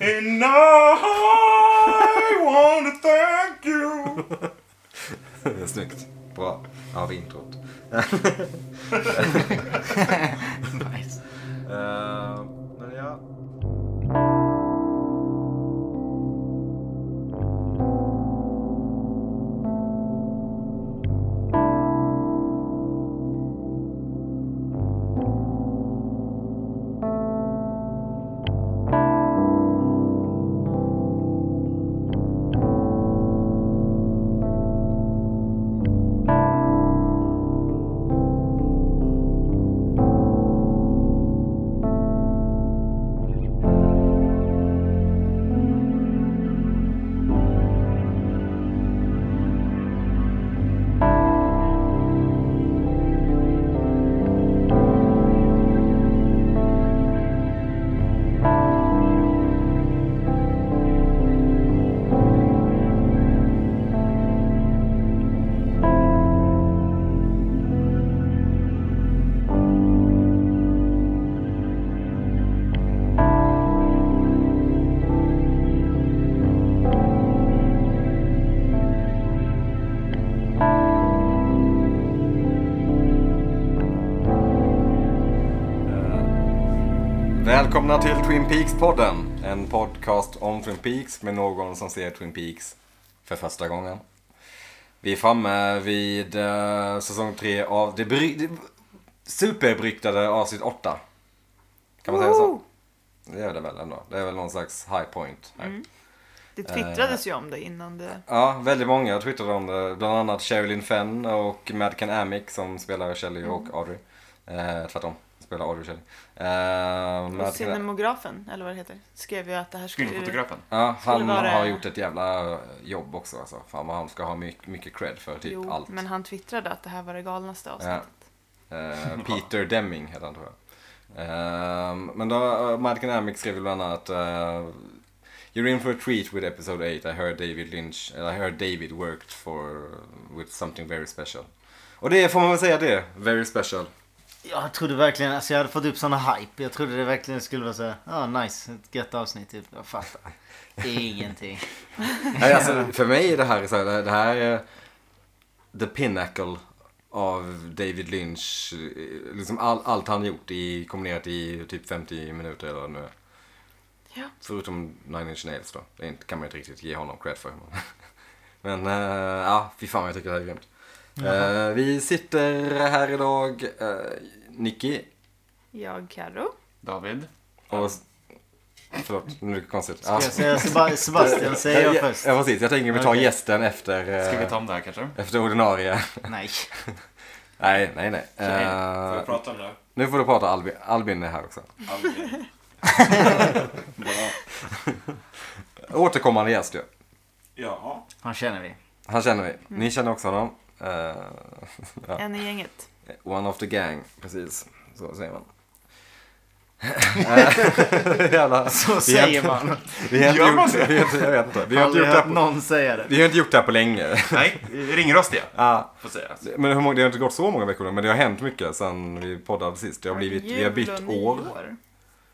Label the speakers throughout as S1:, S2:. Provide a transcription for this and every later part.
S1: And I wanna thank you.
S2: Snyggt. Bra. Av introt.
S3: nice.
S2: Eh, men ja. Välkomna till Twin Peaks-podden. En podcast om Twin Peaks med någon som ser Twin Peaks för första gången. Vi är framme vid eh, säsong tre av det, bry- det superberyktade avsnitt 8. Kan man säga så? Det är det väl ändå. Det är väl någon slags high point. Här.
S3: Det
S2: Eh,
S3: twittrades ju om det innan det...
S2: Ja, väldigt många twittrade om det. Bland annat Sherilyn Fenn och Madcan Amick som spelar Shelley och Audrey. Eh, tvärtom, spelar Audrey och Shelley. Eh,
S3: Och
S2: Madcan-
S3: cinemografen, eller vad det heter, skrev ju att det här skulle... ju-
S1: Kvinnofotografen.
S2: Ja, han
S3: Skulle vara-
S2: har gjort ett jävla jobb också. Alltså. Fan vad han ska ha mycket, mycket cred för typ
S3: Jo,
S2: allt.
S3: men han twittrade att det här var det galnaste avsnittet.
S2: Eh, Peter Deming heter han tror jag. Ehm, men då, Madkin Amick skrev ju bland annat eh, You're in for a treat with episode 8. I heard David Lynch, eh, I heard David worked for with something very special. Och det får man väl säga det, very special.
S4: Jag trodde verkligen, alltså jag hade fått upp såna hype. Jag trodde det verkligen skulle vara så här, ja nice, ett gött avsnitt typ. Jag fattar. Ingenting.
S2: Nej, alltså, för mig är det här, så här, det här är the pinnacle av David Lynch. eh, Liksom all, allt han gjort i, kombinerat i typ 50 minuter eller vad det nu är.
S3: Ja.
S2: Förutom Nine Inch Nails då. Det är inte- kan man ju inte riktigt ge honom cred för. Men eh, ja, fy fan jag tycker det här är grymt. Eh, vi sitter här idag, uh, Nicky
S3: Jag, Carro.
S1: David.
S2: och... Förlåt, nu är det konstigt.
S4: Ska jag säga Seba- Sebastian, säger jag först?
S2: Ja, precis. Jag tänker vi tar
S4: Okej.
S2: gästen efter... eh,
S1: Ska vi ta om det här kanske?
S2: Efter ordinarie.
S4: Nej.
S2: Nej, nej, nej.
S1: Nej,
S2: Eh,
S1: Får vi prata om det?
S2: nu får du prata Albin. Albin är här också.
S1: Aldrig. Bra.
S2: Återkommande gäst ju.
S1: Jaha.
S4: Han känner vi.
S2: Han känner vi. Ni känner också honom. Eh, ja.
S3: En i gänget.
S2: One of the gang, precis. Så säger man. Eh, Jävla.
S4: Så säger man.
S2: Vi har inte
S1: Gör man
S2: gjort,
S1: det?
S2: vi har inte- jag vet inte. Vi
S4: Jag
S2: har
S4: har
S2: inte gjort det
S4: aldrig
S2: här
S4: hört
S2: på,
S4: någon säga det.
S2: vi har inte gjort det här på länge.
S1: Nej, ringrostiga.
S2: Ja,
S1: Får sägas.
S2: men hur många, det har inte gått så många veckor nu, men det har hänt mycket sen vi poddade sist. Det har blivit, vi har bytt
S3: Jul och
S2: år.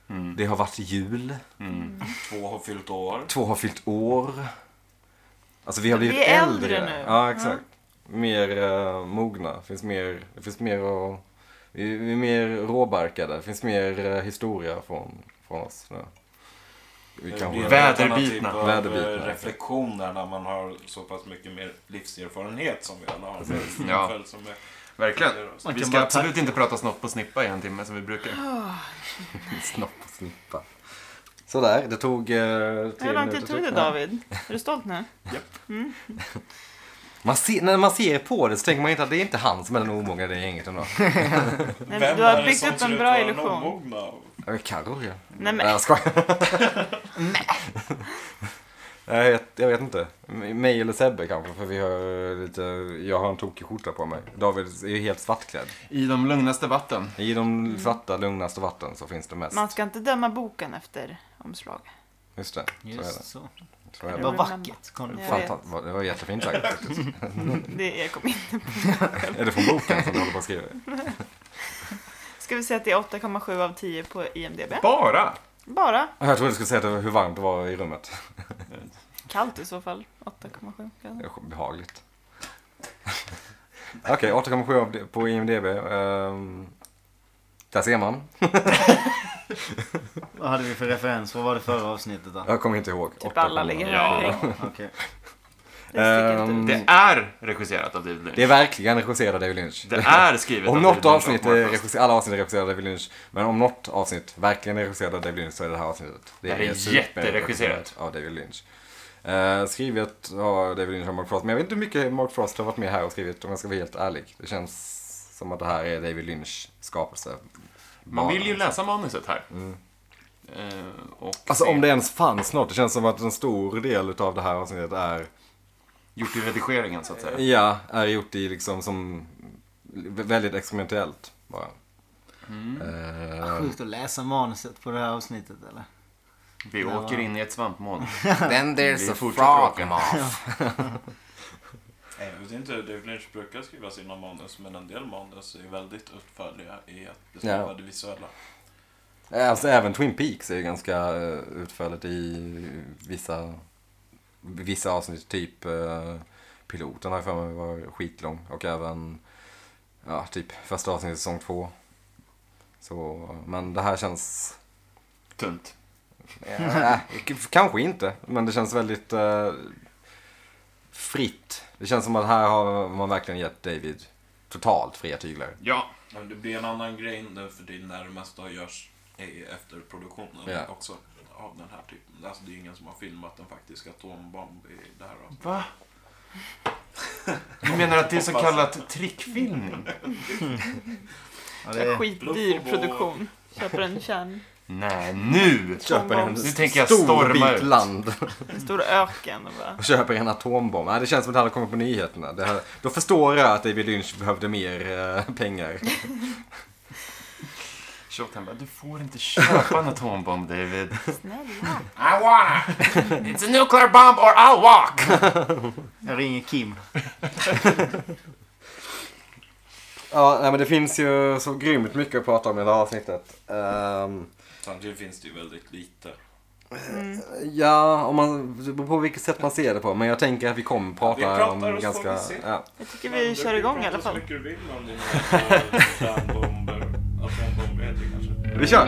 S3: nyår.
S2: Det har varit jul.
S1: Två har fyllt år.
S2: Två har fyllt år. Alltså vi har
S3: Vi
S2: blivit
S3: är äldre nu.
S2: Ja, exakt. Mer eh, mogna. Finns mer, det finns mer att... Vi, vi är mer råbarkade. Det finns mer eh, historia från, från oss nu. Vi
S1: Det
S2: kanske...
S1: Eh, blir
S5: Väderbitna.
S1: en annan typ av,
S2: Väderbitna,
S1: eh,
S2: ja.
S1: reflektion där när man har så pass mycket mer livserfarenhet som vi alla har.
S2: Mm.
S1: Det är
S5: Ja.
S1: väl som är-
S5: Verkligen.
S4: Man
S5: Vi
S4: kan
S5: ska
S4: bara
S5: absolut inte prata snopp och snippa i en timme som vi brukar.
S2: Snopp och snippa. Sådär, det tog eh,
S3: Hur
S2: tre
S3: lång tid
S2: minuter.
S3: tog det
S2: Ja.
S3: David? Är du stolt nu?
S2: Man ser, när man ser på det så tänker man inte att det är inte han som är den omogna i det gänget ändå.
S3: Nej,
S1: Vem
S3: men du
S1: är
S3: har
S1: det
S3: byggt
S1: som
S3: upp
S1: ser
S3: en
S1: ut
S3: bra
S1: vara den
S3: illusion.
S1: omogna av?
S2: Äh, Carro ja.
S3: Nej
S2: Nej,
S3: men,
S2: jag skojar. Nej. Jag vet, jag vet inte. M- Mig eller Sebbe kanske, för vi har lite, jag har en tokig skjorta på mig. David är ju helt svartklädd.
S5: I de lugnaste vatten.
S2: I de svarta, lugnaste vatten så finns det mest.
S3: Mm. man ska inte döma boken efter omslag.
S2: Just det, så är
S4: Just
S2: det.
S4: så.
S2: Så är
S4: Det
S2: det.
S4: var vackert. Kom
S3: Ja.
S4: du
S3: Jag vet.
S2: Fantastiskt. Det var jättefint sagt faktiskt.
S3: Det jag kom in.
S2: Är det från boken som du håller på att skriva?
S3: Ska vi säga att det är 8,7 av 10 på IMDB?
S5: Bara!
S3: Bara
S2: Jag trodde du skulle säga det- hur varmt det var i rummet.
S3: kallt i så fall. 8,7
S2: Det
S3: grader.
S2: är Behagligt. Okej, 8,7 av det- på IMDB. Ehm, där ser man.
S4: Vad hade vi för referens? Vad var det förra avsnittet då?
S2: Jag kommer inte ihåg.
S3: Typ alla ligger här
S5: Ja.
S3: omkring.
S4: Okej.
S3: Det sticker inte
S2: Ehm,
S3: ut.
S5: Det är regisserat av David
S2: Det är
S5: Lynch.
S2: verkligen regisserat av David Lynch.
S5: Det är skrivet
S2: Om
S5: av
S2: något
S5: David Lynch
S2: avsnitt,
S5: och
S2: är
S5: Marcus.
S2: regisser- alla avsnitt är regisserade av David Lynch, men om något avsnitt verkligen är regisserat av David Lynch så är det här avsnittet.
S5: Det här är
S2: superregisserat
S5: jätteregisserat.
S2: Av David Lynch. Eh, skrivet av David Lynch och Mark Frost, men jag vet inte hur mycket Mark Frost har varit med här och skrivit om jag ska vara helt ärlig. Det känns som att det här är David Lynch skapelse.
S5: Man vill ju
S2: Bara.
S5: läsa manuset här. Eh, och
S2: Mm. Alltså
S5: se-
S2: om det ens fanns något, det känns som att en stor del av det här avsnittet är
S5: Gjort i redigeringen så att säga.
S2: Ja, är gjort i liksom som väldigt experimentellt bara.
S5: Mm.
S2: Eh,
S4: Sjukt att läsa manuset på det här avsnittet eller?
S5: Vi åker in i ett svampmoln.
S2: Then
S5: Vi
S2: there's
S5: fortsätter åka.
S1: Jag vet inte, David Lynch brukar skriva sina manus, men en del manus är väldigt utförliga i att beskriva
S2: Ja.
S1: det visuella.
S2: Alltså även Twin Peaks är ju ganska eh, utförligt i vissa, vissa avsnitt. Typ eh, piloten har jag för mig var skitlång. Och även ja, typ första avsnittet i säsong två. Så, men det här känns...
S5: Tunt.
S2: eh, k- kanske inte, men det känns väldigt eh, fritt. Det känns som att här har man verkligen gett David totalt fria tyglar.
S5: Ja.
S1: Men det blir en annan grej nu för det närmsta görs i efterproduktionen
S2: Ja.
S1: också. Av den här typen. Alltså det är ingen som har filmat en faktisk atombomb i det här avsnittet.
S5: Va? Du menar att det är så kallat trickfilmning?
S4: Ja, det
S3: En
S4: är...
S3: skitdyr produktion. Köper en kärn,
S5: Nej, nu!
S2: Köper en
S5: Nu tänker jag
S2: stor
S5: storma
S2: bit
S5: ut.
S2: land.
S3: en stor öken och bara...
S2: och köper en atombomb. Nej, det känns som att det hade kommit på nyheterna. Det här, då förstår jag att David Lynch behövde mer eh, pengar.
S5: Shotgun bara, du får inte köpa en atombomb David.
S3: Snälla.
S5: I wanna! It's a nuclear bomb or I'll walk!
S4: Jag ringer Kim.
S2: Ja, nej, men det finns ju så grymt mycket att prata om i det här avsnittet. Ehm,
S1: Samtidigt finns det ju väldigt lite.
S2: ja, om man, det beror på vilket sätt man ser det på. Men jag tänker att vi kommer prata
S1: Vi pratar och så
S2: om
S1: får
S2: ganska...
S1: vi se.
S2: Ja.
S3: Jag tycker vi kör igång i alla fall.
S1: Du kan prata så mycket du vill om dina atombomber. Atombomber heter det kanske.
S2: Vi kör!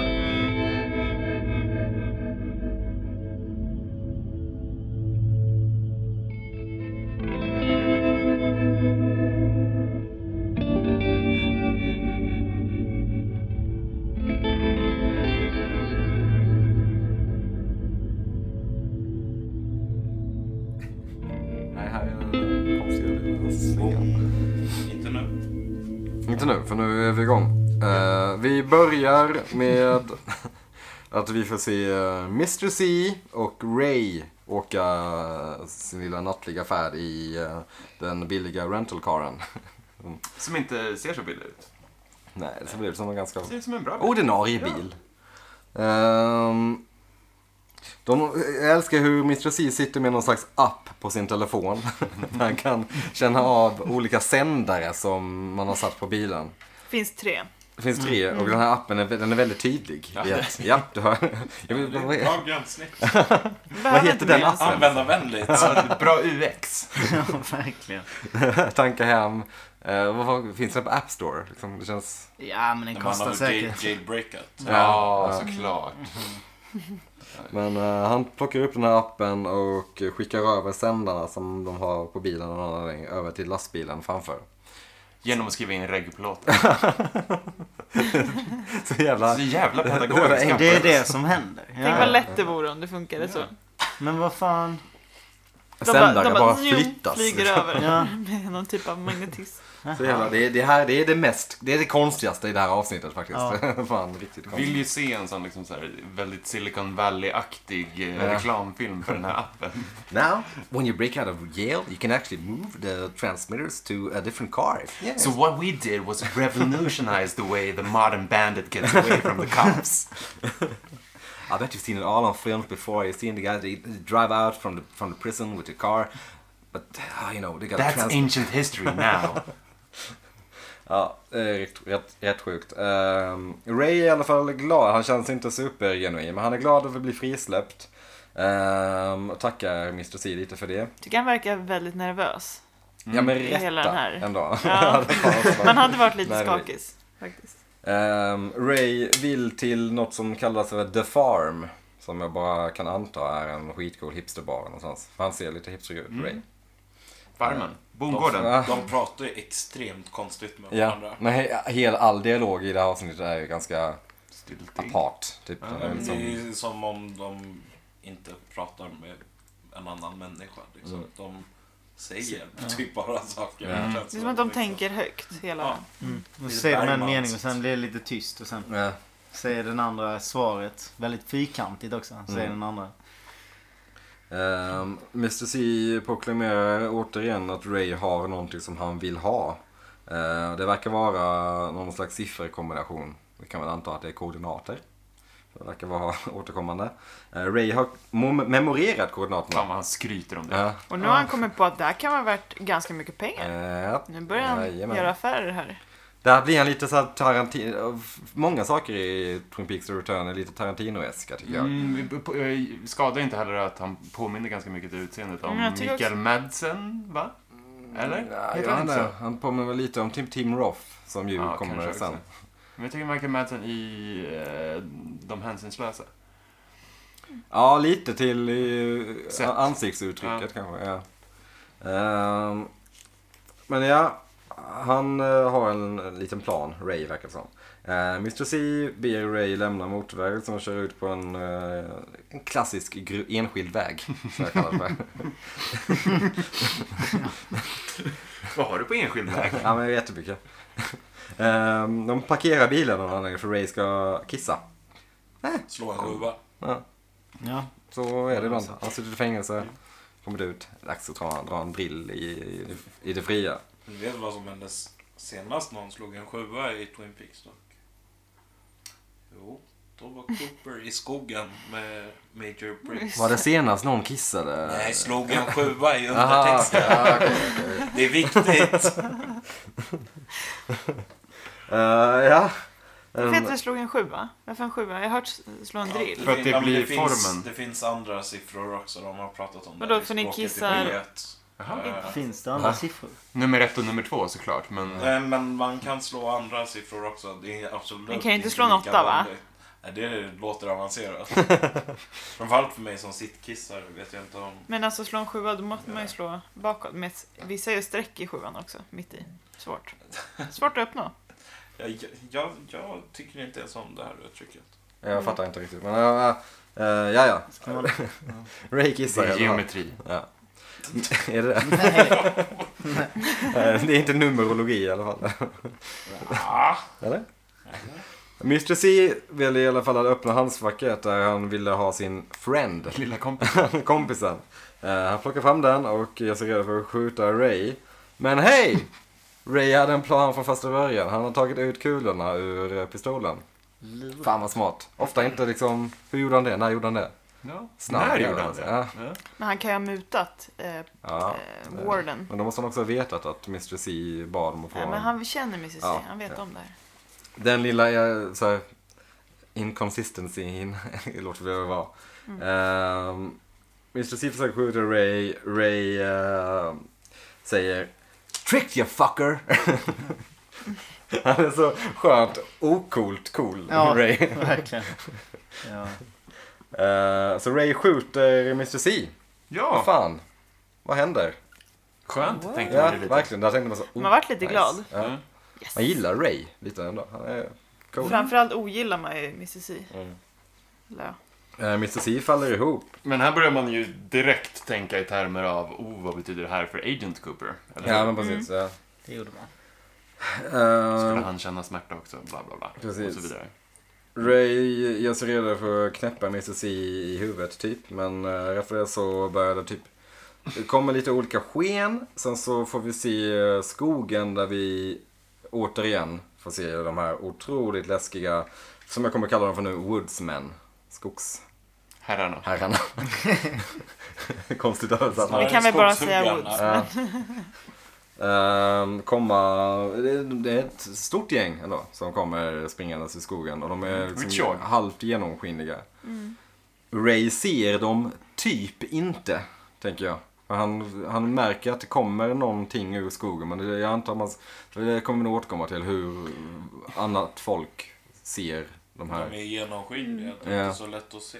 S2: Nej, här är det konstiga lyder. Slingar.
S1: Inte nu.
S2: Inte nu, för nu är vi igång. Eh, vi börjar med att vi får se eh, Mr. C och Ray åka sin lilla nattliga färd i eh, den billiga rentalkaren.
S5: Som inte ser så billig ut.
S2: Nej, det ser ut som en ganska
S5: Ser ut som en bra bil.
S2: ordinarie bil. Ehm, de, jag älskar hur Mr. C sitter med någon slags app på sin telefon. Där han kan känna av olika sändare som man har satt på bilen.
S3: Finns tre.
S2: Det finns tre och den här appen är, vä- den är väldigt tydlig. Ja, ja du hör. Jag vet, vad, vad-
S1: Bra gränssnitt.
S3: Behöver
S2: heter
S3: inte
S2: den
S3: mer än så.
S2: appen?
S1: Användarvänligt.
S5: Ja, ett bra UX.
S4: Ja, verkligen.
S2: tanka hem. Eh, vad, vad finns det på App Store? Liksom, det känns...
S4: Ja, men den
S1: När man
S4: kostar
S1: har jail-
S4: säkert.
S1: jailbreakat.
S5: Ja, såklart.
S2: Men eh, han plockar upp den här appen och skickar över sändarna som de har på bilen och någon anledning över till lastbilen framför.
S5: Genom att skriva in regplåten.
S2: Så jävla...
S5: Så jävla
S2: Det var
S5: pedagogiskt.
S2: enkelt.
S4: Det är det som händer.
S3: Tänk vad
S4: Ja.
S3: lätt det vore om det funkade så.
S4: Men vad fan.
S3: De
S2: Sändare bara,
S3: zoom,
S2: flyttas. liksom."
S3: flyger över
S4: Ja.
S3: med någon typ av magnetism.
S2: Så jävla, det, det, här, det är det mest, det är det konstigaste i det här avsnittet faktiskt.
S4: Ja.
S2: Fan, riktigt
S5: Vill
S2: konstigt.
S5: ju se en sån liksom så här, väldigt Silicon Valley-aktig eh,
S2: Ja.
S5: reklamfilm för den här appen.
S2: Now, when you break out of Yale, you can actually move the transmitters to a different car. Yeah.
S5: So what we did was revolutionize the way the modern bandit gets away from the cops.
S2: I bet you've seen it all on films before. You've seen the guys they they drive out from the from the prison with the car, but uh, you know they got
S5: That's
S2: trans-
S5: ancient history now.
S2: Ja, det är rätt, rätt, rätt sjukt. Ehm, Ray är i alla fall glad. Han känns inte supergenuin, men han är glad över att bli frisläppt. Ehm, och tackar Mr. C lite för det.
S3: Tycker han verkar väldigt nervös.
S2: Ja, men
S3: I hela
S2: rätta
S3: den här.
S2: ändå.
S3: Ja.
S2: Det var så.
S3: Man hade varit lite
S2: Nej, det-
S3: skakis. Faktiskt.
S2: Ehm, Ray vill till något som kallas för The Farm. Som jag bara kan anta är en skitcool hipsterbar någonstans. För han ser lite hipster ut, Ray.
S5: Farmen. Bondgården.
S2: Ja.
S1: De, de pratar ju extremt konstigt med
S2: Ja,
S1: varandra.
S2: men he- hel, all dialog i det här avsnittet är ju ganska
S5: Stiltig.
S2: apart. Typ. Den är
S1: Men Det
S2: liksom,
S1: är som om de inte pratar med en annan människa. Liksom. De säger typ bara saker.
S2: Mm.
S1: Liksom.
S2: Ja.
S1: känns
S3: Det är som att de tänker högt hela...
S1: Ja.
S4: Och
S1: Det
S4: så
S1: är
S4: säger de en
S1: Bergmans.
S4: mening och sen blir det lite tyst och sen
S2: ja.
S4: säger den andra svaret. Väldigt fyrkantigt också. Säger
S2: Mm.
S4: den andra.
S2: Ehm, Mr C proklamerar återigen att Ray har någonting som han vill ha. Eh, det verkar vara någon slags sifferkombination. Vi kan väl anta att det är koordinater. Det verkar vara återkommande. Eh, Ray har mom- memorerat koordinaterna.
S5: Fan vad han skryter om det.
S2: Ja.
S3: Och nu har han kommit på att det här kan vara värt ganska mycket pengar.
S2: Eh,
S3: Nu börjar han
S2: Jajamän.
S3: göra affärer här.
S2: Där blir han lite så här Tarantino. Många saker i Twin Peaks The Return är lite Tarantino-eska tycker jag.
S5: Mm, vi- på- eh, skadar inte heller att han påminner ganska mycket till utseendet om
S3: Mm, jag tycker
S5: Mikael Madsen, va? Eller?
S2: Mm, Ja,
S5: Heter
S2: ja,
S5: han inte
S2: nej.
S5: så?
S2: han påminner väl lite om Tim, Tim Roth som ju
S5: Ja, kanske
S2: kommer
S5: också.
S2: sen.
S5: Men jag tycker Michael Madsen i eh, De hänsynslösa.
S2: Ja, lite till eh,
S5: Sätt.
S2: ansiktsuttrycket kanske. Ja. Ehm, men ja, han eh, har en liten plan, Ray verkar det som. Eh, Mr C ber Ray lämna motorvägen som kör ut på en, eh, en klassisk gru- enskild väg. Som jag kallar det för.
S5: Vad har du på enskild väg?
S2: ja, men jättemycket. Ehm, de parkerar bilen av någon anledning för Ray ska kissa.
S1: Slå en sjua.
S2: Ja,
S4: Ja.
S2: så är det ibland. Han sitter i fängelse, kommer ut, dags att dra, dra en drill i, i, i det fria.
S1: Ni vet vad som hände s- senast någon slog en sjua i Twin Peaks dock? Jo, då var Cooper i skogen med Major Briggs.
S2: Var det senast någon kissade?
S1: Nej, slog en sjua i
S2: Aha,
S1: undertexten.
S2: okej, ja, okej, okej.
S1: Det är viktigt.
S2: Eh, ja.
S3: Varför heter
S2: Ehm,
S3: det slog en sjua? Varför en sjua? Jag har hört s- slå en drill.
S5: För att det
S1: Ja, men
S5: blir formen.
S1: finns, det finns andra siffror också. De har pratat om
S3: Vadå,
S1: i
S3: för ni
S1: språket i
S3: kissar-
S1: P1. Eh,
S4: Finns det andra siffror?
S5: Nummer ett och nummer två såklart, men...
S1: Nej, men man kan slå andra siffror också. Det är absolut
S3: Man kan ju inte slå en
S1: lika
S3: åtta, va?
S1: vanligt. Nej, det låter avancerat. Framförallt för mig som sittkissar vet jag inte om...
S3: Men alltså slå en sjua, då måste man ju slå bakåt. Med, ett- vissa gör streck i sjuan också, mitt i. Svårt. Svårt att uppnå.
S1: Jag, jag- jag, jag tycker inte ens om det här uttrycket.
S2: jag fattar inte riktigt. Men ja, ja. Eh, ja, ja.
S4: Ska man...
S2: Ray
S5: Det
S2: kissar. i
S5: är
S2: alla fall.
S5: geometri.
S2: Ja. är det det? Eh, det är inte numerologi i alla fall. Eller? Mr C ville i alla fall att öppna handskfacket där han ville ha sin friend.
S5: Lilla kompis.
S2: kompisen. Eh, han plockar fram den och jag ser redo för att skjuta Ray. Men hej! Ray hade en plan från första början. Han har tagit ut kulorna ur eh, pistolen. Fan vad smart. Ofta inte liksom, hur gjorde han det? När gjorde han det?
S5: Ja.
S2: Snabb
S5: När
S2: jävel,
S5: gjorde han
S2: alltså.
S5: det?
S2: Ja.
S5: Ja.
S3: Men han kan ju ha mutat eh,
S2: Ja.
S3: eh, warden.
S2: Men då måste han också ha vetat att Mr C bad om att få
S3: Nej, men
S2: en-
S3: han känner Mrs. C,
S2: Ja,
S3: han vet
S2: ja.
S3: om det här.
S2: den lilla eh, så här, inconsistencyn, det låter det vara.
S3: Mm.
S2: Ehm, Mr C försöker skjuta Ray, Ray eh, säger Trick you fucker! Han är så skönt ocoolt cool,
S4: Ja,
S2: Ray.
S4: verkligen. Ja.
S2: Eh, så Ray skjuter Mr C. Vad
S5: ja,
S2: fan? Vad händer?
S5: skönt tänkte
S2: Ja,
S5: man ju lite. Mm.
S2: verkligen. Där tänkte man så.
S3: Man vart lite glad.
S2: Ja.
S5: Ja.
S3: Yes.
S2: Man gillar Ray lite ändå. Han är cool.
S3: Framförallt ogillar man ju Mrs. C.
S2: Mm.
S3: Eller ja.
S2: Eh, Mr C faller ihop.
S5: Men här börjar man ju direkt tänka i termer av, oh, vad betyder det här för Agent Cooper? Eller
S2: Ja,
S5: hur?
S2: men precis.
S3: Mm.
S2: Ja.
S4: Det gjorde man.
S5: Skulle
S2: Eh,
S5: han känna smärta också? Bla, bla, bla.
S2: Precis.
S5: Och så vidare.
S2: Ray gör sig redo för att knäppa Mr. C i huvudet typ. Men uh, efter det så börjar det typ. Det kommer lite olika sken. Sen så får vi se eh, skogen där vi återigen får se de här otroligt läskiga. Som jag kommer kalla dem för nu, woodsmen. Skogsherrarna.
S5: Herrarna.
S2: Konstigt översatt.
S3: Vi kan väl bara
S1: Skogshuggarna.
S3: säga Woods.
S2: Ja. Ehm, komma, det, det är ett stort gäng ändå som kommer springandes i skogen och de
S1: Mm,
S2: är liksom
S5: Richard.
S2: halvt genomskinliga. Ray ser dem typ inte, tänker jag. För Han, han märker att det kommer någonting ur skogen men det, jag antar man, för det kommer vi nog återkomma till hur annat folk ser de
S1: De
S2: här.
S1: är genomskinliga. Det är
S2: Ja.
S1: inte så lätt att se.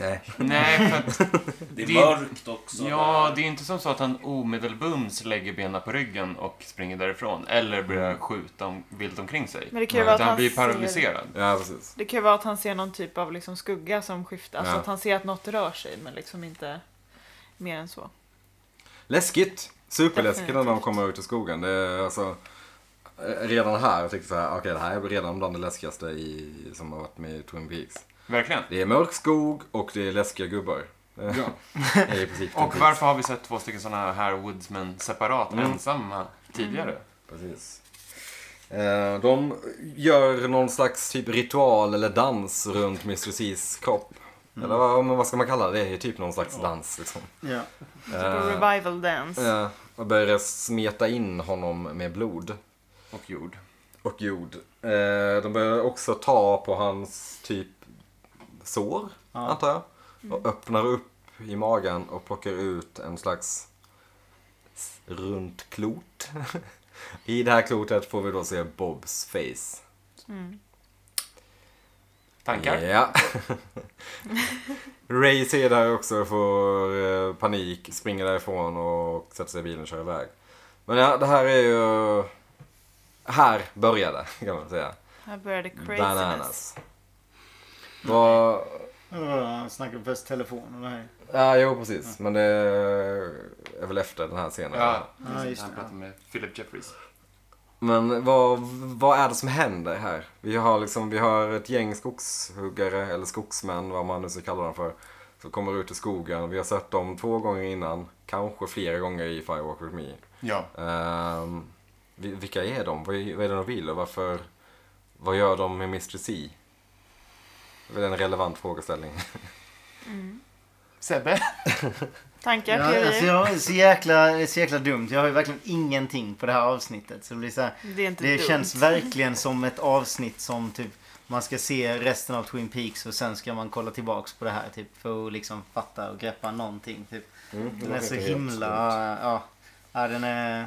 S2: Nej.
S5: Nej, för att,
S1: Det är
S5: Det-
S1: mörkt också.
S5: ja,
S1: där.
S5: det är inte som så att han omedelbums lägger benen på ryggen och springer därifrån. Eller börjar
S2: Mm.
S5: skjuta om, vilt omkring sig.
S3: Men det kan ju vara
S5: Utan
S3: att
S5: han
S3: han
S5: blir
S3: ser-
S5: paralyserad.
S2: Ja, precis.
S3: Det kan ju vara att han ser någon typ av liksom skugga som skiftar. Alltså
S2: Ja.
S3: att han ser att något rör sig men liksom inte mer än så.
S2: Läskigt! Superläskigt när de
S3: Definitivt.
S2: kommer ut i skogen. Det är alltså, eh, redan här jag tyckte så här, okej det här är redan bland det läskigaste i, som har varit med i Twin Peaks.
S5: Verkligen.
S2: Det är mörk skog och det är läskiga gubbar. Ja. I princip Twin
S5: Och
S2: Peaks.
S5: varför har vi sett två stycken sådana här Woodsmen separat,
S2: Mm.
S5: ensamma, tidigare?
S2: Precis. Eh, De gör någon slags typ ritual eller dans runt Mr. C's kropp. Eller vad, men vad ska man kalla det? Det är typ någon slags dans liksom.
S4: Ja.
S3: Typ av
S2: Eh,
S3: revival dance.
S2: Ja, och börjar smeta in honom med blod.
S5: Och jord.
S2: och jord. Eh, de börjar också ta på hans typ sår,
S4: Ja.
S2: antar jag. Och öppnar upp i magen och plockar ut en slags s- runt klot. I det här klotet får vi då se Bobs face.
S5: Tankar?
S2: Ja. Ray ser det här också och får eh, panik, springer därifrån och sätter sig i bilen och kör iväg. Men ja, det här är ju... Här började, kan man säga.
S3: Här började craziness.
S2: Bananas. Vad...
S4: Ja, Han snackade först telefon och det här.
S2: Ja, jo precis. Men det är väl efter den här scenen.
S5: Ja,
S4: Ja,
S5: precis.
S4: just
S5: Han
S4: det.
S5: pratar med Philip Jeffries.
S2: Men vad, vad är det som händer här? Vi har liksom, vi har ett gäng skogshuggare, eller skogsmän, vad man nu ska kalla dem för. Som kommer ut i skogen. Vi har sett dem två gånger innan. Kanske flera gånger i Firewalk with me.
S5: Ja.
S2: Ehm, vi- vilka är de? Vad är vad är det de vill och varför? Vad gör de med Mr. C? Det är väl en relevant frågeställning.
S5: Sebbe?
S3: Mm. Tankar,
S4: Ja,
S3: teorier?
S4: alltså jag är så jäkla, det är så jäkla dumt. Jag har ju verkligen ingenting på det här avsnittet. Så det blir så här,
S3: Det är inte
S4: det
S3: dumt.
S4: känns verkligen som ett avsnitt som typ man ska se resten av Twin Peaks och sen ska man kolla tillbaks på det här typ för att liksom fatta och greppa någonting. Typ. Den är så himla, ja, ja den är
S1: Jag är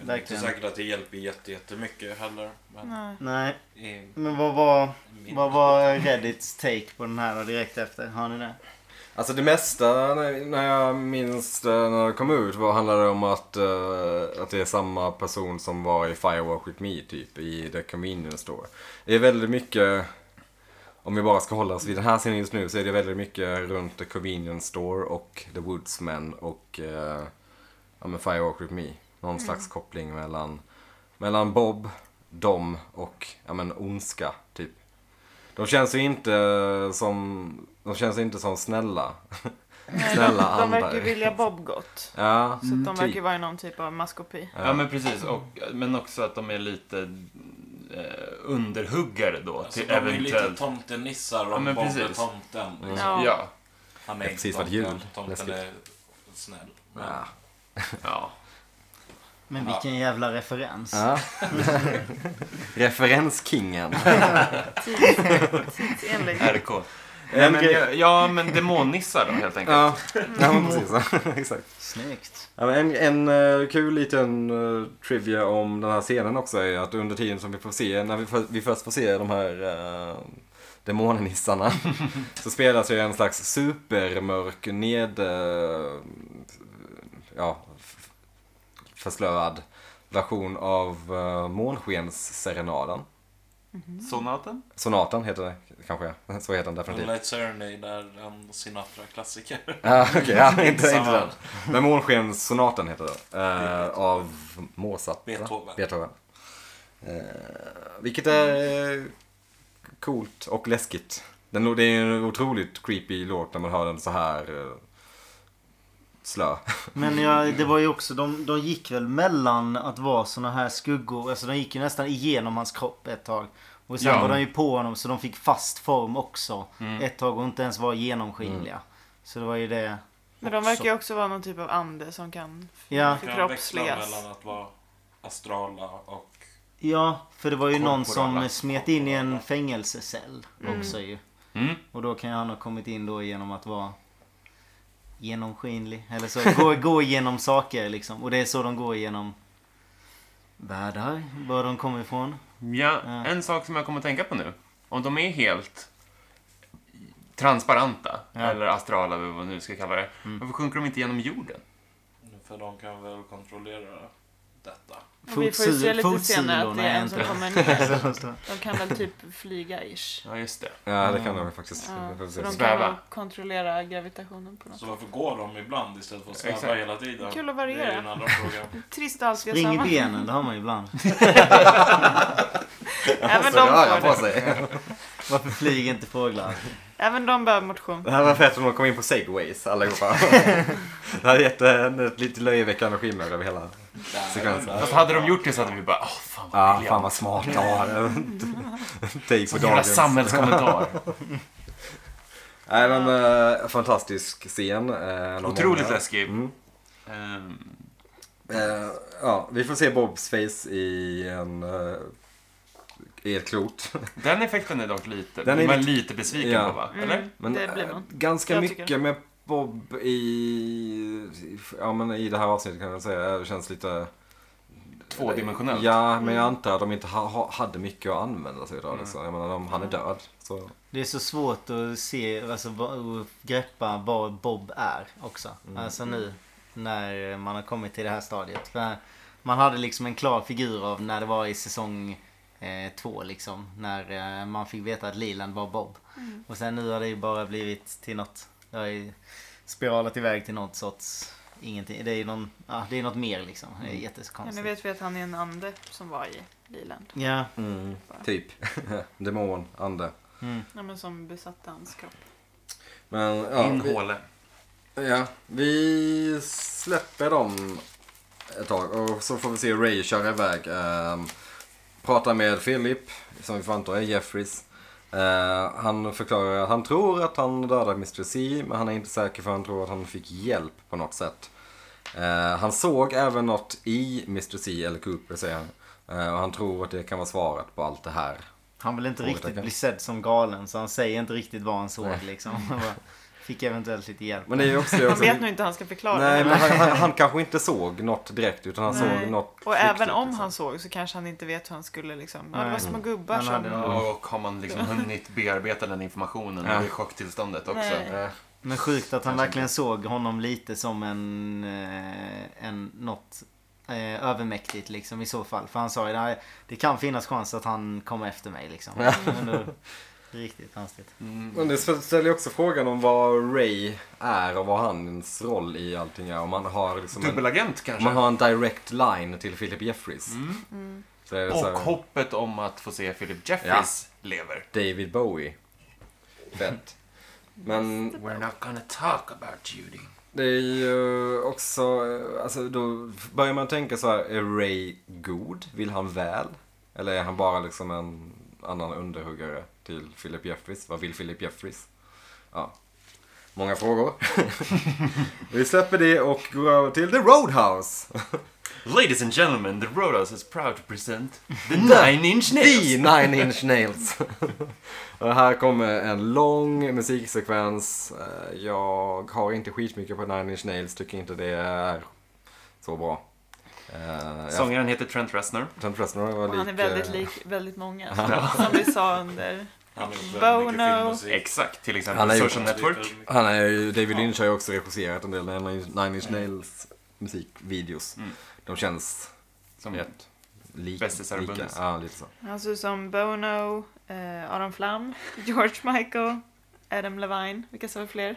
S1: inte
S4: verkligen.
S1: säkert att det hjälper jätte- jättemycket heller. Men
S3: Nej.
S4: Nej,
S1: i
S4: men vad var,
S1: min-
S4: vad var Reddits take på den här då direkt efter? Har ni det?
S2: Alltså det mesta när när jag minns det när det kom ut var, handlade det om att, eh, att det är samma person som var i Firewalk with me typ i The Convenience Store. Det är väldigt mycket, om vi bara ska hålla oss vid den här scenen just nu, så är det väldigt mycket runt The Convenience Store och The Woodsman och eh, ja, men Firewalk with me. Någon slags koppling mellan, mellan Bob, dem och ja, men ondska typ. De känns ju inte som, de känns inte som snälla.
S3: Nej,
S2: Snälla
S3: de, de verkar
S2: andar.
S3: ju vilja Bob gott.
S2: Ja,
S3: Så att de verkar ju
S2: typ.
S3: vara i någon typ av maskopi.
S2: Ja.
S5: Ja, men precis. Och, men också att de är lite eh, underhuggare då.
S1: Alltså,
S5: till
S1: de är ju lite
S5: eventuellt.
S1: tomtenissar
S5: Ja,
S1: och
S5: men
S1: Bob är
S5: precis.
S1: tomten. Liksom.
S3: Ja.
S5: Ja.
S1: Han
S2: Det är
S1: inte
S2: precis vad
S1: tomten.
S2: jul.
S1: Tomten
S2: Läskigt.
S1: är snäll. Men
S2: Ja.
S5: ja.
S4: Men
S1: Ja.
S4: vilken jävla referens.
S2: Ja. Referenskingen.
S3: Tidsenlig.
S5: RK.
S2: Ja,
S5: Ja
S2: men
S5: men,
S2: gre-
S5: ja, ja, men demonnissar då helt enkelt.
S2: Ja, ja
S3: Mm.
S2: men precis. Exakt.
S4: Snyggt.
S2: Ja, men en en eh, kul liten eh, trivia om den här scenen också är att under tiden som vi får se, när vi, för, vi först får se de här uh, demonenissarna så spelas ju en slags supermörk ned... eh, ja, f- förslöad version av uh, Månskensserenaden.
S5: Sonaten?
S2: Sonaten heter det kanske, så heter den definitivt.
S1: Moonlight Serenade är en Sinatra-klassiker.
S2: Ja, okej. ja, inte, inte
S1: Samma.
S2: den. Men Månskenssonaten heter den. Eh, av Mozart. va?
S1: Beethoven.
S2: Beethoven. Eh, vilket är eh, coolt och läskigt. Den, lå- det är en otroligt creepy låt när man hör den så här eh, slö.
S4: Men ja, det var ju också, de, de gick väl mellan att vara såna här skuggor, alltså de gick ju nästan igenom hans kropp ett tag. Och sen
S5: Ja. Mm.
S4: var de ju på honom så de fick fast form också ett tag och inte ens var genomskinliga. Så det var ju det.
S3: Men de verkar ju också vara någon typ av ande som kan
S4: Ja.
S1: Kan växla
S3: förkroppsligas.
S1: mellan att vara astrala och...
S4: Ja, för det var ju någon
S5: Korporala.
S4: som smet in i en fängelsecell också ju.
S5: Mm.
S4: Och då kan han ha kommit in då genom att vara genomskinlig. Eller så, gå, gå igenom saker liksom. Och det är så de går igenom världar, var de kommer ifrån.
S5: Ja,
S4: Ja.
S5: en sak som jag kommer att tänka på nu. Om de är helt transparenta,
S4: Ja.
S5: eller astrala eller vad man nu ska kalla det. Varför sjunker de inte genom jorden?
S1: För de kan väl kontrollera detta.
S3: Och vi får ju se
S4: Fotsil-
S3: lite senare att det är en som
S4: inte-
S3: kommer ner.
S4: Så de står-
S3: De kan väl typ flyga-ish.
S5: Ja, just det.
S2: Ja, det kan de ju faktiskt.
S3: Ja,
S2: Vi får se.
S3: så de kan
S5: Sväva.
S3: väl kontrollera gravitationen på något
S1: Så varför går de ibland istället för att sväva
S5: Exakt.
S1: hela tiden?
S3: Kul att variera.
S1: Det är ju en annan fråga.
S3: Trist att alltid
S4: Ring i
S3: samma.
S4: benen, det har man ju ibland.
S3: Även
S2: Så rör
S3: de,
S2: Alltså, jag
S3: får
S2: på
S3: det.
S2: sig.
S4: Varför flyger inte fåglar?
S3: Även de behöver motion.
S2: Det här var fett om de kom in på segways allihopa. Det hade gett en, ett lite löjeväckande skimmer över hela sekvensen.
S5: Fast hade de gjort det så hade vi bara, åh fan vad
S2: Ja,
S5: briljant."
S2: fan vad smart de har. Take på
S5: Sån jävla
S2: dagens.
S5: samhällskommentar.
S2: Nej men eh, fantastisk scen. eh, någon
S5: Otroligt
S2: många.
S5: läskig.
S2: Mm.
S5: Ehm,
S2: Eh, ja, vi får se Bobs face i en... eh, i ett klot.
S5: den effekten är dock
S2: Den
S5: lite, den
S2: är
S5: är man
S2: lite-
S5: lite besviken
S2: Ja.
S5: på va? Eller?
S3: Mm, det blir
S2: eh,
S3: man.
S2: ganska
S3: Jag
S2: mycket
S3: tycker.
S2: med Bob i... Ja men i det här avsnittet kan jag säga. Det känns lite...
S5: Tvådimensionellt.
S2: Ja, men jag antar att de inte ha, ha, hade mycket att använda sig av. Liksom. Jag menar, de, han är död. Så.
S4: Det är så svårt att se, alltså va- och greppa var Bob är också. Alltså nu när man har kommit till det här stadiet. För man hade liksom en klar figur av när det var i säsong eh, två liksom. När eh, man fick veta att Leland var Bob.
S3: Mm.
S4: Och sen nu har det ju bara blivit till något. Det har ju spiralat iväg till något sorts ingenting. Det är ju någon, ja, det är något mer liksom. Det är
S3: Mm. Ja, nu
S2: alltså.
S4: jättekonstigt.
S3: vet vi att han är en ande som var i Liland.
S4: Ja,
S2: Typ. Demon, ande.
S3: Ja, men som besatte hans kropp.
S2: Men ja, vi,
S5: Inhåle.
S2: ja, vi släpper dem ett tag och så får vi se Ray köra iväg. Ehm, pratar med Philip, som vi får anta är Jeffries. Eh, han förklarar att han tror att han dödade Mr. C, men han är inte säker för han tror att han fick hjälp på något sätt. Eh, han såg även något i Mr. C, eller Cooper säger han. Eh, och han tror att det kan vara svaret på allt det här.
S4: Han vill inte riktigt
S2: Frågetecken.
S4: bli sedd som galen så han säger inte riktigt vad han såg liksom. Han bara Fick eventuellt lite hjälp.
S2: Men det är ju också... alltså, det är också-
S3: Man vet nu inte hur han ska förklara
S2: Nej,
S3: det.
S2: men han, han, han kanske inte såg något direkt utan han
S3: Nej.
S2: såg något
S3: Och
S2: flyktigt,
S3: även om
S2: liksom.
S3: han såg så kanske han inte vet hur han skulle liksom. Ja, det var
S4: Nej.
S3: små gubbar
S4: Han hade
S3: som...
S4: nog-
S5: Och har man liksom hunnit bearbeta den informationen
S2: Ja.
S5: och i chocktillståndet också.
S3: Nej.
S2: Eh,
S4: Men sjukt att han verkligen såg honom lite som en... eh, en något eh, övermäktigt liksom i så fall. För han sa ju "Nej, det kan finnas chans att han kommer efter mig liksom. Men då, riktigt konstigt.
S2: Men det ställer ju också frågan om vad Ray är och vad hans roll i allting är. Om man har liksom en,
S5: Dubbelagent
S2: om
S5: kanske?
S2: man har en direct line till Philip Jeffries.
S3: Mm.
S2: Så är det så
S5: Och
S2: här,
S5: hoppet om att få se Philip Jeffries lever.
S2: David Bowie. Fett. Men
S5: We're not gonna talk about Judy.
S2: det är ju också, eh, alltså då börjar man tänka så här, är Ray god? Vill han väl? Eller är han bara liksom en annan underhuggare till Philip Jeffries? Vad vill Philip Jeffries? Ja, många frågor. Vi släpper det och går över till The Roadhouse.
S5: Ladies and gentlemen, the Roadhouse is proud to present the Nine Inch
S2: The
S5: Nails.
S2: Nine Inch Nails. och här kommer en lång musiksekvens. Eh, Jag har inte skitmycket på Nine Inch Nails, tycker inte det är så bra. Eh, jag
S5: Sångaren heter Trent Reznor.
S2: Trent Reznor var
S3: Och han är
S2: lik,
S3: väldigt
S2: eh,
S3: lik väldigt många. Som vi sa under...
S1: Han har gjort
S3: Bono.
S1: väldigt mycket filmmusik. Typ
S5: Exakt, till exempel
S2: Han har gjort-
S5: Social Network.
S2: Han är ju, David Lynch har ju också regisserat en del Nine Inch Nails musikvideos.
S5: Mm.
S2: De känns
S5: Som
S2: rätt lik,
S5: Bästisar och
S2: lika.
S5: bundis.
S2: Ja, lite så.
S3: Han ser ut som Bono, eh, Adam Flam, George Michael, Adam Levine. Vilka sa vi fler?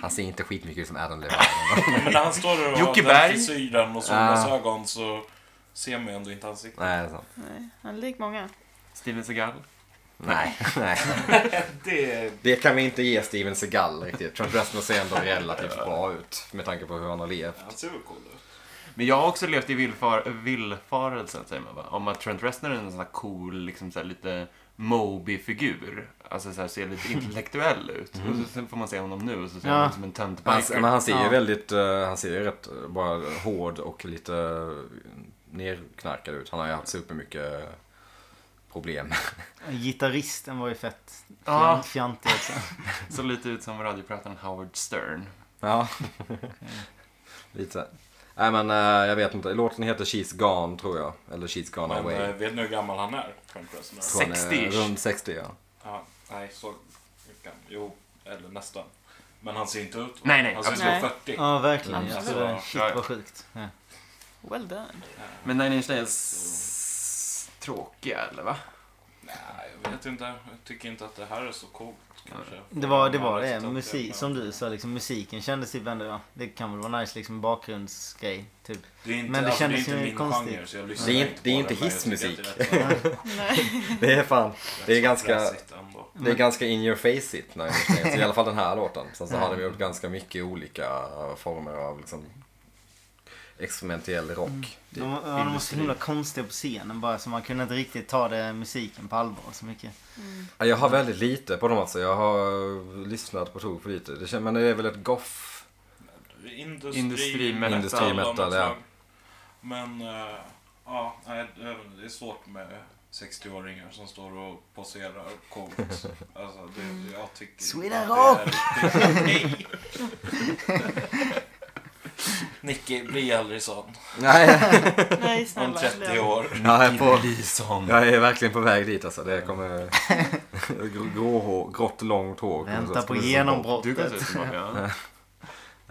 S2: Han ser inte skitmycket ut som Adam Levine.
S1: Men när han står där och
S5: Jocke
S1: har den
S5: Berg.
S1: frisyren och solglasögon så ser man ju ändå inte ansiktet.
S2: Nej, det är sant.
S3: Nej, han är lik många.
S5: Steven Seagal.
S2: Nej, nej.
S1: Det...
S2: Det kan vi inte ge Steven Seagal riktigt. Trent Reznor ser ändå relativt bra ut med tanke på hur han har levt.
S1: Han ser väl cool ut.
S5: Men jag har också levt i villfar, villfarelsen, säger man va? Om att Trent Reznor är en sån här cool, liksom så här lite Moby-figur. Alltså så här, ser lite intellektuell ut. Och så, sen får man se honom nu och så ser
S4: Ja.
S5: han ut som en tönt
S2: Han, Alltså, men
S5: biker.
S2: han ser ju
S4: Ja.
S2: väldigt, eh, han ser ju rätt eh, bara hård och lite eh, nerknarkad ut. Han har ju haft supermycket eh, problem.
S4: Gitarristen var ju fett
S5: Ja.
S4: fjant, fjantig också.
S5: Såg lite ut som radioprataren Howard Stern.
S2: Ja, lite. Nej men eh, jag vet inte. Låten heter She's Gone tror jag. Eller She's Gone
S1: Men
S2: Away.
S1: eh, vet ni hur gammal han är? Trent Reznor?
S2: Tror han är
S5: 60-ish.
S2: Runt 60 ja.
S1: Ja, nej, så gammal. Jo, eller nästan. Men han ser inte ut
S5: Nej, nej,
S1: Han ser ut
S3: absolut.
S1: som 40.
S4: Ja, verkligen.
S1: Mm.
S4: Alltså, det- shit
S5: Ja, ja.
S4: vad sjukt. Ja.
S3: Well done.
S5: Men Nine Inch Nails tråkiga, eller va?
S1: Nej, jag vet inte. Jag tycker inte att det här är så coolt kanske.
S4: Det var det, var det.
S1: Resultatet,
S4: Musik,
S1: men-
S4: som du sa, liksom, musiken kändes typ ändå, ja, det kan väl vara nice liksom bakgrundsgrej. Typ.
S1: Det är inte,
S4: Men det
S1: alltså,
S4: kändes
S1: det är
S4: ju
S1: inte min
S4: konstigt.
S1: genre, så jag lyssnar
S2: Det är
S1: inte
S2: inte-
S1: på
S2: det är inte
S1: den, men jag tycker
S2: hissmusik.
S1: att det är rätt så-
S3: Nej.
S2: Det är fan. Det är
S1: rätt så
S2: ganska...
S1: fräsigt ändå.
S2: Det är ganska in your face it, Nine Inch Nails. I alla fall den här låten. Sen så har de gjort ganska mycket olika former av liksom experimentell
S4: Mm.
S2: rock. typ,
S4: De, ja, de var så
S2: industri.
S4: himla konstiga på scenen bara så man kunde inte riktigt ta det, musiken på allvar så mycket.
S2: Ja, Jag har väldigt lite på dem alltså. Jag har lyssnat på tok för lite. Det kän- Men det är väl ett goff...
S1: Industri,
S5: Industri metal.
S1: av något
S2: Metal,
S4: alltså.
S2: ja.
S1: slag. Men, eh, ja, nej, det är- det är svårt med 60-åringar som står och poserar coolt. Alltså, det, jag tycker
S4: Sweden
S1: att det är riktigt- Nej! Nicky, bli aldrig sån.
S2: Nej,
S3: Nej, snälla.
S1: Om 30 år.
S2: jag är,
S5: Mm.
S2: på,
S5: Lison.
S2: jag är verkligen på väg dit alltså. Det kommer... Grå hår, grått långt hår. kommer
S4: Vänta
S2: så-
S4: på
S2: kommer så-
S5: Du kan se
S4: genombrottet.
S5: typ. ut som ja.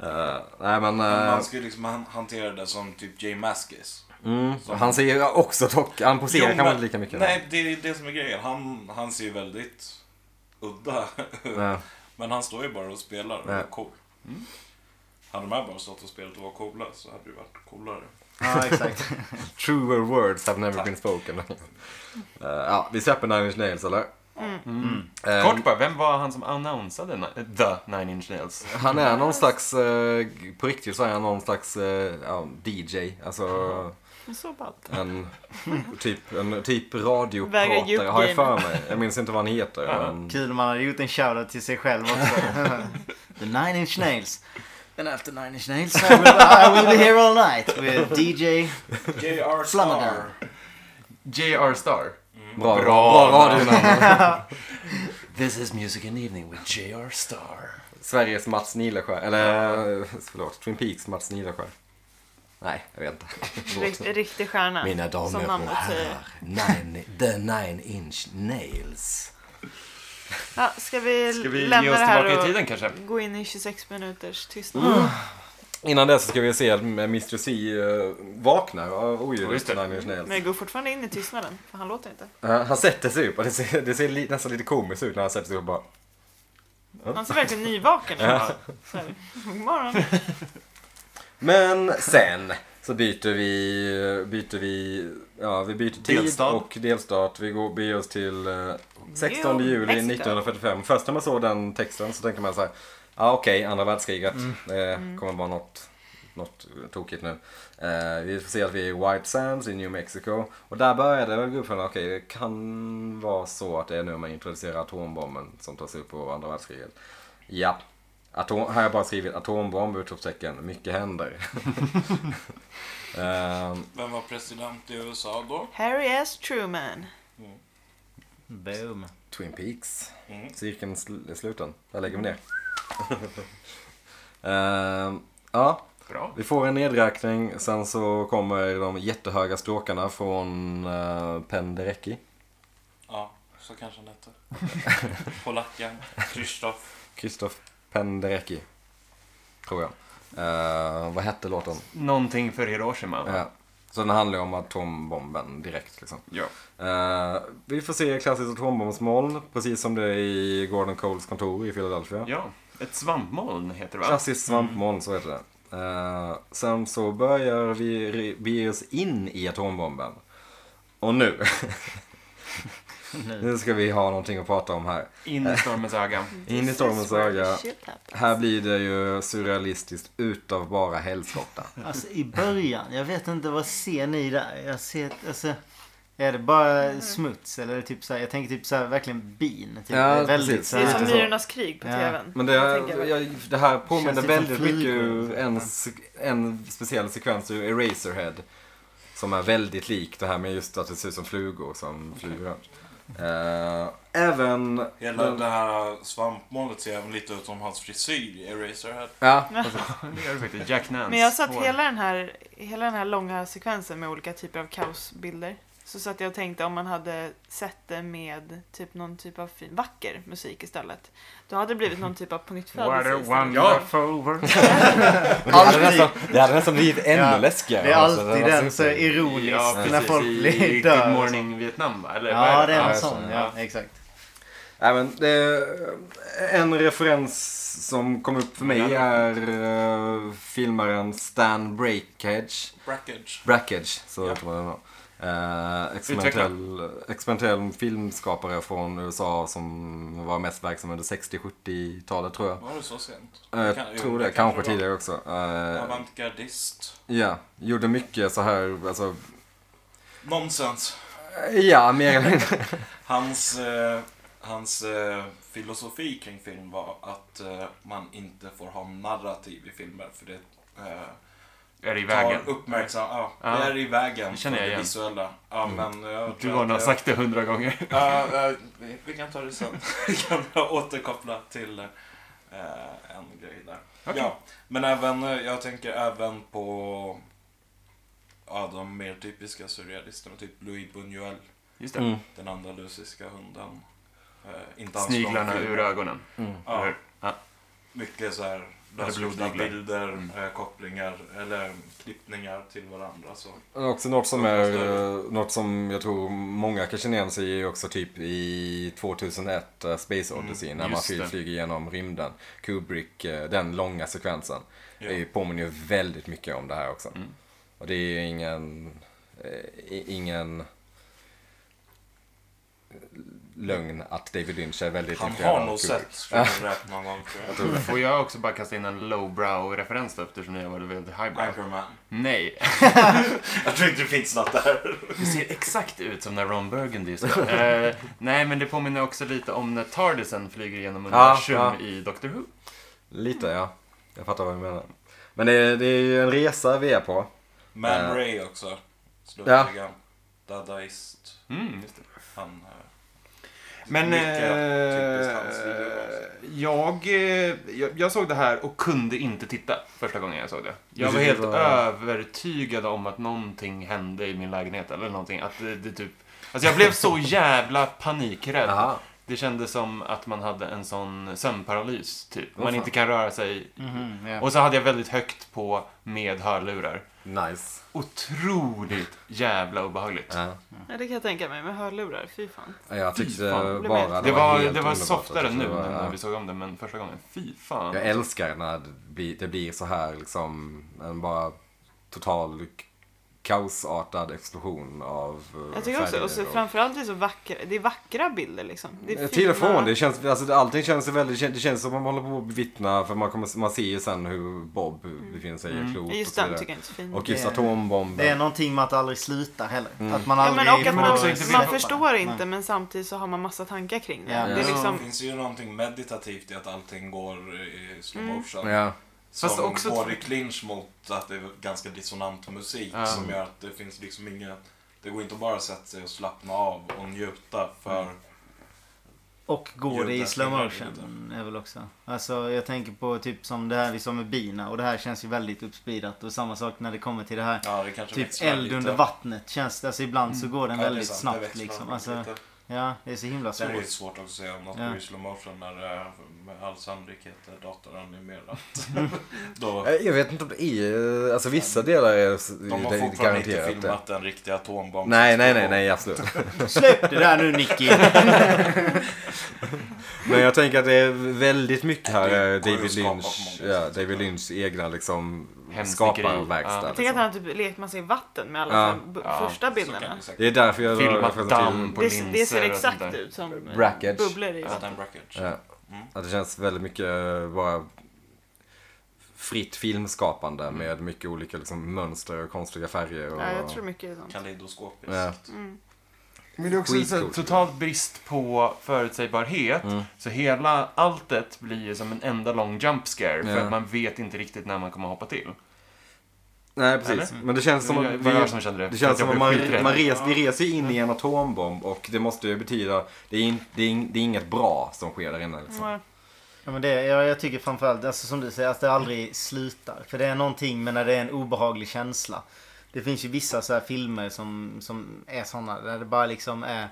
S2: Eh, nej men... eh,
S1: Man skulle liksom han- hantera det som typ Jay Maskis.
S2: mm, han ser ju också dock... Han poserar
S1: Jo,
S2: kanske
S1: men-
S2: inte lika mycket.
S1: Nej, det är det som är grejen. Han, han ser ju väldigt udda
S2: Ja.
S1: Men han står ju bara och spelar och
S2: Ja.
S1: är cool. Hade de här bara stått och spelat och var coola så hade det ju varit coolare.
S4: Ja, exakt.
S2: Truer words have never been spoken. Eh, ja, vi släpper Nine Inch Nails eller? Eh,
S5: Kort bara, vem var han som annonsade ni- The Nine Inch Nails?
S2: Han är någon slags, eh, på riktigt så är han någon slags eh, ja, DJ. Alltså
S3: Men Så ballt.
S2: en typ, en typ radiopratare
S3: Vägar
S2: har jag
S3: djup
S2: för mig. Jag minns inte vad han heter.
S5: Ja.
S2: men-
S4: Kul om man hade gjort en shoutout till sig själv också. The Nine Inch Nails. And after Nine Inch Nails I will, I will be here all night with DJ.
S1: J.R.
S4: Flamagan.
S1: Star.
S5: J.R. Star.
S2: Bra, bra,
S5: Bra.
S2: bra radionamn.
S5: This is Music and Evening with J.R. Star.
S2: Sveriges Mats Nileskär. Eller eh, förlåt, Twin Peaks Mats Nileskär. Nej, jag vet inte.
S3: Rikt, riktig stjärna.
S2: Mina damer
S3: som
S2: och
S3: namnet säger.
S2: herrar, nine, the nine inch nails.
S3: Ja, ska vi,
S5: Ska vi
S3: lämna
S5: ge oss
S3: det här
S5: tillbaka i
S3: och
S5: tiden Mm. kanske?
S3: gå in i 26 minuters tystnad?
S2: Innan det så ska vi se att Mr. C eh, vaknar av
S5: Ja, just
S2: oljudet
S5: det.
S2: Nine Inch Nails.
S3: Men jag går fortfarande in i tystnaden, för han låter inte.
S2: Eh, han sätter sig upp och det ser, det ser li, nästan lite komiskt ut när han sätter sig upp och bara
S3: Han ser verkligen nyvaken ut. Så här, God morgon.
S2: Men sen så byter vi, byter vi, ja vi byter tid
S5: Delstat.
S2: och delstat. Vi går beger oss till eh, 16
S3: New
S2: juli
S3: Mexico.
S2: 1945. Först när man såg den texten så tänker man så här, ja ah, okej, andra världskriget. Det kommer vara något, något tokigt nu. Eh, vi får se att vi är i White Sands i New Mexico. Och där började det väl gå upp för att okej, det kan vara så att det är nu man introducerar atombomben som tas upp på andra världskriget. Ja. Atom, här har jag bara skrivit atombomb, utropstecken. Mycket händer. Ehm,
S1: Vem var president i USA då?
S3: Harry S. Truman.
S4: Boom.
S2: Twin Peaks.
S1: Mm.
S2: Cirkeln sl- är sluten. Där lägger vi ner. Ehm, ja,
S5: Bra.
S2: vi får en nedräkning. Sen så kommer de jättehöga stråkarna från uh, Penderecki.
S1: Ja, så kanske han hette. Polacken. Kristoff.
S2: Kristoff Penderecki. Tror jag. Ehm, vad hette låten?
S5: Någonting för Hiroshima. va?
S2: Ja. Så den handlar ju om atombomben direkt liksom.
S5: Ja.
S2: Eh, vi får se klassiskt atombombsmoln, precis som det är i Gordon Coles kontor i Philadelphia.
S5: ja. Ett svampmoln heter det va?
S2: Klassiskt svampmoln, så heter det. Eh, sen så börjar vi re- bege oss in i atombomben. Och nu, nu ska vi ha någonting att prata om här.
S5: In i stormens öga.
S2: In i stormens öga. Här blir det ju surrealistiskt utav bara helskotta.
S4: Alltså i början, jag vet inte vad ser ni där? Jag ser, alltså, är det bara smuts eller är det typ så här, jag tänker typ så här verkligen bin.
S2: Ja,
S4: Typ, Det är väldigt
S2: precis.
S4: så
S3: Det är
S4: här, alltså,
S3: som
S2: Lite så.
S3: Myrornas krig på
S4: Ja.
S3: tvn.
S2: Men det, jag, det här påminner
S4: Känns lite
S2: väldigt mycket
S4: flygor.
S2: ur en, se- en speciell sekvens ur Eraserhead. Som är väldigt lik det här med just att det ser ut som flugor som flyger runt. Eh, även...
S1: Hela det här svampmålet ser även lite ut som hans frisyr i Eraserhead.
S2: Ja,
S5: Det gör det faktiskt. Jack Nance.
S3: Men jag satt
S5: hår.
S3: hela den, här, hela den här långa sekvensen med olika typer av kaosbilder. Så satt jag och tänkte om man hade sett det med typ någon typ av fin, vacker musik istället. Då hade det blivit någon typ av pånyttfödelse. istället.
S5: world.
S2: Men det, hade nästan, det hade nästan blivit ännu
S4: Ja,
S2: läskigare.
S4: det är
S2: Alltså,
S4: alltid
S2: var
S4: den så
S2: super-
S4: ironiskt
S5: Ja, precis.
S4: när folk
S5: I
S4: blir
S5: Good
S4: dör.
S5: Morning Vietnam, va? Eller vad
S4: Ja, det är
S5: Ja,
S4: någon
S2: just det,
S4: sån. Ja, exakt.
S2: Nej, men det, en referens som kom upp för mig är eh, filmaren Stan Breakage.
S1: Brackage.
S2: Brackage, så
S1: Ja.
S2: heter man den då. Eh, experimentell, experimentell filmskapare från USA som var mest verksam under 60-70-talet tror jag.
S1: Var det så sent?
S2: Eh,
S1: Kan- jo,
S2: tror det,
S1: kanske
S2: kanske
S1: var.
S2: tidigare också. Eh,
S1: Avantgardist.
S2: ja, gjorde mycket så här, alltså,
S1: Nonsens.
S2: ja, mer eller mindre.
S1: Hans, eh, hans eh, filosofi kring film var att eh, man inte får ha narrativ i filmer för det eh,
S5: Är det i vägen?
S1: tar uppmärksam... Ja,
S5: Ja.
S1: det är i vägen
S5: Det känner
S1: för
S5: jag
S1: det
S5: igen. Mm.
S1: visuella. Ja, men jag
S5: Du
S1: tror
S5: har
S1: att
S5: nog
S1: det-
S5: sagt det hundra gånger.
S1: Ja, ja, eh, vi, vi kan ta det sen. Vi kan återkoppla till eh, en grej där.
S5: Okej.
S1: Ja, men även, eh, jag tänker även på ja, de mer typiska surrealisterna. Typ Louis Buñuel,
S5: Just det.
S2: Mm.
S1: den andalusiska hunden. Eh, inte hans
S5: Sniglarna
S1: långfilm.
S5: ur ögonen.
S2: Mm.
S1: Ja.
S5: Eller hur? Ja.
S1: Mycket så här lösryckta
S5: blodiglar.
S1: bilder,
S5: Mm.
S1: eh, kopplingar eller klippningar till varandra. Så.
S2: Också något som, är, eh, något som jag tror många kan känna igen sig i också typ i 2001 eh, Space
S1: Mm,
S2: Odyssey när man
S5: just
S2: fly,
S5: det.
S2: flyger genom rymden. Kubrick, eh, den långa sekvensen.
S1: Ja.
S2: Det påminner ju väldigt mycket om det här också.
S5: Mm.
S2: Och det är ju ingen, eh, i- ingen lögn att David Lynch är väldigt
S1: Han
S2: influerad
S1: har
S2: av
S1: nog
S2: Kubrick.
S1: sett Scrooge någon gång tror jag.
S5: Får jag också bara kasta in en lowbrow-referens då eftersom jag var väldigt highbrow?
S1: Anchorman.
S5: Nej.
S1: Jag tror inte det finns något där.
S5: Det ser exakt ut som när Ron Burgundy ska. eh, Nej, men det påminner också lite om när Tardisen flyger genom universum
S2: ja.
S5: i Doctor Who.
S2: Lite ja, jag fattar vad du menar. Men det är, det är ju en resa vi är på.
S1: Man
S2: Eh.
S1: Ray också. Slutligen. Dadaist.
S5: Mm, just det.
S1: Han... eh,
S5: Men
S1: mycket
S5: eh,
S1: typiskt hans videor.
S5: jag, eh, jag, jag såg det här och kunde inte titta första gången jag såg det. Jag
S2: Du
S5: var
S2: tyckte
S5: helt
S2: det var-
S5: övertygad om att någonting hände i min lägenhet eller någonting. Att det, det typ... Alltså jag blev så jävla panikrädd.
S2: Aha.
S5: Det kändes som att man hade en sån sömnparalys typ.
S2: Åh,
S5: man
S2: fan.
S5: inte kan röra sig.
S4: Mhm, ja.
S5: Och så hade jag väldigt högt på med hörlurar.
S2: Nice.
S5: Otroligt jävla obehagligt.
S2: Ja.
S3: Ja, det kan jag tänka mig med hörlurar. Fy fan.
S2: Jag tyckte
S5: fan,
S3: det blev
S2: bara
S3: helt-
S2: det,
S5: Det var,
S2: helt
S5: det var
S2: underbart.
S5: softare
S2: Jag
S5: nu
S2: tyckte det var-
S5: när
S2: ja.
S5: vi såg om det, men första gången, fy fan.
S2: Jag älskar när det blir, det blir så här liksom en bara total k- kaosartad explosion av eh,
S3: Jag tycker också,
S2: färger
S3: och så
S2: och- Eh,
S3: framförallt det är så vackra, det är vackra bilder liksom. Det är
S2: Till och
S3: fina-
S2: från, det känns, alltså, det- allting känns ju väldigt, det känns som man håller på att bevittna för man, kommer, man ser ju sen hur Bob befinner sig i klot
S3: Mm. Just
S2: och så
S3: den
S2: vidare.
S3: tycker jag inte är fin.
S2: Och just
S4: Det är-
S2: atombomben.
S4: Det är någonting med att det aldrig slutar heller. Att man
S3: Ja,
S4: aldrig
S3: men och att
S4: får
S3: man,
S5: också inte vill
S3: man
S5: hoppa.
S3: förstår inte men samtidigt så har man massa tankar kring det.
S4: Ja.
S3: Det
S2: Ja.
S3: är
S1: Det
S3: liksom,
S1: finns ju någonting meditativt i att allting går i slow
S5: Mm.
S1: motion.
S2: Ja.
S1: Som
S5: Fast också-
S1: går i clinch mot att det är ganska dissonant musik
S5: Ja.
S1: som gör att det finns liksom inget... Det går inte bara att sätta sig och slappna av och njuta för...
S4: Mm. Och går det i
S1: Ljudet
S4: slow
S1: hindrar
S4: motion är väl också. Alltså jag tänker på typ som det här vi sa med bina och det här känns ju väldigt uppspeedat och samma sak när det kommer till det här.
S1: Ja, det kanske
S4: Typ
S1: växlar
S4: eld
S1: lite.
S4: under vattnet känns det. Alltså ibland så går den
S1: Mm. Ja, det är
S4: väldigt
S1: sant, det
S4: snabbt
S1: växlar
S4: liksom.
S1: lite.
S4: Alltså, ja, det är så himla
S1: Sen är det
S4: svårt.
S1: ju svårt också att säga om något
S4: Ja.
S1: går i slow motion när det är med all sannolikhet är datoranimerat. Då
S2: Eh, Jag vet inte om det är, alltså vissa delar är s-
S1: De har
S2: det är
S1: fortfarande inte
S2: garanterat det.
S1: filmat den riktiga atombomben.
S2: Nej, nej, nej, nej, absolut.
S4: Släpp det där nu Nicky!
S2: Men jag tänker att det är väldigt mycket här
S1: Det går
S2: är
S1: ju
S2: David
S1: att skapa
S2: Lynch,
S1: på många
S2: ja,
S1: sätt.
S2: David Lynchs egna liksom
S5: Hemsnickeri.
S2: skaparverkstad.
S5: Ja.
S3: jag tänker att
S2: Liksom.
S3: han typ lekt massa i vatten med alla
S2: Ja.
S3: så här b-
S5: Ja,
S3: första
S1: Så kan
S3: bilderna.
S1: det säkert
S2: Det är därför jag
S5: Filmat
S2: referensen
S5: damm på
S3: Det, s-
S5: linser
S3: det ser
S5: och sånt
S3: exakt
S5: där.
S3: ut som eh,
S2: Brackets.
S3: bubblor i
S1: Att
S3: vatten.
S1: en bracket.
S2: Ja.
S5: Mm.
S2: Att det känns väldigt mycket eh, bara fritt filmskapande
S5: Mm.
S2: med mycket olika liksom, mönster och konstiga färger. Och...
S3: Ja, jag tror mycket är sånt.
S1: Kaleidoskopiskt.
S2: Ja.
S3: Mm.
S5: Men det är också
S2: Skitcoolt. Mm.
S5: så här totalt brist på förutsägbarhet. Så hela alltet blir ju som en enda lång jump scare. För
S2: Ja.
S5: att man vet inte riktigt när man kommer hoppa till.
S2: Nej, precis. Men det känns som att
S5: Det var jag
S2: vi...
S5: som kände det.
S2: Det känns
S5: Jag
S2: som att
S5: blev
S2: man,
S5: skiträdd.
S2: man res, vi reser ju in i en atombomb och det måste ju betyda, det är, in, det är, in, det är inget bra som sker där inne liksom.
S3: Ja.
S4: Ja, men det, jag, jag tycker framförallt, alltså, som du säger, att det aldrig slutar. För det är någonting med när det är en obehaglig känsla. Det finns ju vissa så här filmer som, som är sådana där det bara liksom är...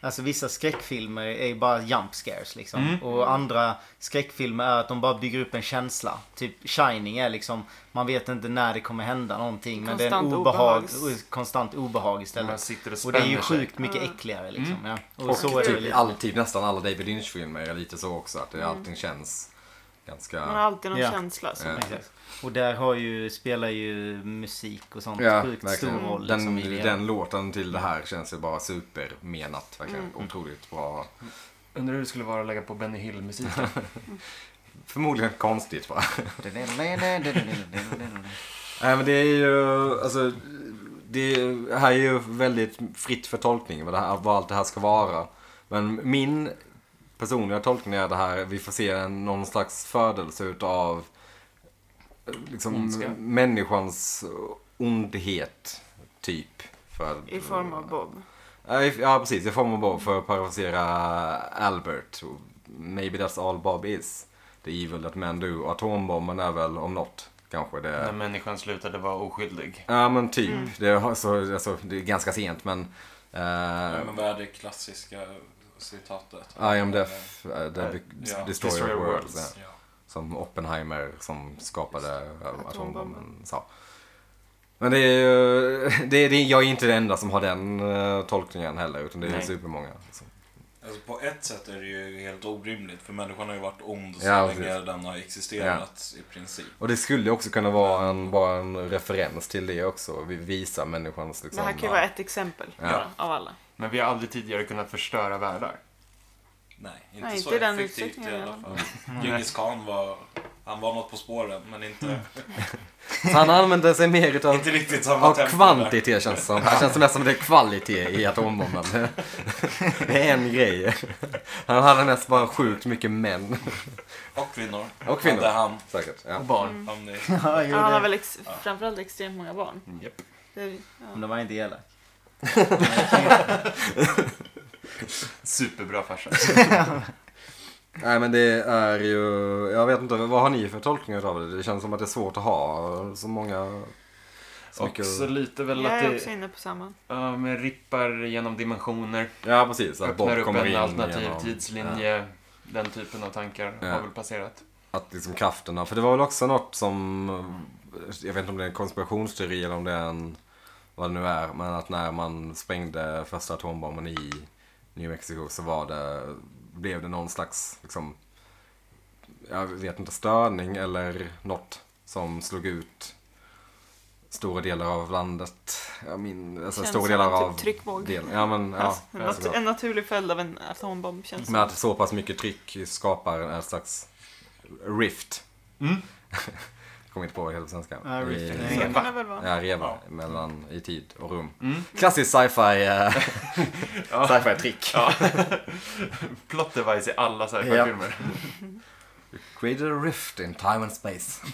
S4: Alltså vissa skräckfilmer är ju bara jump scares liksom.
S5: Mm.
S4: Och andra skräckfilmer är att de bara bygger upp en känsla. Typ Shining är liksom, man vet inte när det kommer hända någonting. Men det är en
S3: Konstant
S4: obehag,
S3: obehags- Mm.
S4: konstant obehag
S5: Man
S4: istället.
S5: sitter och
S4: Och det är ju
S5: spänner sig. Mm.
S4: sjukt mycket äckligare liksom. Ja. Och,
S2: Och
S4: så är det
S2: typ,
S4: lite. Mm.
S2: all, typ nästan alla David Lynch-filmer är lite så också, att det, allting känns ganska...
S3: Man har alltid någon
S4: Ja.
S3: känsla. Som
S2: Ja.
S4: Exakt. Och där har ju, spelar ju musik och sånt
S2: Ja,
S4: sjukt
S2: verkligen.
S4: stor roll.
S2: Den,
S4: liksom, i det.
S2: den låten till det här känns ju bara supermenat. Verkligen.
S4: Mm.
S2: Otroligt bra.
S5: Undrar hur det skulle vara att lägga på Benny Hill-musiken.
S2: Förmodligen konstigt va? Nej men det är ju, alltså, det är- här är ju väldigt fritt för tolkning vad, det här, vad allt det här ska vara. Men min personliga tolkning är det här, vi får se en, någon slags födelse utav eh, liksom,
S5: Ondska.
S2: människans ondhet, typ. För,
S3: I form av Bob.
S2: Ja, i- Ja, precis. I form av Bob för att parafrasera Albert. Maybe that's all Bob is. The evil that men do. Och Atombomben är väl om något kanske det.
S5: När människan slutade vara oskyldig.
S2: Ja, men typ. Det, är, alltså, alltså, det är ganska sent, men... eh,
S1: Men vad är det klassiska citatet?
S2: I am death, uh, the
S1: Ja.
S2: yeah. destroyer
S5: Destroyer
S2: of worlds.
S5: worlds.
S2: ja.
S1: Ja.
S2: Som Oppenheimer som skapade eh, atombomben
S3: Atombomben.
S2: sa. Men det är ju... Det är, det är, jag är inte den enda som har den eh, tolkningen heller, utan det är
S5: Nej.
S2: supermånga. Liksom.
S1: Alltså på ett sätt är det ju helt orimligt för människan har ju varit ond så
S2: Ja,
S1: länge
S2: precis.
S1: den har existerat i princip.
S2: Och det skulle också kunna vara en, bara en referens till det också. Vi visar människans
S3: Det
S2: liksom...
S3: här kan ju vara ett exempel
S2: Ja.
S3: bara, av alla.
S5: Men vi har aldrig tidigare kunnat förstöra världar.
S1: Nej, inte
S3: Nej,
S1: så
S3: inte i den
S1: effektivt i
S3: utsträckningen i
S1: alla
S3: alla
S1: fall.
S2: Mm.
S1: Djingis khan var, han var något på spåren men inte,
S2: Mm. Så han använder sig mer utav,
S1: inte riktigt samma
S2: av
S1: tempo
S2: kvantitet känns det som. Det känns mest som det är kvalitet i atombomben. Det är en grej. Han hade mest bara sjukt mycket män.
S1: där. Och kvinnor.
S2: Och kvinnor.
S1: Hade han.
S2: Säkert, ja.
S5: Och barn.
S3: Mm.
S1: han är,
S4: Mm. Ja, jo,
S3: Ja, han har
S4: det.
S3: väl ex- framförallt extremt många barn.
S5: Japp.
S3: Det,
S4: Men
S3: ja.
S4: de var inte elak.
S5: Superbra farsa.
S2: Nej men det är ju, jag vet inte, vad har ni för tolkningar utav det? Det känns som att det är svårt att ha så många... Så mycket...
S5: Också lite väl att
S3: Jag är också
S5: det
S3: inne på samma.
S5: ja, men rippar genom dimensioner.
S2: Ja precis, att
S5: öppnar
S2: Bob
S5: upp
S2: kommer
S5: en
S2: in
S5: alternativ
S2: genom-
S5: tidslinje. Den typen av tankar
S2: Ja.
S5: har väl passerat.
S2: att liksom krafterna, för det var väl också något som, jag vet inte om det är en konspirationsteori eller om det är en, vad det nu är, men att när man sprängde första atombomben i New Mexico så var det, blev det någon slags, liksom, jag vet inte, störning eller något som slog ut stora delar av landet. Jag min, alltså
S3: Känns
S2: stora
S3: som
S2: delar
S3: en typ
S2: av...
S3: tryckvåg.
S2: Del, ja men, ja.
S3: Alltså, en, nat-
S2: såklart.
S3: en naturlig följd av en atombomb känns
S2: Men
S3: det.
S2: att så pass mycket tryck skapar en slags rift. Jag kommer inte på vad det heter på svenska.
S4: Ja, rift.
S2: I,
S4: Nej.
S3: Det kan det väl vara.
S2: ja, Mm. reva mellan i tid och rum. Klassisk sci-fi eh, sci-fi trick.
S5: Plot device i alla sci
S2: Ja.
S5: filmer.
S2: Created a rift in time and space.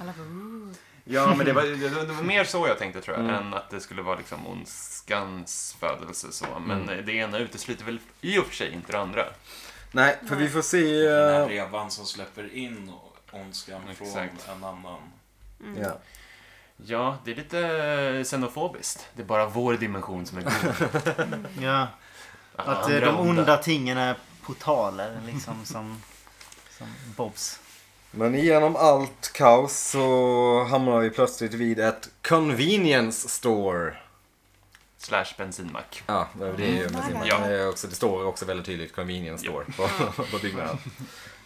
S3: Alla bara, "Ooh."
S5: Ja, men det var, det, var- det var mer så jag tänkte tror jag, än att det skulle vara liksom ondskans födelse så. Men eh, det ena utesluter väl i och för sig inte det andra.
S2: Nej, för vi får se.
S1: Den här
S2: eh,
S1: revan som släpper in ondskan från
S5: Exakt.
S1: en annan.
S2: ja.
S5: Ja, det är lite xenofobiskt. Det är bara vår dimension som är god.
S4: Ja,
S5: Alla
S4: att eh,
S5: andra
S4: de onda tingen är portaler liksom som, som Bobs.
S2: Men genom allt kaos så hamnar vi plötsligt vid ett convenience store.
S5: Slash bensinmack.
S2: Ja, det är ju bensinmack.
S5: Ja.
S2: Det, är också, det står också väldigt tydligt convenience store på, på byggnaden.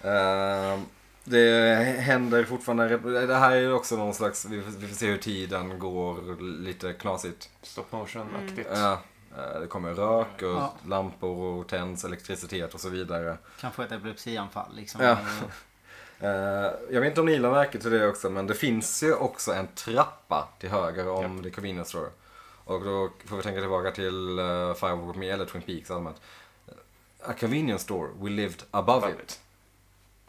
S2: Ehm, det händer fortfarande, det här är ju också någon slags, vi får, vi får se hur tiden går lite knasigt.
S5: Stop motion-aktigt.
S2: Ja, eh, det kommer rök och
S4: Ja.
S2: lampor och tänds, elektricitet och så vidare.
S4: Kan få ett epilepsianfall liksom.
S2: Ja. Eh, jag vet inte om ni gillar märke till det också, men det finns ju också en trappa till höger om
S5: Japp.
S2: The Convenience Store. Och då får vi tänka tillbaka till uh, Firewalk Me eller Twin Peaks allmänt. A convenience store, we lived above
S5: Above
S2: it.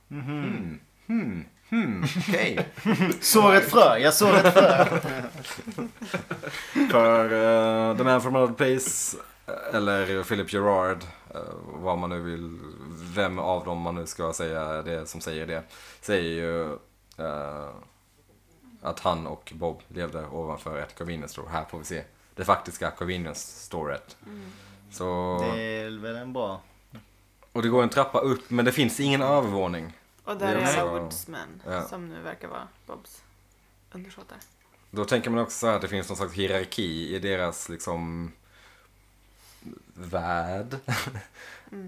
S4: Mhm.
S5: it.
S2: Hmm. Hmm. Hmm, okej.
S4: Sår ett frö, jag sår ett frö.
S2: För eh, The Man From Another Place eh, eller Philip Gerard, eh, vad man nu vill, vem av dem man nu ska säga det som säger det, säger ju eh, att han och Bob levde ovanför ett convenience store. Här får vi se det faktiska convenience storet. Så,
S4: Det är väl en bra...
S2: och det går en trappa upp men det finns ingen övervåning.
S3: Och där
S2: Det
S3: är
S2: är
S3: alla
S2: också-
S3: Woodsman
S2: Ja.
S3: som nu verkar vara Bobs undersåtar.
S2: Då tänker man också så här att det finns någon slags hierarki i deras liksom värld.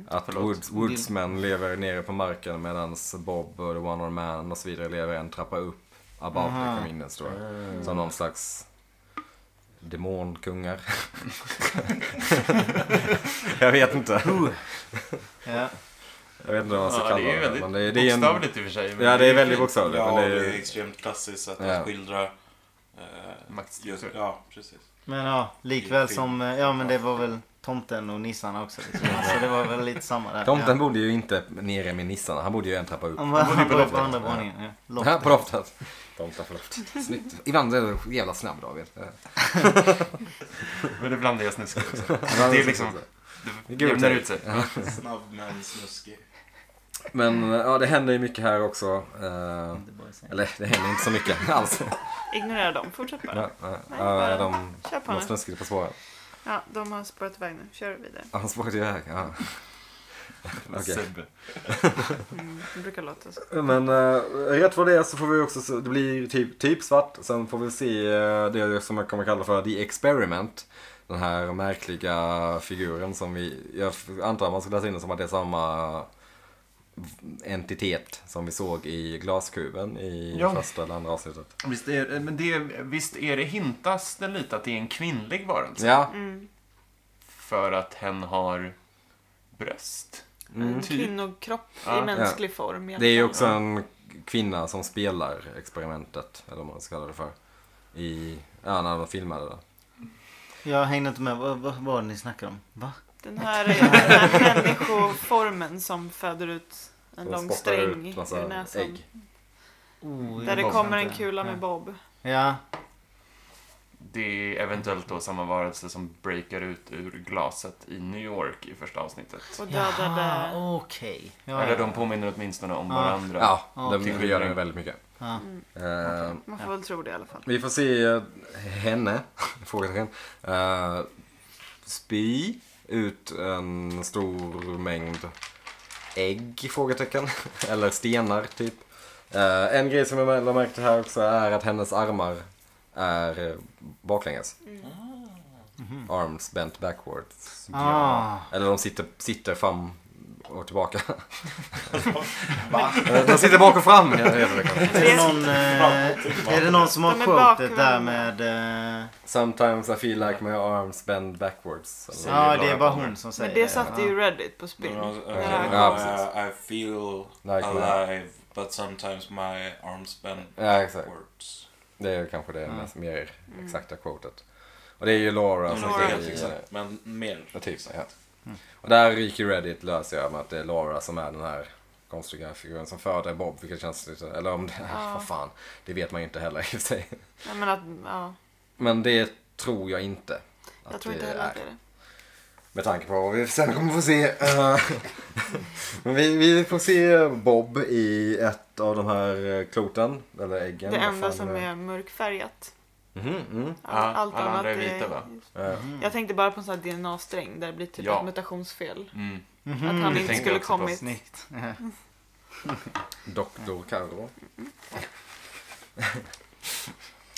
S2: Att
S5: Förlåt.
S2: woods, Woodsman lever nere på marken medan Bob och The One On Man och så vidare lever en trappa upp. Above
S4: Aha.
S2: the convenience store.
S5: Eh.
S2: Som någon slags demonkungar. jag vet inte.
S4: Ja.
S2: Jag vet inte vad man ska
S5: Ja,
S2: kalla
S5: det är ju väldigt
S2: men det, det är en,
S5: bokstavligt i och för sig. men
S2: Ja, det är väldigt
S5: fint.
S2: bokstavligt.
S1: Ja,
S2: men det
S1: det
S2: är,
S1: är extremt klassiskt sätt att
S2: Ja.
S1: skildra eh, just,
S5: Maktstruktur.
S1: Ja, precis.
S4: Men ja, likväl som... eh, Ja men det var väl tomten och nissarna också. Liksom. Så det var väl lite samma där.
S2: Tomten
S4: ja.
S2: bodde ju inte nere med nissarna, han bodde ju en trappa upp.
S4: Han var, han
S5: på
S4: var på
S5: loftet.
S4: andra våningen. Ja.
S2: Ja,
S4: Loftet.
S2: på loftet. Tomten på loftet. Snyggt. Ibland är du jävla snabb David.
S5: Men det blandar jag snuskar också. Det är liksom... Det
S2: Gud,
S5: jämnar
S2: tack.
S5: ut sig.
S1: Snabb men snuskig.
S2: Men eh, ja, det händer ju mycket här också. Eh,
S4: Det var ju så.
S2: eller det händer inte så mycket alls.
S3: Ignorera dem, fortsätt bara.
S2: Ja, ja, ja, de
S3: Kör på
S2: de
S3: nu.
S2: snuskade på spåren.
S3: Ja, de har spårat iväg nu. Kör vidare.
S2: Han spårade iväg. Ja. Okej.
S5: Sebbe.
S3: Mm, det brukar låta så.
S2: Men eh, rätt vad det är så får vi också, se- det blir typ, typ svart. Sen får vi se eh, det som jag kommer kalla för The Experiment. Den här märkliga figuren som vi, jag antar man skulle läsa in det som att det är samma entitet som vi såg i glaskuben i
S5: Ja.
S2: första eller andra avsnittet.
S5: Visst är, eh, men det, visst är det hintas det lite att det är en kvinnlig varelse?
S2: Ja,
S3: Mm.
S5: För att hen har bröst?
S2: Mm,
S3: En
S5: Typ.
S3: kvinnokropp
S5: Ja.
S3: i mänsklig form. i alla
S2: det är ju
S3: fall.
S2: också en kvinna som spelar experimentet, eller vad man ska kalla det för. I, ja, när de filmade det.
S4: Jag hängde inte med. Vad, vad, vad var det ni snackade om? Va?
S3: Den här, den här människoformen som föder ut en
S2: Som
S3: lång
S2: spottar
S3: sträng
S2: ut
S3: ur
S2: massa
S3: näsan.
S2: ägg.
S4: Oh,
S3: Där det
S4: jag
S3: kommer en
S4: inte.
S3: kula med Bob.
S4: Ja.
S5: Det är eventuellt då samma varelse som breakar ut ur glaset i New York i första avsnittet.
S3: Och
S4: Jaha,
S3: dödade...
S4: okej. Ja,
S5: Eller
S4: ja.
S5: de påminner åtminstone om
S4: Ja.
S5: varandra.
S2: Ja,
S4: Ja,
S2: de
S5: till
S2: det gör
S5: skillnad.
S2: den väldigt mycket.
S4: Ja.
S2: Eh,
S3: Man får väl tro det i alla fall.
S2: Vi får se eh, henne, frågetecken, eh, spy ut en stor mängd ägg, frågetecken, eller stenar typ. Eh, en grej som jag lade märke till här också är att hennes armar är eh, baklänges. Arms bent backwards.
S4: Ah.
S2: Eller de sitter, sitter fram och tillbaka. Eh, de sitter bak och fram. ja, heter det kanske.
S4: Är det någon, eh, är det någon som har
S3: De är
S4: quotet där med...
S3: bakvända.
S4: Eh,
S2: Sometimes I feel like my arms bend backwards. Eller-
S4: ja, det
S5: Laura
S4: är bara
S5: Palmer.
S4: hon som säger
S3: Men det satte ju Reddit på
S1: Men,
S3: spinn.
S1: eh,
S3: Ja.
S2: Ja, precis.
S1: I, I feel
S2: Like my-
S1: alive but sometimes my arms bend
S2: Ja, exakt.
S1: backwards.
S2: Det är kanske det mest, mer exakta quotet. Och det är ju Laura som
S1: Men inte
S3: Mm. Laura.
S1: helt
S2: säger...
S1: exakt, men mer.
S2: Ja, typ, ja.
S4: Mm.
S2: Och där ryker Reddit lös jag med att det är Laura som är den här konstiga figuren som föder Bob, vilket känns lite... Eller om det...
S3: Ja.
S2: Vad fan. Det vet man ju inte heller i och för sig.
S3: Nej, men att, ja,
S2: Men det tror jag inte. Att
S3: jag tror inte heller att det är det.
S2: Med tanke på vad vi sen kommer få se. eh, Men vi, vi får se Bob i ett av de här eh, kloten. Eller äggen.
S3: Det
S2: vad
S3: enda
S2: fan
S3: som
S2: det
S3: är mörkfärgat.
S2: Mhm, mm.
S5: Ja,
S3: Allt
S5: alla
S3: annat
S5: andra är vita, va?
S2: Eh,
S4: Mm.
S3: Jag tänkte bara på en sån här DNA-sträng där det blir typ
S5: Ja.
S3: ett mutationsfel.
S5: Mm.
S3: Att han inte
S5: tänkte
S3: skulle
S5: jag också på.
S3: kommit.
S4: Snyggt.
S2: Doktor Karo.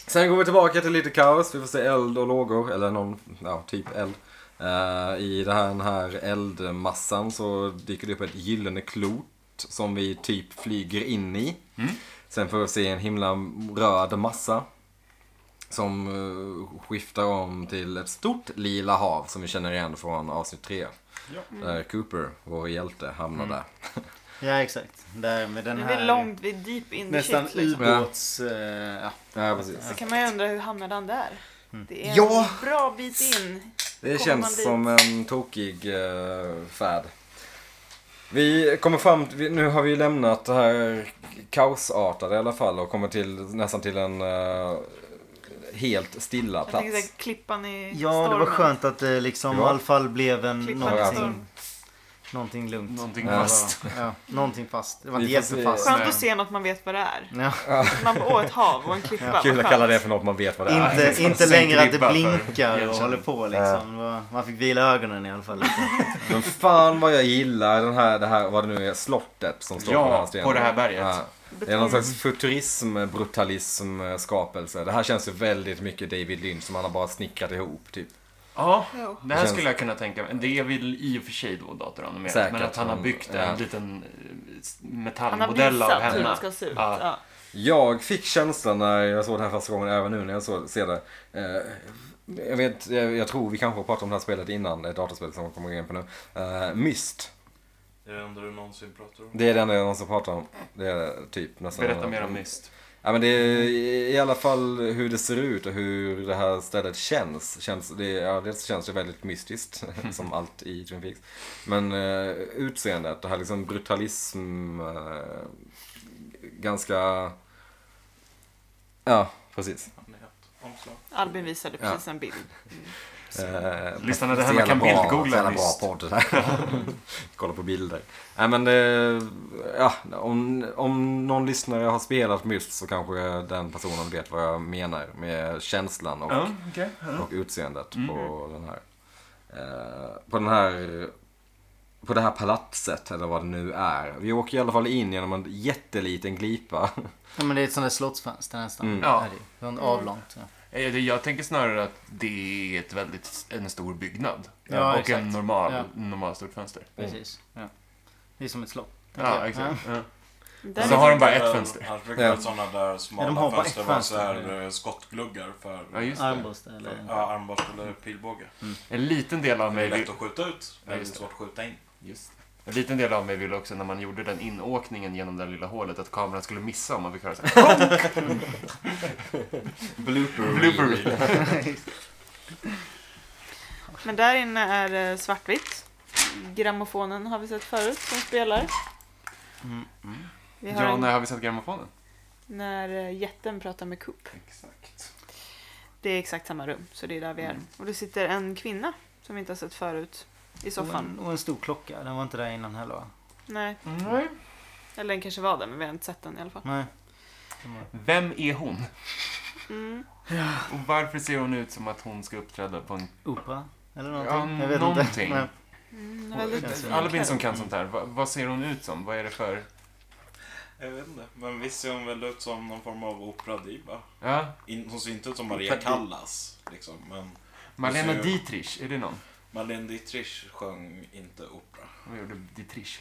S2: Sen går vi tillbaka till lite kaos. Vi får se eld och lågor, eller någon, ja, typ eld. Eh, I det här- den här eldmassan så dyker det upp ett gyllene klot som vi typ flyger in i. Sen får vi se en himla röd massa som eh, skiftar om till ett stort lila hav som vi känner igen från avsnitt 3. Där Cooper, vår hjälte, hamnar där.
S4: Ja, exakt. Där med den
S3: Men
S4: här...
S3: det är långt, vi är deep in the
S4: Nästan
S3: shit liksom.
S4: ubåts... eh, ja.
S2: Ja, precis.
S3: Så kan man ju undra hur hamnade han där?
S4: Mm.
S3: Det är
S2: Ja!
S3: en bra bit in.
S2: Det
S3: Kommer man
S2: känns
S3: dit?
S2: som en tokig eh, färd. Vi kommer fram, vi- nu har vi lämnat det här kaosartade i alla fall och kommer till, nästan till en eh, helt stilla
S3: Jag tänker
S2: plats.
S3: såhär, klippan i
S4: Ja, det
S3: stormen.
S4: var skönt att det liksom
S2: Ja.
S4: i alla fall blev en
S3: Klippan
S2: i
S4: någonting,
S3: storm.
S4: någonting lugnt.
S5: Någonting
S2: Ja.
S5: fast.
S4: Ja, någonting fast. Det var inte
S2: Vi får se.
S4: jättefast.
S3: Skönt
S5: Nej.
S3: att se något man vet vad det är.
S4: Ja.
S3: Man bara, åh ett hav och en klippa. vad
S2: Kul att
S3: skönt.
S2: kalla det för något man vet vad det är.
S4: Inte, inte
S5: Sen
S4: längre att det
S5: klippa för-
S4: blinkar och
S5: Ja.
S4: håller på liksom. Det var- Man fick vila ögonen i alla fall. Lite.
S2: Men fan vad jag gillar den här, det här vad det nu är, slottet som står på den här
S5: Ja,
S2: stenen.
S5: på det här berget.
S2: Ja. Det är någon slags futurism, brutalism, eh, skapelse. Det här känns ju väldigt mycket David Lynch som han har bara snickrat ihop typ.
S5: Ja,
S3: Jo.
S5: det här
S2: känns-
S5: skulle jag kunna tänka mig. Det är väl i och för sig då datoranimerat.
S2: Säkert,
S5: men att han har
S2: men-
S5: byggt
S2: ja.
S5: en liten eh, s-
S3: Han har typ
S5: metallmodell av
S3: visat hur
S5: henne.
S3: det ska se ut.
S5: Ja.
S3: Ja.
S2: Jag fick känslan när jag såg det här första gången, även nu när jag såg, ser det. Eh, jag, vet, jag, jag tror vi kanske har pratat om det här spelet innan, det är ett datorspel som kommer in på nu. Eh, Myst,
S1: Det är det enda du någonsin pratar om.
S2: det är det enda jag någonsin pratar om. Det är typ nästan...
S5: Berätta mer om Myst.
S2: Ja men det är i alla fall hur det ser ut och hur det här stället känns. känns det, ja, dels känns det väldigt mystiskt, som allt i Twin Peaks. Men eh, utseendet, det här liksom brutalism, eh, ganska... Ja, precis.
S1: Magnet. Omslag.
S3: Albin visade
S2: Ja.
S3: precis en bild.
S2: Eh,
S5: Lyssnarna, det här
S2: så
S5: man
S2: jävla
S5: kan
S2: bra-
S5: bildgoogla
S2: så jävla bra
S5: visst.
S2: podd det här. Kolla på bilder. Nej men det, ja, om, om någon lyssnare har spelat Myst så kanske den personen vet vad jag menar med känslan och,
S5: Ja, Mm. okej. Ja.
S2: och utseendet på den här. Eh, på den här på det här palatset eller vad det nu är. Vi åker i alla fall in genom en jätteliten glipa.
S4: Ja, men det är ett sånt där slottsfönster nästan.
S2: Mm.
S5: Ja.
S4: Ja. Det är en avlångt. Ja.
S5: Eh, det- Jag tänker snarare att det är ett väldigt, en stor byggnad.
S4: Ja,
S5: och
S4: exakt.
S5: en normal,
S4: Ja.
S5: normal stort fönster.
S4: Precis. Ja. Det är som ett slott. tänker
S5: Ja,
S4: jag.
S5: exakt. Ja.
S3: Där
S5: Så
S3: är-
S2: typ
S5: har de bara ett
S1: Ja,
S5: fönster.
S1: Han
S2: Ja.
S1: brukar ha sådana där
S4: Ja, de har
S1: smala
S4: bara ett
S1: fönster. Var så
S4: fönster.
S1: här eh, skottgluggar för
S5: Ja, just
S4: Ja.
S5: det.
S4: Armborst eller...
S1: ja, armborst eller pilbåge.
S5: En liten del av
S1: Det
S5: mig
S1: är
S5: vill...
S1: lätt att skjuta ut.
S5: Ja, just
S1: Väldigt
S5: det.
S1: svårt att skjuta in.
S5: Just. En liten del av mig ville också när man gjorde den inåkningen genom det lilla hålet att kameran skulle missa om man fick höra så här,
S2: Blooper.
S5: blooper.
S3: Men där inne är det svartvitt. Grammofonen har vi sett förut som spelar. Vi har
S5: Mm, Ja,
S3: en,
S5: när har vi sett grammofonen?
S3: när eh, jätten pratar med Coop.
S5: Exakt.
S3: Det är exakt samma rum, så det är där vi är.
S5: Mm.
S3: Och det sitter en kvinna som vi inte har sett förut i
S4: Och
S5: Mm.
S3: soffan.
S4: en, och en stor klocka. Den var inte där innan heller va?
S3: Nej,
S5: Nej.
S3: eller den kanske var där men vi har inte sett den i alla fall.
S4: Nej.
S5: Vem är hon?
S3: Mm.
S5: Och varför ser hon ut som att hon ska uppträda på en...
S4: Opera? Eller någonting?
S5: Ja,
S4: jag vet
S5: någonting.
S4: inte. Nej.
S3: Mm,
S4: Oj,
S3: väldigt
S4: känns det.
S5: Albin som kan sånt här, vad, vad ser hon ut som? Vad är det för...
S1: Jag vet inte. Men visst ser hon väl ut som någon form av operadiva.
S5: Ja,
S1: In- Hon ser inte ut som Maria Callas. Liksom. Men
S5: Marlena
S1: Hon ser-
S5: Dietrich, är det någon?
S1: Marlene Dietrich sjöng inte opera.
S5: Vad gjorde Dietrich?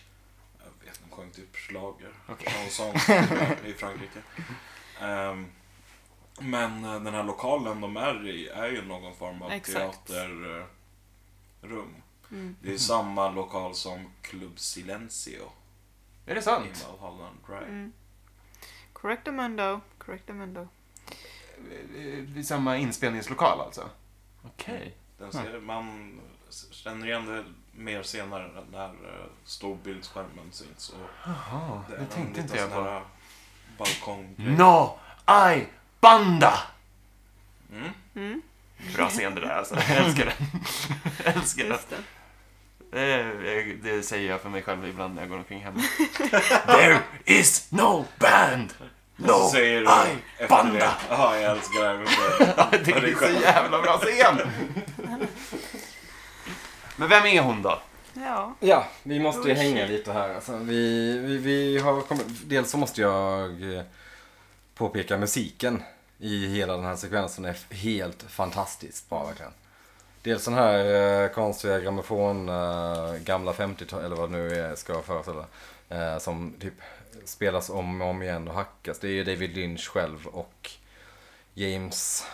S1: Jag vet, hon sjöng typ schlager.
S5: Okej.
S1: Någon sån tror jag, i Frankrike. Ehm, men eh, den här lokalen de är i är ju någon form av
S3: Exakt.
S1: teaterrum.
S3: Mm.
S1: Det är ju samma lokal som Club Silencio
S5: Är det
S1: i
S5: sant?
S1: Mulholland Drive.
S3: Mm. Correctamundo, correctamundo.
S5: I Eh, samma inspelningslokal alltså? Okej.
S1: Den ser, man känner igen det mer senare när eh, storbildsskärmen syns. Och
S5: Jaha,
S1: är
S5: det
S1: en
S5: tänkte
S1: liten
S5: inte jag
S1: sån
S5: på.
S1: här Balkonggrej.
S5: No! I Banda!
S1: Mm.
S3: Mm,
S5: Bra scen det där alltså. Jag älskar den. Jag älskar den.
S3: just det.
S5: Det, det säger jag för mig själv ibland när jag går omkring hemma. There is no band! No
S1: Så säger du
S5: I
S1: efter
S5: Banda!
S1: det, Ja, jag älskar det här med
S5: Ja, det är så jävla bra scen! Men vem är hon då?
S3: Ja,
S2: Ja, vi måste ju
S3: Oh,
S2: hänga
S3: shit.
S2: lite här. Alltså, vi, vi, vi har kommit, dels så måste jag eh, påpeka musiken i hela den här sekvensen är f- helt fantastiskt bra verkligen. Dels den här eh, konstiga grammofon, eh, gamla 50-tal eller vad det nu är, ska jag föreställa. Eh, som typ spelas om och om igen och hackas. Det är ju David Lynch själv och James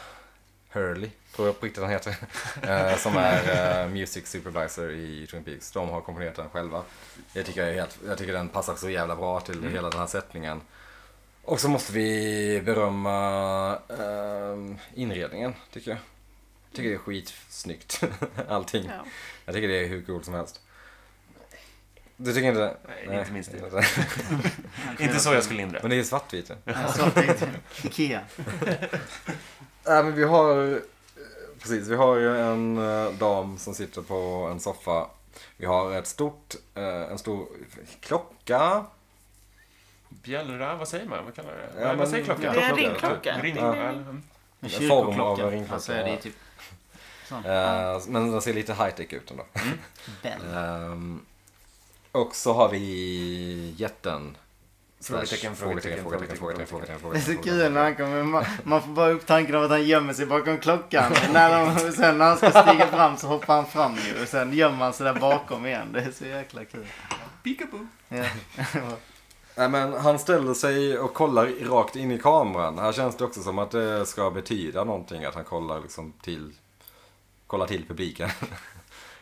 S2: Hurley, tror jag på riktigt han heter. eh, som är eh, Music Supervisor i Twin Peaks. De har komponerat den själva. Jag tycker, jag är helt, jag tycker den passar så jävla bra till hela den här sättningen. Och så måste vi berömma ehm, inredningen, tycker jag. Jag tycker det är skitsnyggt, allting.
S5: Mm.
S3: ja.
S2: Jag tycker det är hur coolt som helst. Du tycker inte det?
S5: Nej,
S2: Nej.
S5: inte min stil. Inte så jag skulle lindra.
S2: Men det är ju svartvit. ju.
S4: Ja, så tänkte jag. Ikea.
S2: Nej men vi har, eh, precis, vi har ju en eh, dam som sitter på en soffa. Vi har ett stort, eh, en stor klocka.
S5: Bjällra, vad säger man? Vad kallar det?
S2: Ja,
S5: vad,
S2: men-
S5: vad säger klockan?
S3: Det är en
S2: Klocka,
S3: ringklocka.
S5: Ring,
S3: Ja.
S5: ja, mm.
S2: En
S4: En
S2: form av
S4: kyrkoklocka.
S2: ringklocka,
S4: Alltså, det är
S2: ja.
S4: typ
S2: Eh, men den ser lite high tech ut ändå.
S4: Bell.
S2: Ehm, och så har vi jätten.
S5: Frågetecken,
S2: Slash- frågetecken,
S5: frågetecken,
S2: frågetecken, frågetecken,
S4: Det är
S2: frågetecken,
S4: så
S2: frågetecken.
S4: kul när han kommer. Man, man får bara upp tanken av att han gömmer sig bakom klockan. när de, sen när han ska stiga fram så hoppar han fram ju. Och sen gömmer han sig där bakom igen. Det är så jäkla kul.
S5: Peekaboo.
S4: Ja.
S2: Nej, men han ställer sig och kollar rakt in i kameran. Här känns det också som att det ska betyda någonting. Att han kollar liksom till, kollar till publiken.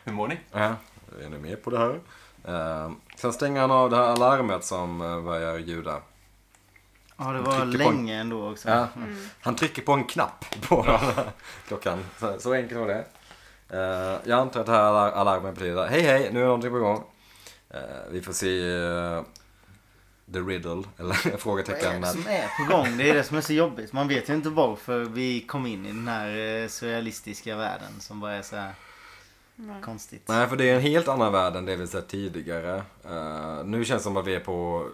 S5: Hur mår ni?
S2: Ja, är ni med på det här? Eh, sen stänger han av det här alarmet som eh, börjar ljuda.
S4: Ja, det var
S2: Trycker på en-
S4: länge ändå också.
S2: Ja. Han trycker på en knapp på klockan. Så, så enkelt var det. Eh, jag antar att det här alar- alarmet betyder hej hej, nu är någonting på gång. Eh, vi får se eh, the riddle, eller
S4: Vad är
S2: frågetecken.
S4: det som är på gång? Det är det som är så jobbigt. Man vet ju inte varför vi kom in i den här eh, surrealistiska världen som bara är så här
S3: Nej.
S4: konstigt.
S2: Nej, för det är en helt annan värld än det vi sett tidigare. Eh, nu känns det som att vi är på...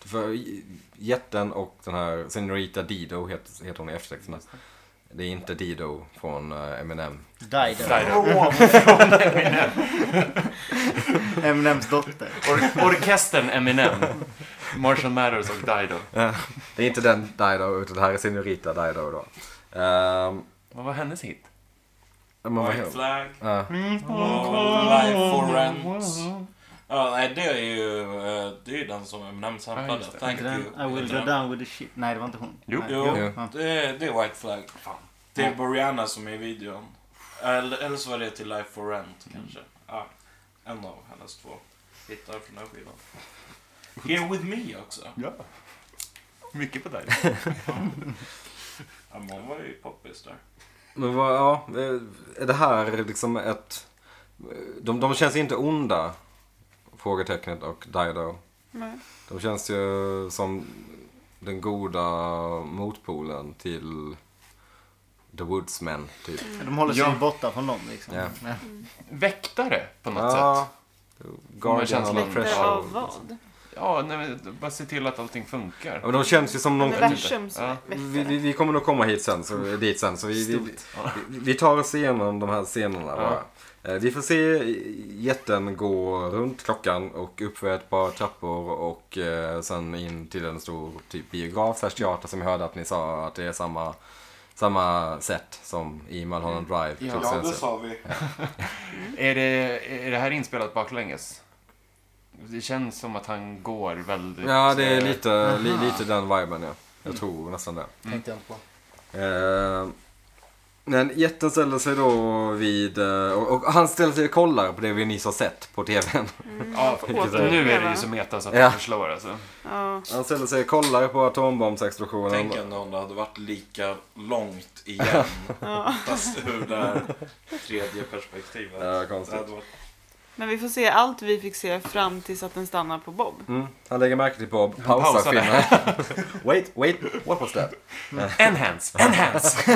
S2: För j- jätten och den här Senorita Dido heter, heter hon i eftertexterna. Det är inte Dido från eh, Eminem.
S4: Dido.
S5: Dido.
S4: Eminems dotter.
S5: Or- orkestern Eminem. Marshall Mathers och Dido.
S2: Det är inte den Dido, utan det här är Senorita Dido då. Ehm,
S5: Vad var hennes hit?
S2: men vad
S1: White
S2: heter-
S1: flag. Mm,
S2: Ja.
S1: Och Life for rent. mm, Ja, nej, det är ju eh, det är ju den som Eminem
S5: Ja,
S1: samplade.
S5: just det.
S1: Thank
S4: Inte den? I
S1: you.
S4: will go down with the shit. Nej, det var inte hon.
S5: Jo.
S4: Nej.
S1: Jo,
S2: Jo.
S4: Ja.
S1: Det, är, det är White flag. Det är Boriana som är i videon. Eller, eller så var det till Life for
S4: Mm.
S1: rent kanske. Ja, en av hennes två hittar från den här skivan. Here with me också.
S5: Ja. Mycket på Dido.
S1: Ja, men hon var ju poppis där.
S2: Men vad, ja, eh, är det här liksom ett... De, de känns inte onda, frågetecknet och Dido.
S3: Nej.
S2: De känns ju som den goda motpolen till The Woodsmen, typ.
S4: De håller sig
S5: Ja.
S4: ju borta från dem liksom.
S2: Ja.
S4: Ja.
S5: Väktare på något sätt.
S2: Guardian
S5: känslan
S2: of
S5: lite
S2: Fresh
S3: Väktare
S5: Pressure.
S3: av vad?
S5: Ja, nej, men bara se till att allting funkar.
S2: Ja, men de känns ju som någon...
S3: Universums
S5: Ja.
S2: Vi,
S3: väktare.
S2: vi, vi kommer nog komma hit sen, så, dit sen, så vi, vi, vi, vi tar oss igenom de här scenerna bara. Eh, Vi får se jätten gå runt klockan och uppför ett par trappor och eh, sen in till en stor typ biograf slash teater som jag hörde att ni sa att det är samma, samma sätt som i Mulholland Drive.
S5: Ja.
S2: till exempel.
S1: sa vi.
S5: Är, det, är det här inspelat baklänges? Det känns som att han går väldigt...
S2: Ja, det är
S5: eh,
S2: lite, li, lite den viben ja. Jag tror nästan det.
S4: Tänkte jag inte på.
S2: Eh, men jätten ställer sig då vid, eh, och, och han ställer sig och kollar på det vi nyss har sett på tvn.
S5: Ja,
S2: Vilket är-
S5: nu är det ju så meta så att
S2: Ja.
S5: det förslår alltså.
S3: Ja.
S2: Han ställer sig och kollar på atombombsexplosionen.
S1: Tänk ändå om det hade varit lika långt igen. Fast ur det här tredje perspektivet.
S2: Ja,
S1: det hade
S2: Eh, konstigt.
S1: varit
S3: Men vi får se allt vi fick se fram tills att den stannar på Bob.
S2: Mm. Han lägger märke till Bob, pausar
S5: pausar det.
S2: filmen. wait, wait, what was that?
S5: Enhance! Enhance!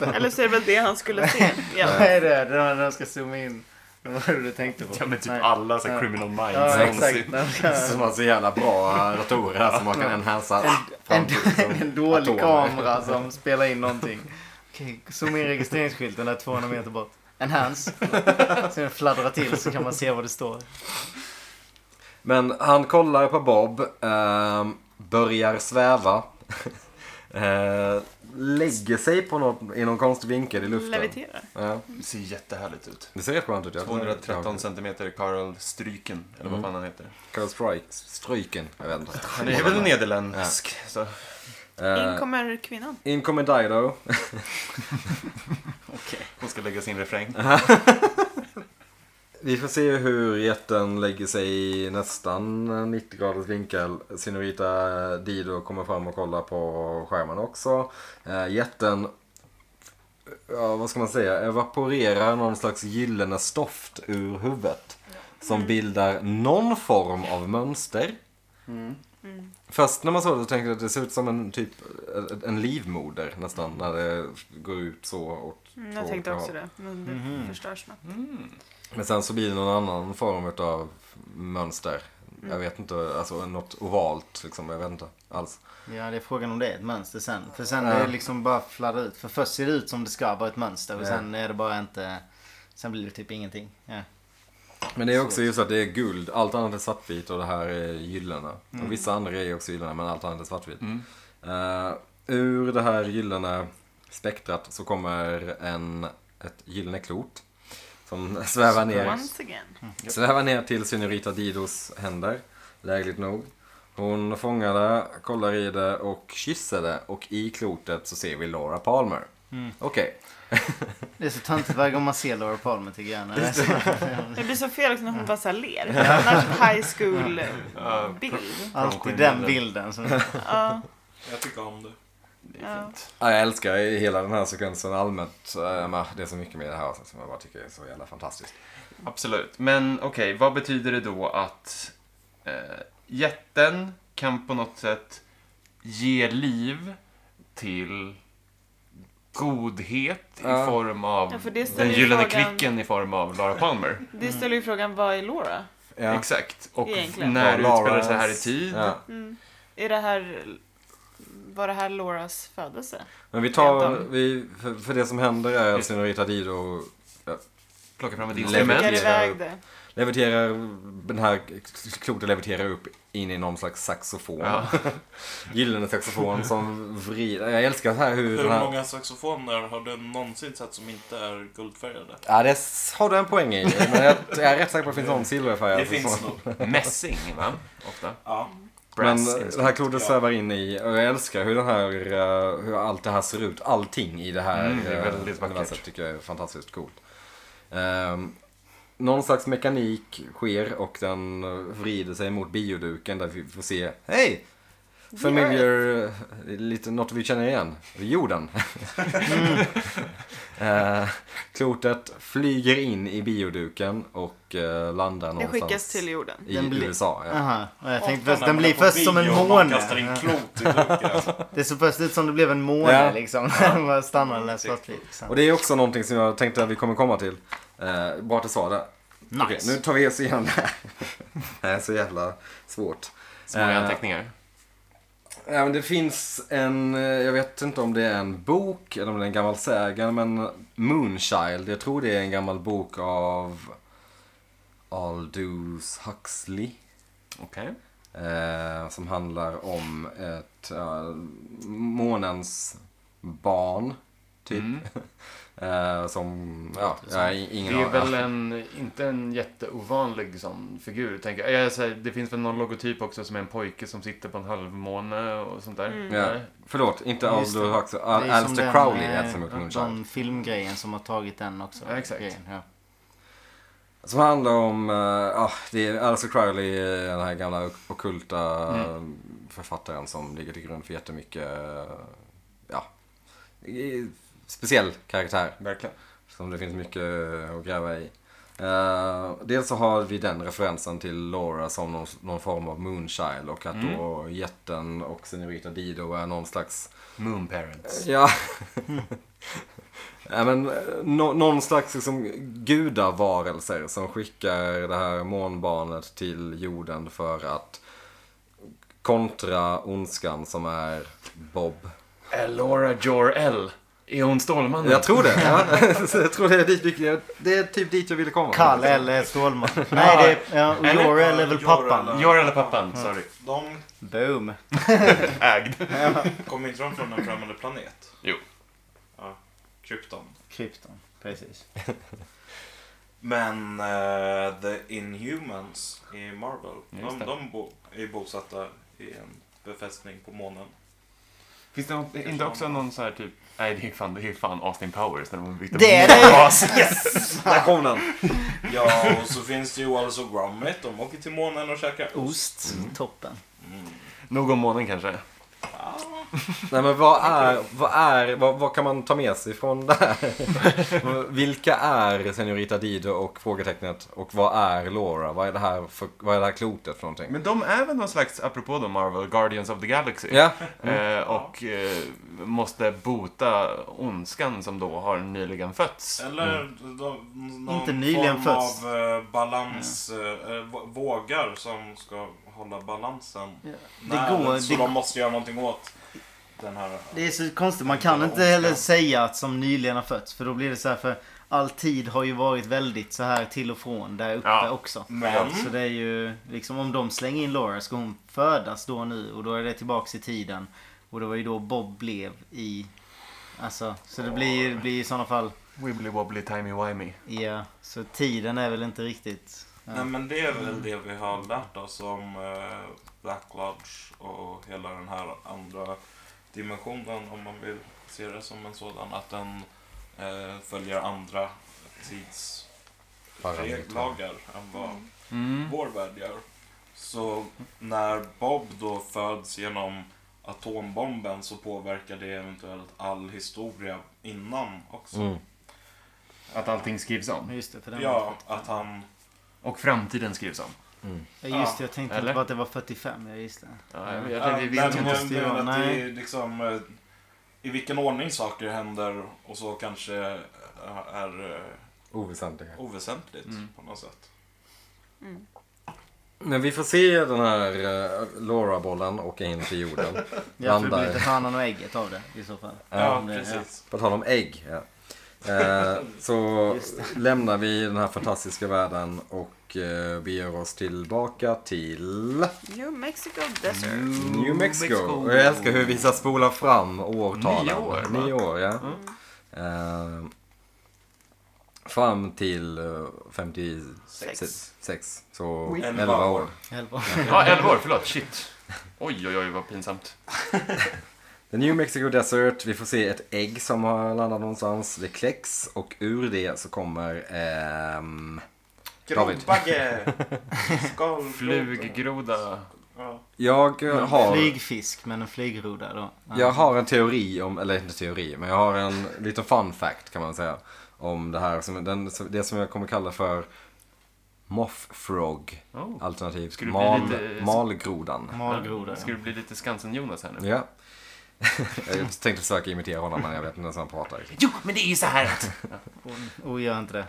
S3: Eller så är det väl det han skulle se.
S4: Vad
S3: Ja.
S4: är det? Det var när de ska zooma in. Det var det du tänkte på.
S5: Ja men typ
S4: Nej.
S5: alla så här
S4: Ja.
S5: criminal minds
S4: Ja,
S5: någonsin.
S4: exakt. De ska-
S2: Som har så jävla bra eh, datorer här som man kan enhansa.
S4: En,
S2: framtid som
S4: en dålig
S2: atomer.
S4: kamera som spelar in någonting. Okej, zooma in registreringsskylten där 200 meter bort. Enhance. Så den fladdrar till så kan man se vad det står.
S2: Men han kollar på Bob, ehm, börjar sväva. eh, lägger sig på något, i någon konstig vinkel i luften.
S3: Leviterar.
S2: Ja,
S5: Det ser jättehärligt ut.
S2: det ser rätt skönt ut. ja. Mm.
S5: 213 centimeter Karl Stryken, eller vad fan han heter.
S2: Karl Strike, Stryken, jag vet inte.
S5: Han är väl nederländsk. Så.
S2: Eh,
S3: In kommer kvinnan.
S2: in kommer Dido.
S5: Hon ska lägga sin refräng.
S2: Vi får se hur jätten lägger sig i nästan 90 graders vinkel. Senorita Dido kommer fram och kollar på skärmen också. Eh, jätten, ja vad ska man säga, evaporerar någon slags gyllene stoft ur huvudet. som
S3: Mm.
S2: bildar någon form av mönster.
S5: Mm.
S2: Först när man såg det så tänkte jag att det ser ut som en typ en livmoder nästan när det går ut så åt
S3: Mm,
S2: två
S3: jag tänkte
S2: olika
S3: också
S2: håll.
S3: det, men det
S4: Mhm.
S3: förstörs snabbt.
S2: Men sen så blir det någon annan form av mönster.
S3: Mm.
S2: Jag vet inte, alltså något ovalt liksom. Jag vet inte alls.
S4: Ja, det är frågan om det är ett mönster sen. För sen
S2: Ja.
S4: är det liksom bara fladdrar ut. För först ser det ut som det ska vara ett mönster och
S2: Ja.
S4: sen är det bara inte... Sen blir det typ ingenting. Ja.
S2: Men det är också just att det är guld. Allt annat är svartvitt och det här är gyllene. Och vissa andra är också gyllene men allt annat är svartvitt.
S5: Mm.
S2: Eh, ur det här gyllene spektrat så kommer en, ett gyllene klot. Som svävar ner.
S3: Once again.
S2: Svävar ner till Senorita Didos händer, lägligt nog. Hon fångar det, kollar i det och kysser det. Och i klotet så ser vi Laura Palmer.
S4: Mm.
S2: Okej.
S4: Det är så töntigt varje gång man ser Laura Palmer tycker jag. När det är så.
S2: Mm.
S3: Det blir så fel också när hon bara så här ler. Annars high school-bild.
S4: Alltid den bilden. Som,
S3: Ja,
S1: Jag tycker om det.
S5: Det är
S3: Ja.
S5: fint.
S2: Ja, jag älskar hela den här sekvensen allmänt. Eh, men Det är så mycket med det här avsnittet som jag bara tycker är så jävla fantastiskt.
S5: Absolut. Men okej, vad betyder det då att eh, jätten kan på något sätt ge liv till godhet
S2: Ja.
S5: i form av
S3: Ja, för det ställer
S5: den
S3: ju
S5: gyllene
S3: frågan-
S5: klicken i form av Laura Palmer.
S2: Mm.
S3: det ställer ju frågan, vad är Laura?
S2: Ja.
S5: Exakt. Och
S3: Egentligen.
S5: när
S2: Ja,
S5: utspelar det sig här i
S2: Lauras-
S5: tid?
S2: Ja.
S3: Mm. Är det här, var det här Lauras födelse?
S2: Men vi tar,
S3: Rent av.
S2: vi, för, för det som händer är att
S5: Just-
S2: Senorita Dido
S5: Plocka fram ett
S2: Lägg-
S5: instrument.
S3: Skickar
S2: Lägger-
S3: iväg det.
S2: leviterar, den här klotet leviterar upp in i någon slags saxofon.
S5: Ja.
S2: Gyllene saxofon som vrider. Jag älskar här hur den
S1: Hur
S2: här...
S1: många saxofoner har du någonsin sett som inte är guldfärgade?
S2: Ja, det s- har du en poäng i. Men jag, jag är rätt säker på att det finns någon silverfärgad
S1: Det
S2: saxofon.
S1: finns nog.
S5: Mässing, va? Ofta.
S1: Ja.
S5: Brass
S2: Men eh, det
S5: instrument.
S2: här klotet
S1: Ja.
S2: svävar in i, och jag älskar hur, den här, eh, hur allt det här ser ut. Allting i det här
S5: Mm, det är
S2: eh,
S5: väldigt vackert.
S2: universet tycker jag är fantastiskt coolt. Um, någon slags mekanik sker och den eh, vrider sig mot bioduken där vi får se, hej! Familiar, eh, lite något vi känner igen. Jorden. mm. Eh, klotet flyger in i bioduken och eh, landar
S3: Det
S2: någonstans Mm.
S3: skickas till jorden.
S2: i
S4: Den blir-
S2: USA. Ja.
S4: Aha. Och jag tänkte
S1: Ofta
S4: först,
S1: när
S4: den
S1: man
S4: blir
S1: är på
S4: först som en
S1: bio och man
S4: måne.
S1: kastar in
S4: Ja.
S1: klot i duken.
S4: Det såg först ut som det blev en måne
S2: Ja.
S4: liksom. Bara stannar den där svartvit. liksom.
S2: Och det är också någonting som jag tänkte att vi kommer komma till. Eh, bra att du sa det.
S4: Nice.
S2: Okej, nu tar vi oss igenom det här. Det här är så jävla svårt.
S5: Små
S2: Eh,
S5: anteckningar.
S2: Ja, men det finns en, eh, jag vet inte om det är en bok eller om det är en gammal sägen, men Moonchild, jag tror det är en gammal bok av Aldous Huxley.
S5: Okej.
S2: Eh, som handlar om ett eh, månens barn, typ.
S5: Mm.
S2: Eh, som, ja, jag har i- ingen
S5: Det är
S2: aning.
S5: väl en, inte en jätteovanlig sån figur, tänker jag. jag säger, det finns väl någon logotyp också som är en pojke som sitter på en halvmåne och sånt där.
S3: Mm.
S2: Ja.
S5: Nej.
S2: Förlåt, inte
S4: Just det.
S2: Aldo Huxley.
S4: Det är ju
S2: Al-
S4: som
S2: Alistair
S4: den,
S2: Crowley
S4: eh,
S2: är som gjort Moonshine.
S4: Den filmgrejen som har tagit den också.
S5: Ja, exakt.
S4: Grejen, ja.
S2: Som handlar om, eh, ah, det är Alistair Crowley, eh, den här gamla ok- ockulta
S4: Mm.
S2: författaren som ligger till grund för jättemycket, eh, ja, i- speciell karaktär.
S5: Verkligen.
S2: Som det finns mycket att gräva i. Eh, dels så har vi den referensen till Laura som någon, någon form av Moonchild och att
S4: Mm.
S2: då jätten och Senorita Dido är någon slags
S5: Moon parents.
S2: Ja. Nej, men, eh, nå- någon slags liksom, gudavarelser som skickar det här månbarnet till jorden för att kontra ondskan som är Bob.
S5: Elora Jor-El. Är hon Stålmannen?
S2: Jag tror det. Ja. jag tror det är, dit, vi- det är typ dit jag ville komma.
S4: Karl eller Stålman. Nej, det är, ja, och
S5: Eller-
S4: Jorel är väl
S1: Jorel.
S4: pappan.
S5: Jor-El är pappan, sorry.
S2: Mm.
S1: De
S4: Boom.
S5: Ägd.
S1: kommer inte de från en främmande planet?
S5: Jo.
S1: Ja. Krypton.
S4: Krypton. Precis.
S1: Men eh, The Inhumans i Marvel,
S5: Just
S1: de,
S5: det.
S1: de bo, är bosatta i en befästning på månen.
S5: Finns det något, inte också någon så här typ... Nej, det är fan, det är fan Austin Powers när de byggde
S4: Det är
S5: Moon
S4: det!
S5: Bas.
S2: Där kom den.
S1: Ja, och så finns det ju Wallace och Gromit. De
S2: Mm.
S1: åker till månen och käkar
S4: Ost. Toppen.
S1: Mm.
S5: Nog om månen kanske.
S1: Ja,
S2: Nej men vad är, vad är, vad, vad kan man ta med sig från det här? Vilka är Senorita Dido och frågetecknet och vad är Laura? Vad är det här, för, vad är det här klotet för någonting?
S5: Men de är väl någon slags, apropå då Marvel, Guardians of the Galaxy.
S2: Ja,
S5: Eh, och eh, måste bota ondskan som då har nyligen fötts.
S1: Eller
S2: Mm.
S1: de, någon
S4: Inte nyligen
S1: form
S4: fötts.
S1: av eh, balans, eh, v- vågar som ska hålla balansen.
S4: Ja.
S1: Nej,
S4: Det går...
S1: så
S4: Det,
S1: de måste göra någonting åt den här.
S4: det är så konstigt. Man kan inte heller säga att som nyligen har fötts. För då blir det så här för all tid har ju varit väldigt så här till och från där uppe
S5: Ja.
S4: också.
S1: Men,
S4: Så det är ju liksom om de slänger in Laura ska hon födas då nu och då är det tillbaks i tiden. Och det var ju då Bob blev i... Alltså, så det blir ju det blir i sådana fall...
S5: Wibbly wobbly timey wimey.
S4: Ja, så tiden är väl inte riktigt... Ja.
S1: nej, men det är
S2: Mm.
S1: väl det vi har lärt oss om eh, Black Lodge och hela den här andra dimensionen om man vill se det som en sådan. Att den eh, följer andra
S2: Parametrar.
S1: tidslagar än vad
S5: Mm.
S1: vår värld gör. Så när Bob då föds genom atombomben så påverkar det eventuellt all historia innan också.
S2: mm.
S5: Att allting skrivs
S4: Men
S5: om.
S4: Just det, för den
S1: Ja, att han...
S5: Och framtiden skrivs om.
S4: Ja, just det, jag tänkte
S5: Eller?
S4: inte på att det var 45. Ja, just det.
S5: Ja, jag,
S1: Ja,
S5: jag, jag, vi
S1: men
S5: vet ju
S1: jag
S5: inte.
S4: inte styra,
S1: menar att det
S4: nej.
S1: är liksom... eh, I vilken ordning saker händer och så kanske eh, är eh,
S2: Oväsentliga.
S1: oväsentligt
S5: Mm.
S1: på något sätt.
S3: Mm.
S2: Men vi får se den här eh, Laura-bollen åka in till jorden.
S4: Ja, för det
S2: Landar.
S4: blir lite hönan och ägget av det i så fall.
S1: Ja,
S4: Om det-
S1: precis.
S2: På tal om ägg. Ja. Eh, så lämnar vi den här fantastiska världen och eh, beger oss tillbaka till
S3: New Mexico Desert.
S2: New Mexico. Och jag älskar hur vissa spolar fram årtalen.
S5: Nio år, va?
S2: Nio år, ja. Eh, fram till eh, 56.
S3: Sex.
S2: Sex. Så
S1: Oui.
S2: 11
S1: Elva
S2: år.
S1: år.
S4: Helvete.
S5: Ja, 11 år, förlåt. Shit. Oj, oj, oj, vad pinsamt.
S2: The New Mexico Desert, vi får se ett ägg som har landat någonstans. Det kläcks och ur det så kommer... ehm, David.
S1: Grodbagge! Skalgroda.
S5: Fluggroda.
S1: Ja.
S2: jag har...
S4: Flygfisk, men en flygroda då. Ja.
S2: Jag har en teori om, eller inte teori, men jag har en liten fun fact kan man säga. Om det här, som, den, det som jag kommer kalla för Moth Frog.
S5: Oh.
S2: Alternativt
S5: Skulle det
S2: mal,
S5: bli lite-
S2: malgrodan.
S4: Malgroda.
S5: Ska det bli lite Skansen-Jonas här nu?
S2: Ja. jag tänkte försöka imitera honom men jag vet inte ens hur han pratar.
S5: Jo, men det är ju så här att...
S4: Oh, gör inte det.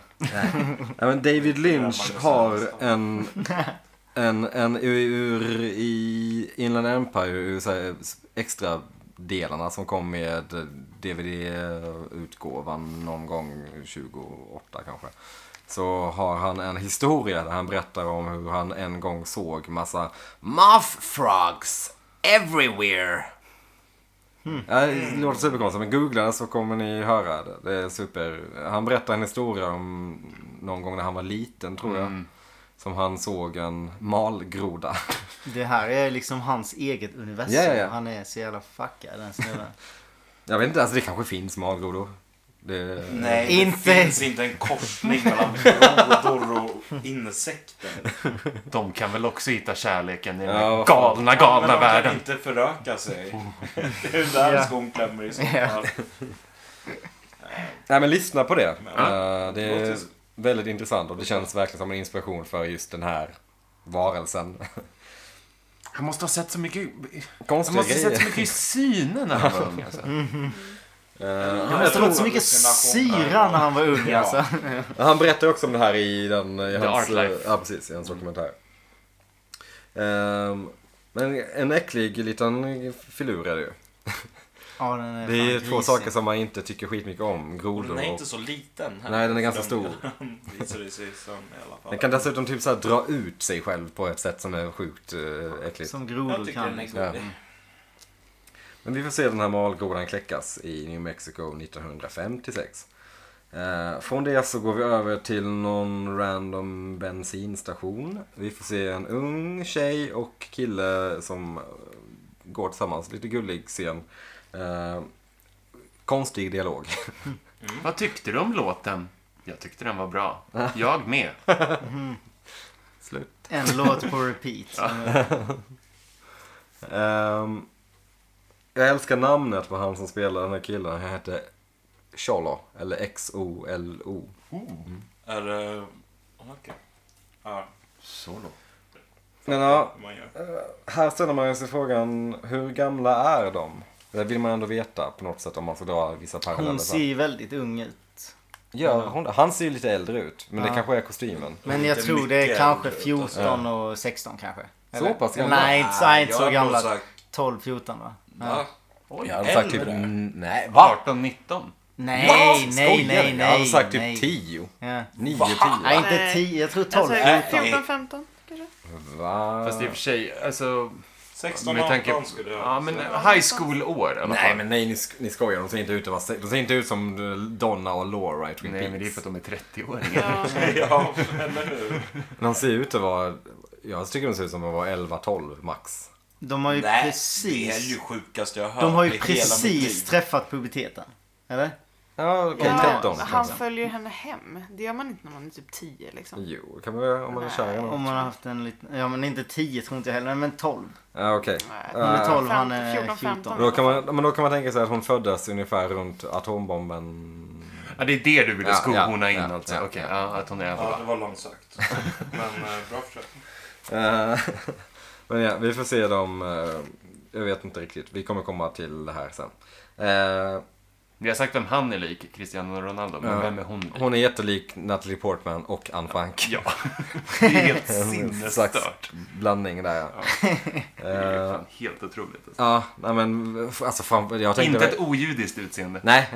S2: Ja, men David Lynch har en, en, en ur, ur i Inland Empire, ur så här, extra delarna som kom med DVD-utgåvan någon gång 28 kanske. Så har han en historia där han berättar om hur han en gång såg massa muff frogs everywhere. Ja, det låter superkonstigt, men googla det så kommer ni höra det. Det är super. Han berättar en historia om någon gång när han var liten, tror jag. Som han såg en malgroda.
S4: Det här är liksom hans eget universum.
S2: Ja, ja, ja.
S4: Han är så jävla fuckad den snubben.
S2: Jag vet inte, alltså det kanske finns malgrodor. Det...
S1: Nej,
S4: Inte-
S1: det finns inte en korsning mellan grodor och insekter.
S5: De kan väl också hitta kärleken i den
S2: Ja,
S5: här
S2: vad fan.
S5: galna, galna
S1: men de kan
S5: världen. Oh.
S1: inte föröka sig. Det är där
S4: Ja.
S1: skon klämmer i så fall.
S4: Ja.
S2: Nej men lyssna på det.
S1: Men-
S2: Eh, Det är
S1: Låter-
S2: väldigt intressant och det känns verkligen som en inspiration för just den här varelsen.
S5: Han måste ha sett så mycket... Han
S2: Konstiga
S5: måste ha sett så
S2: grejer.
S5: mycket i synen när han var ung. Alltså.
S2: Eh,
S4: Han måste ha fått så mycket syra när han var ung
S1: Ja.
S4: alltså.
S2: Han berättar också om det här i den... I
S5: The
S2: hans,
S5: Art Life.
S2: Ja, precis. I hans dokumentär. Ehm, men en äcklig liten filur är det ju.
S4: Ja, den är
S2: Det är
S4: fan
S2: två
S4: grisig.
S2: saker som man inte tycker skitmycket om.
S1: Och
S2: Grodor
S1: den är
S2: och...
S1: inte så liten. Här.
S2: Nej, den är ganska stor.
S1: Visar det sig sen i alla fall.
S2: Den kan dessutom typ så här dra ut sig själv på ett sätt som är sjukt eh, äckligt.
S4: Som
S1: Jag
S4: grodor
S1: tycker den
S4: kan.
S1: är
S4: liksom.
S1: gullig.
S2: Men vi får se den här malgrodan kläckas i New Mexico 1956. Eh, från det så går vi över till någon random bensinstation. Vi får se en ung tjej och kille som eh, går tillsammans. Lite gullig scen. Eh, konstig dialog.
S5: Vad tyckte du om låten? Jag tyckte den var bra. Jag med.
S2: Slut.
S4: En låt på repeat.
S2: Ehm, Jag älskar namnet på han som spelar den här killen. Han heter Xolo, eller X-O-L-O.
S1: Är det... Okej. Ja,
S5: Solo.
S2: Men ja,
S1: hur man gör.
S2: här ställer man sig frågan, hur gamla är de? Det vill man ändå veta på något sätt om man ska dra vissa paralleller.
S4: Hon ser ju väldigt ung ut.
S2: Ja, hon, han ser ju lite äldre ut, men det
S4: Ja.
S2: kanske är kostymen.
S4: Men
S1: Inte
S4: jag tror det är
S1: mycket
S4: kanske
S1: äldre, utan-
S4: 14 och 16 kanske.
S2: Så pass gamla?
S4: Nej, inte så, inte
S1: jag
S4: så
S1: hade nog
S4: gamla.
S1: sagt-
S4: 12, 14 va?
S1: Ja.
S5: Oj,
S2: Jag hade sagt typ...
S1: äldre?
S2: mm, Nej, va?
S5: 18, 19.
S4: Nej,
S2: Skojar
S4: nej,
S2: du?
S4: nej, nej.
S2: Jag hade sagt
S4: nej.
S2: typ 10.
S4: Ja.
S2: 9,
S4: Nej,
S2: 10.
S4: inte 10. Jag tror 12,
S3: Alltså,
S4: 14.
S3: 14, 15 kanske?
S2: Va?
S5: Fast i och för sig, alltså...
S1: 16,
S5: med
S1: 18
S5: tanke på-
S1: skulle jag
S5: Ja, men
S1: säga.
S5: high school-år i alla
S2: Nej
S5: fall.
S2: men nej, ni, sk- ni skojar. De ser inte ut att vara... se- De ser inte ut som eh, Donna och Laura i Twin
S5: Nej,
S2: Peaks.
S5: men det är för att de är 30-åringar.
S3: Ja.
S1: ja, eller hur?
S2: De ser ut att vara... Jag tycker de ser ut som att vara 11-12 max.
S4: De har ju
S1: Nej, det är
S4: precis,
S1: ju sjukaste jag har hört
S4: de har
S1: i
S4: ju
S1: hela mitt
S4: precis
S1: liv.
S4: träffat puberteten. Eller?
S2: Ja, okej,
S3: Ja,
S2: 13.
S3: han
S2: liksom. Mm.
S3: följer henne hem. Det gör man inte när man är typ 10 liksom.
S2: Jo, det kan man göra om man är kär i
S4: Om
S2: någon.
S4: man har haft en liten, ja men inte 10 tror inte jag heller, men 12.
S2: Ja, okej.
S3: Nej,
S4: Hon är
S2: Eh,
S4: 12, han är
S3: 14,
S4: 14.
S3: 15.
S2: Då kan, man, men då kan man tänka sig att hon föddes ungefär runt atombomben.
S5: Ja, det är det du ville
S2: Ja,
S5: skohorna
S2: ja,
S5: in
S2: ja,
S5: alltså.
S2: ja,
S5: Okej,
S2: ja.
S5: ja, att hon är alltså
S1: Ja, det
S5: ja,
S1: var långsökt. Men eh, bra försök.
S2: Eh, men ja, vi får se dem. eh, jag vet inte riktigt. Vi kommer komma till det här sen. Eh,
S5: Vi har sagt vem han är lik, Cristiano Ronaldo, men
S2: Ja.
S5: vem är hon lik?
S2: hon är jättelik Natalie Portman och Anne Frank.
S5: Ja, det är helt
S2: En slags
S5: sinnesstört.
S2: blandning där ja.
S5: Det är
S2: Eh,
S5: fan helt otroligt. Alltså.
S2: Ja, nej men alltså fan, jag tänkte...
S5: Inte ett ojudiskt utseende.
S2: Nej.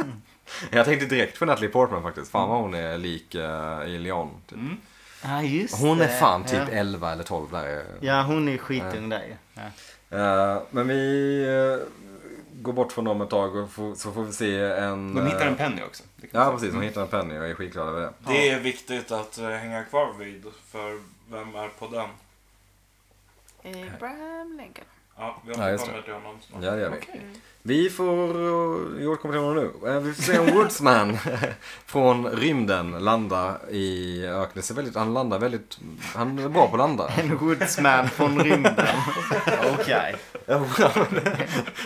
S2: jag tänkte direkt på Natalie Portman faktiskt. Fan vad hon är lik eh, i Leon. Typ.
S5: Mm.
S4: Ja just
S2: Hon är
S4: det.
S2: fan typ
S4: eh, ja.
S2: 11 eller 12 där.
S4: ja hon är skitung där ju. Ja.
S2: Eh, men vi eh, går bort från dem ett tag och får, så får vi se en...
S5: De hittar
S2: eh,
S5: en Penny också. Det kan man
S2: Ja
S5: säga.
S2: precis, hon hittar en Penny och är skitglad över det.
S1: Det är viktigt att eh, hänga kvar vid, för vem är på den?
S3: Abraham Eh, Lincoln.
S1: Ja, vi
S2: Ja, just
S1: återkommer till honom snart.
S2: Ja det gör vi.
S5: Okej.
S2: Vi får... eh, Jag kommer till honom nu. Eh, Vi får se om Woodsman från rymden landar i öknen. Ser väldigt, han landar väldigt... Han är bra på att landa.
S4: En woodsman från rymden. Okej.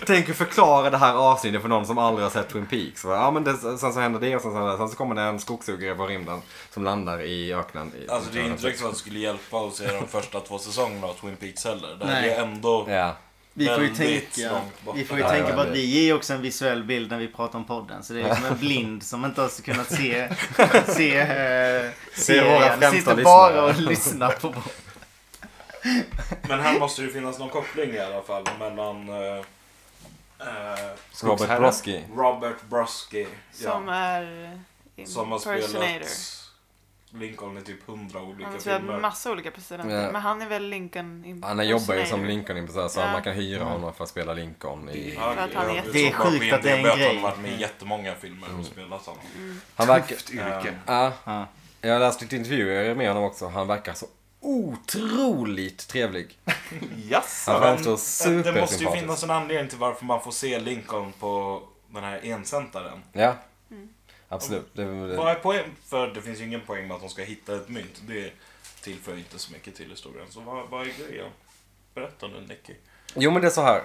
S2: Tänk att förklara det här avsnittet för någon som aldrig har sett Twin Peaks. Va? Ja, men det, sen så händer det och sen så, händer det. sen så kommer det en skogshuggare från rymden som landar i öknen. I,
S1: Alltså det är inte riktigt så att det skulle hjälpa att se de första två säsongerna av Twin Peaks heller. Det här
S4: Nej.
S1: är ändå...
S2: Ja.
S4: Vi får ju
S1: Väldigt
S4: tänka,
S1: långt bort.
S4: vi får ju
S2: Ja,
S4: tänka på att
S2: väldigt.
S4: vi ger ju också en visuell bild när vi pratar om podden. Så det är ju som en blind som inte har kunnat se, se, eh, se
S2: våra främsta
S4: Sitter
S2: lyssnare.
S4: bara och lyssnar på vår-
S1: Men här måste ju finnas någon koppling i alla fall mellan eh, eh,
S2: Robert
S5: Skogsherren.
S2: Brosky.
S1: Robert Brosky.
S3: Som är
S1: som har
S3: impersonator.
S1: spelat Lincoln i typ hundra
S3: Han
S1: olika
S3: har spelat
S1: filmer.
S3: massa olika presidenter.
S2: Ja.
S3: Men han är väl Lincoln
S2: Han jobbar ju som
S3: impersonator.
S2: Lincoln impersonator så
S3: Ja.
S2: man kan hyra honom för att spela Lincoln i...
S1: Ja,
S3: För att han är
S1: jag
S3: jätte-
S1: såg
S4: Det är
S1: bara
S4: sjukt
S1: på
S4: att det är en
S1: IMDb
S4: grej. Mm.
S1: Han har varit med i jättemånga filmer och spelat Eh, honom.
S2: Han verkar...
S5: Mm. Tufft yrke.
S2: Ja,
S4: Ja.
S2: jag läste lite intervjuer med honom också. Han verkar så otroligt trevlig.
S5: Jaså?
S2: Han framstår
S1: Men Det måste ju
S2: supersympatisk.
S1: finnas en anledning till varför man får se Lincoln på den här ensäntaren.
S2: Ja.
S3: Mm.
S2: Absolut. Det, det,
S1: Vad är poäng? För det finns ju ingen poäng med att de ska hitta ett mynt. Det tillför ju inte så mycket till historien. Så vad, vad är grejen? Berätta nu Nicky.
S2: Jo men det är så här.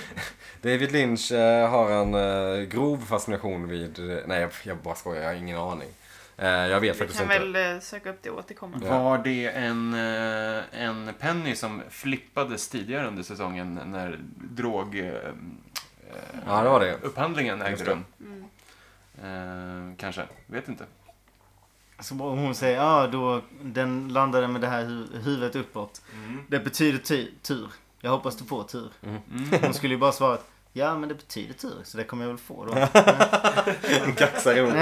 S2: David Lynch eh, har en eh, grov fascination vid... Nej jag, jag bara skojar, jag har ingen aning. Eh, jag vet
S3: Vi
S2: faktiskt
S3: kan
S2: inte.
S3: väl eh, söka upp det återkommande.
S5: Var det en, eh, en Penny som flippades tidigare under säsongen när drog... eh, eh,
S2: Ja det var det.
S5: Upphandlingen ägde
S2: Just det.
S5: rum.
S3: Mm.
S5: Eh, kanske, vet inte.
S4: Så bara hon säger, ja ah, då den landade med det här hu- huvudet uppåt. Det betyder ty- tur. Jag hoppas du får tur.
S5: Mm.
S4: Hon skulle ju bara svara, ja men det betyder tur. Så det kommer jag väl få då.
S2: Kaxar ihop.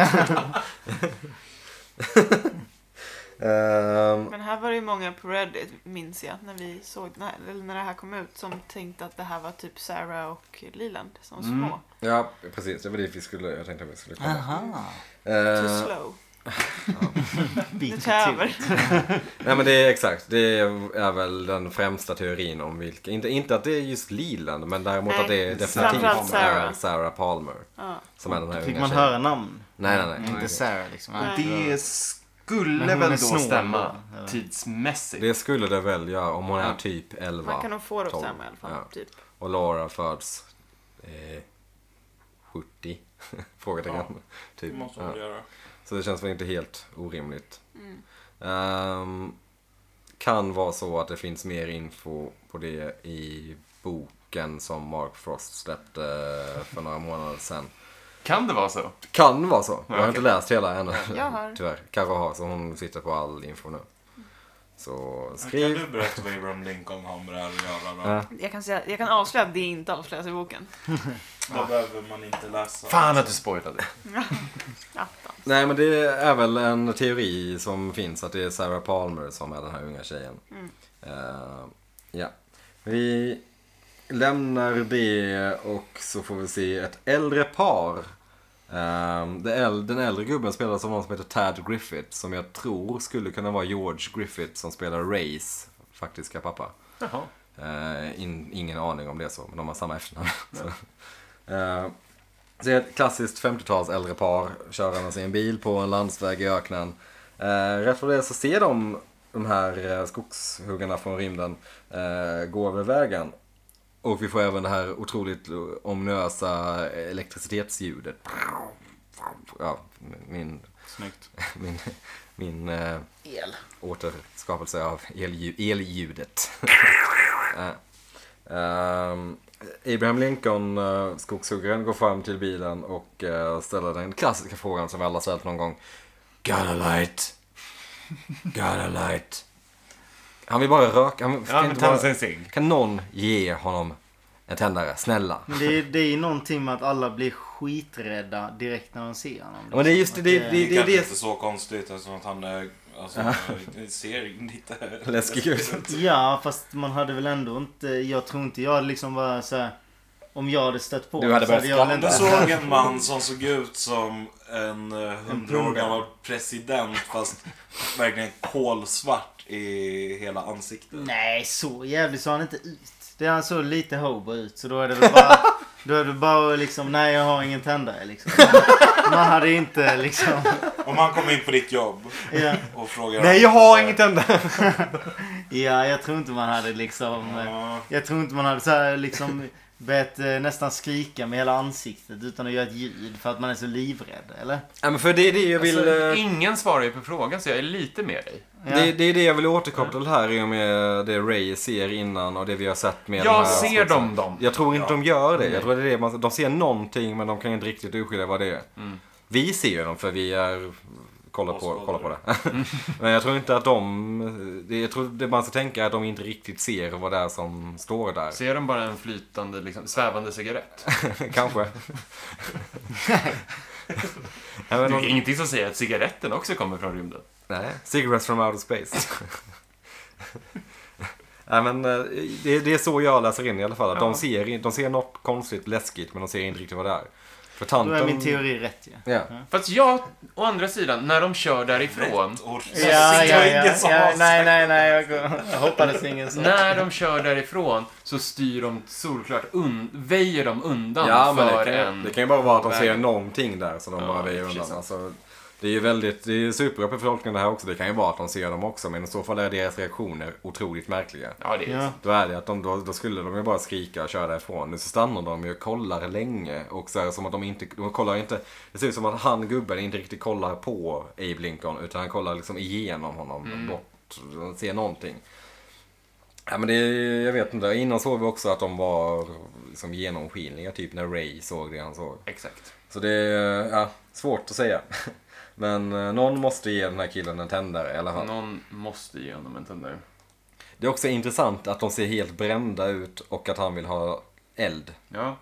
S2: Ehm,
S3: Men här var det ju många på Reddit, minns jag, när vi såg den här, eller när det här kom ut, som tänkte att det här var typ Sarah och Leland som
S5: Mm.
S3: små.
S2: ja precis, det var dit vi skulle, jag tänkte att vi skulle komma.
S4: Aha.
S3: Too
S2: Eh,
S3: slow. Nu
S4: Bit
S3: tar jag över.
S2: nej men det är exakt, det är väl den främsta teorin om vilka, inte, inte att det är just Leland men däremot
S3: Nej,
S2: att det är definitivt
S3: framförallt Sarah.
S2: är Sarah Palmer.
S3: Ja.
S2: Som är den här
S4: Fick
S2: unga
S4: man
S2: tjejen.
S4: höra namn?
S2: Nej nej nej.
S4: Inte Sarah liksom.
S3: Nej.
S5: Det
S4: Men
S5: skulle
S4: hon
S5: väl
S4: är
S5: då
S4: snål
S5: stämma
S4: då,
S2: typ.
S4: eller?
S5: tidsmässigt.
S2: Det skulle det väl göra om hon är
S5: Ja.
S2: typ 11.
S3: Man kan nog få det att
S2: Tolv.
S3: stämma i alla fall.
S2: Ja.
S3: Typ.
S2: Och Laura föds eh, 70? Frågetecken.
S1: Det
S2: Typ.
S1: måste
S2: Ja.
S1: hon göra.
S2: Så det känns väl inte helt orimligt.
S3: Mm.
S2: Ehm, kan vara så att det finns mer info på det i boken som Mark Frost släppte för några månader sedan.
S5: Kan det vara så?
S2: Kan vara så. Jag har
S5: okej.
S2: inte läst hela ännu.
S3: Jag har.
S2: Tyvärr. Karo har, så hon sitter på all info nu. Så
S1: Kan
S2: skriv.
S1: du berätta vad Abraham Lincoln har med det här att göra då?
S2: Ja.
S3: Jag kan, säga, jag kan avslöja att det inte avslöjas i boken.
S1: Då behöver man inte läsa.
S5: Fan att du spoilade.
S3: Attan.
S2: Nej men det är väl en teori som finns att det är Sarah Palmer som är den här unga tjejen. Eh, ja. Vi lämnar det och så får vi se ett äldre par. Eh, det äl- den äldre gubben spelas av någon som heter Tad Griffith som jag tror skulle kunna vara George Griffith som spelar Rays faktiska pappa.
S5: Jaha.
S2: Eh, in, ingen aning om det så, men de har samma efternamn. Så. Eh, så det är ett klassiskt 50-tals äldre par körandes i en bil på en landsväg i öknen. Eh, rätt vad det är så ser de de här eh, skogshuggarna från rymden eh, gå över vägen. Och vi får även det här otroligt ominösa elektricitetsljudet. Ja, min,
S1: Snyggt.
S2: min, min eh,
S4: El.
S2: återskapelse av elju- elljudet. Eh, ehm, Abraham Lincoln, eh, skogshuggaren, går fram till bilen och eh, ställer den klassiska frågan som vi alla ställt någon gång. Got a light? Got a light? Han vill bara röka. Han kan,
S5: Ja, men
S2: inte
S5: tända sig
S2: bara,
S5: en cigg.
S2: kan någon ge honom en tändare? Snälla.
S4: Men det, är- det är ju någonting med att alla blir skiträdda direkt när de ser honom. liksom.
S2: Ja, men det är just det-
S4: Att
S2: det-
S1: Det är kanske
S2: det-
S1: inte så konstigt eftersom att han är, alltså, ser lite
S2: Läskig ut.
S4: Ja, fast man hade väl ändå inte... Jag tror inte jag hade liksom bara så här, Om jag hade stött på
S2: Du hade
S4: så
S2: börjat
S4: jag väl
S1: Om du
S4: inte-
S1: såg en man som såg ut som en eh, hundra år
S4: pundare.
S1: gammal president fast verkligen kolsvart i hela ansiktet.
S4: Nej, så jävligt såg han inte ut. Det han såg lite hobo ut, så då är det väl bara... Då är det bara liksom, nej jag har ingen tändare liksom. Man hade inte liksom...
S1: Om han kom in på ditt jobb
S4: Ja,
S1: och frågar...
S2: Nej, jag har inget tändare.
S4: ja jag tror inte man hade liksom... eh,
S1: Ja,
S4: Jag tror inte man hade så här liksom börjat eh, nästan skrika med hela ansiktet utan att göra ett ljud för att man är så livrädd, eller?
S2: Ja, men för det är det jag vill...
S5: Alltså,
S2: eh,
S5: ingen svarar ju på frågan, så jag är lite med dig.
S4: Ja.
S2: Det, det är det jag vill återkoppla till här i och med det Ray ser innan och det vi har sett med de här
S5: Jag ser
S2: skogsen.
S5: dem, dem.
S2: Jag tror inte de gör det. Jag tror det är det man, de ser någonting men de kan inte riktigt urskilja vad det är. Vi ser ju dem för vi är kollar på,
S1: Åskådare.
S2: kollar på det. men jag tror inte att de... det- Jag tror det man ska tänka är att de inte riktigt ser vad det är som står där.
S5: Ser de bara en flytande, liksom, svävande cigarett?
S2: Kanske. Nej,
S5: Det
S2: men
S5: är
S2: de,
S5: ingenting som säger att cigaretten också kommer från rymden.
S2: nej. Cigarettes from outer space. Nej men eh, det, det är så jag läser in i alla fall. Att de,
S5: Ja.
S2: ser, in- de ser något konstigt läskigt men de ser inte riktigt vad det är. För
S4: Då
S2: tanten...
S4: är min teori rätt ju. Ja.
S2: Ja.
S5: Fast jag, å andra sidan, när de kör därifrån.
S1: och-
S4: Ja,
S1: Det
S4: ja,
S1: var
S4: ja,
S1: ingen som har sagt-
S4: Nej, nej, nej. Jag, går- jag hoppades ingen så.
S5: När de kör därifrån så styr de solklart, un, väjer de undan
S2: Ja, men
S5: för
S2: det kan,
S5: en...
S2: det kan ju bara vara att de ser
S5: väg.
S2: någonting där som de
S5: Ja,
S2: bara väjer
S5: precis.
S2: undan. Alltså, det är ju väldigt, det är ju superöppen förtolkning det här också. Det kan ju vara att de ser dem också men i så fall är deras reaktioner otroligt märkliga.
S5: Ja, det är
S4: Ja.
S2: Då är det att de, då, då skulle de ju bara skrika och köra därifrån. Nu så stannar de ju och kollar länge. Och så är det som att de inte, de kollar inte. Det ser ut som att han gubben inte riktigt kollar på Abe Lincoln. Utan han kollar liksom igenom honom. Bort, han ser någonting. Ja men det, jag vet inte. Innan såg vi också att de var liksom genomskinliga. Typ när Ray såg det han såg.
S5: Exakt.
S2: Så det är, ja, svårt att säga. Men eh, någon måste ge den här killen en tändare i alla fall.
S5: Någon måste ge honom en tändare.
S2: Det är också intressant att de ser helt brända ut och att han vill ha eld.
S5: Ja.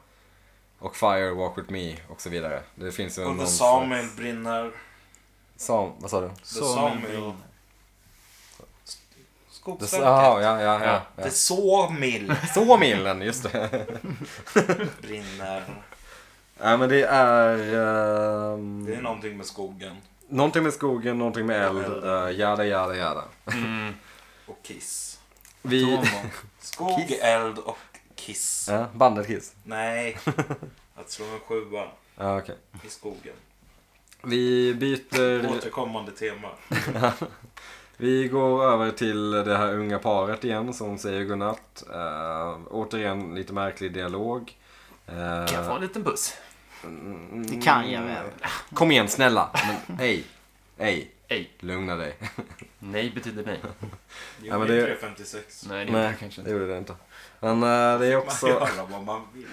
S2: Och Fire, Walk With Me och så vidare. Det finns ju
S1: Och The
S2: någon
S1: Samuel
S2: slags-
S1: brinner.
S2: Sam, vad sa du?
S1: The
S4: Samuel
S1: Samuel...
S4: brinner.
S2: The,
S1: Skogsverket.
S2: aha, ja, ja, ja.
S5: Ja.
S2: ja.
S1: The Sawmill
S2: Såmillen, just det.
S1: brinner.
S2: ja, men det är... ehm,
S1: Det är någonting med skogen.
S2: någonting med skogen, någonting med eld. Uh, jada, jada, jada.
S5: Mm.
S1: Och Kiss.
S2: Vi...
S1: Skog, eld och Kiss.
S2: Ja, bandet Kiss.
S1: Nej. Att slå en sjua
S2: Ja, okej.
S1: i skogen.
S2: Vi byter...
S1: typ. Återkommande tema.
S2: Vi går över till det här unga paret igen som säger godnatt. Eh, återigen lite märklig dialog. Eh,
S5: Kan jag få en liten puss?
S2: mm,
S4: Det kan jag väl.
S2: Kom igen snälla. Men, hej. Hej.
S5: Ej.
S2: Lugna dig.
S5: Nej betyder nej.
S1: Jo,
S2: Ja, men
S1: det är
S2: det-
S1: 356.
S5: Nej, det
S2: Nej,
S5: nej. kanske
S2: det
S5: inte.
S2: gjorde det inte. Men eh, det är
S1: Man
S2: också...
S1: gör vad man vill.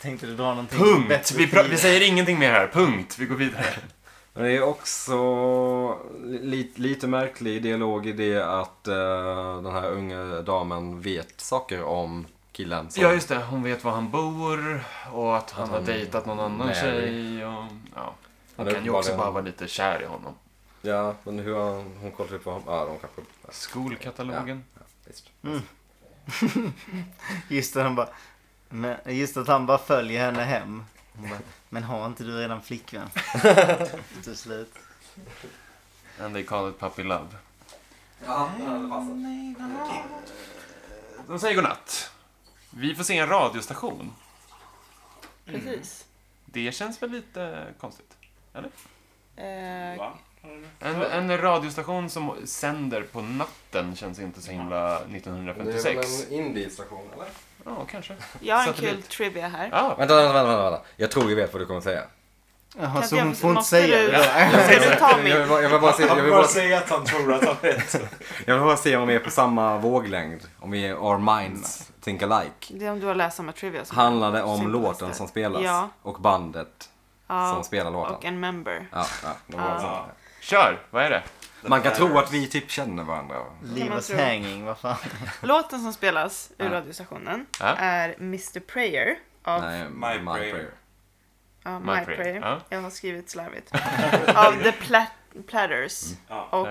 S4: Tänkte du dra någonting
S5: Punkt!
S4: bättre?
S5: Vi, pra- vi säger ingenting mer här. Punkt. Vi går vidare.
S2: Men det är också li- lite märklig dialog i det att eh, den här unga damen vet saker om killen. som-
S5: Ja, just det. Hon vet var han bor och att han
S2: Att
S5: har
S2: han-
S5: dejtat någon annan
S2: Mary.
S5: tjej. Och, ja.
S2: Ja,
S5: Hon
S2: det är
S5: kan ju också
S2: uppenbarligen-
S5: bara vara lite kär i honom.
S2: Ja, men hur har hon, hon kollat upp på honom? Ja, de kanske... Ja,
S5: Skolkatalogen.
S2: visst.
S4: Just att han bara... Men, just att han bara följer henne hem. Hon bara, men har inte du redan flickvän? Till slut.
S5: And they call it puppy love.
S2: Ja, det passar.
S5: De säger godnatt. Vi får se en radiostation.
S3: Precis.
S5: Det känns väl lite konstigt?
S3: Eh,
S1: Va?
S5: En, en radiostation som sänder på natten känns inte så himla
S2: Det är väl
S5: 1956.
S2: en indiestation, eller?
S5: Ja, kanske.
S3: jag har en
S5: Satellit.
S3: kul trivia här.
S5: Ja,
S2: Vänta, vänta, vänta, vänta. Jag tror jag vet vad du kommer säga.
S4: Jaha,
S3: Kan
S4: så
S3: jag-
S4: alltså, hon får inte
S3: måste
S4: säga
S3: du-
S4: det då?
S3: Ska du ta
S2: Jag vill
S3: min?
S2: bara, jag vill bara, se, jag
S1: Han
S2: vill
S1: bara
S2: bara,
S1: säger att han tror att han vet.
S2: jag vill bara se om vi är på samma våglängd. Om vi är our minds think alike.
S3: Det är om du har läst samma trivia. som-
S2: Handlade om
S3: Simplaste.
S2: låten som spelas
S3: Ja.
S2: och bandet som
S3: ja,
S2: spelar låten.
S3: och en member.
S2: Ja, ja, det var
S3: Ja.
S2: sånt.
S5: kör! Vad är det?
S2: Man kan tro att vi typ känner varandra.
S4: Leave
S3: man
S4: us
S3: tro.
S4: hanging, vad fan.
S3: Låten som spelas ur
S2: Ja.
S3: radiostationen
S5: Ja.
S3: är Mr Prayer av
S2: Nej,
S1: My prayer.
S3: ja, My,
S5: My
S3: Prayer.
S5: Prayer. Ja.
S3: Jag har skrivit slarvigt. av The Plat- Platters.
S1: Ja.
S3: Och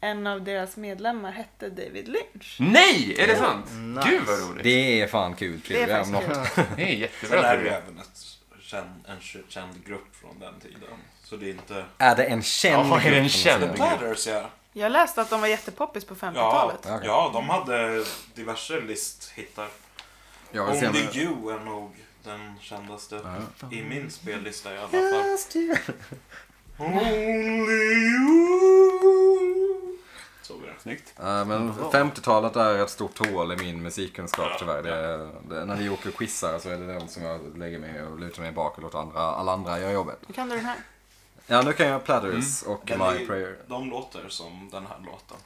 S3: en av deras medlemmar hette David Lynch.
S5: Nej! Är det sant?
S4: Nice.
S5: Gud vad roligt!
S2: Det är fan kul.
S3: Det är
S2: trivia om
S3: faktiskt
S2: något.
S3: kul.
S5: Det är
S1: Sen
S5: jättebra.
S1: är det
S5: tror
S1: ju
S5: jag.
S1: även ett känd, en k- känd grupp från den tiden. Så det är inte...
S2: Är det en känd
S5: Ja, är det en
S2: grupp som
S5: känd
S2: säger?
S5: grupp?
S1: Platters ja.
S3: Jag läste att de var jättepoppis på 50-talet.
S1: Ja, ja, de hade diverse listhittar.
S2: Jag vill se
S1: Only
S2: om-
S1: You är nog den kändaste i min spellista i alla fall.
S2: Just you.
S1: Only You. Så är det.
S5: Snyggt.
S2: Ja, Eh, men 50-talet är ett stort hål i min musikkunskap tyvärr. Det, det, när vi åker och quizar så är det den som jag lägger mig och lutar mig bak och låter andra, alla andra göra jobbet.
S3: Nu kan du den här.
S2: Ja, nu kan jag Platters
S5: Mm.
S2: och
S1: Den är
S2: My
S1: ju-
S2: Prayer.
S1: De låter som den här låten.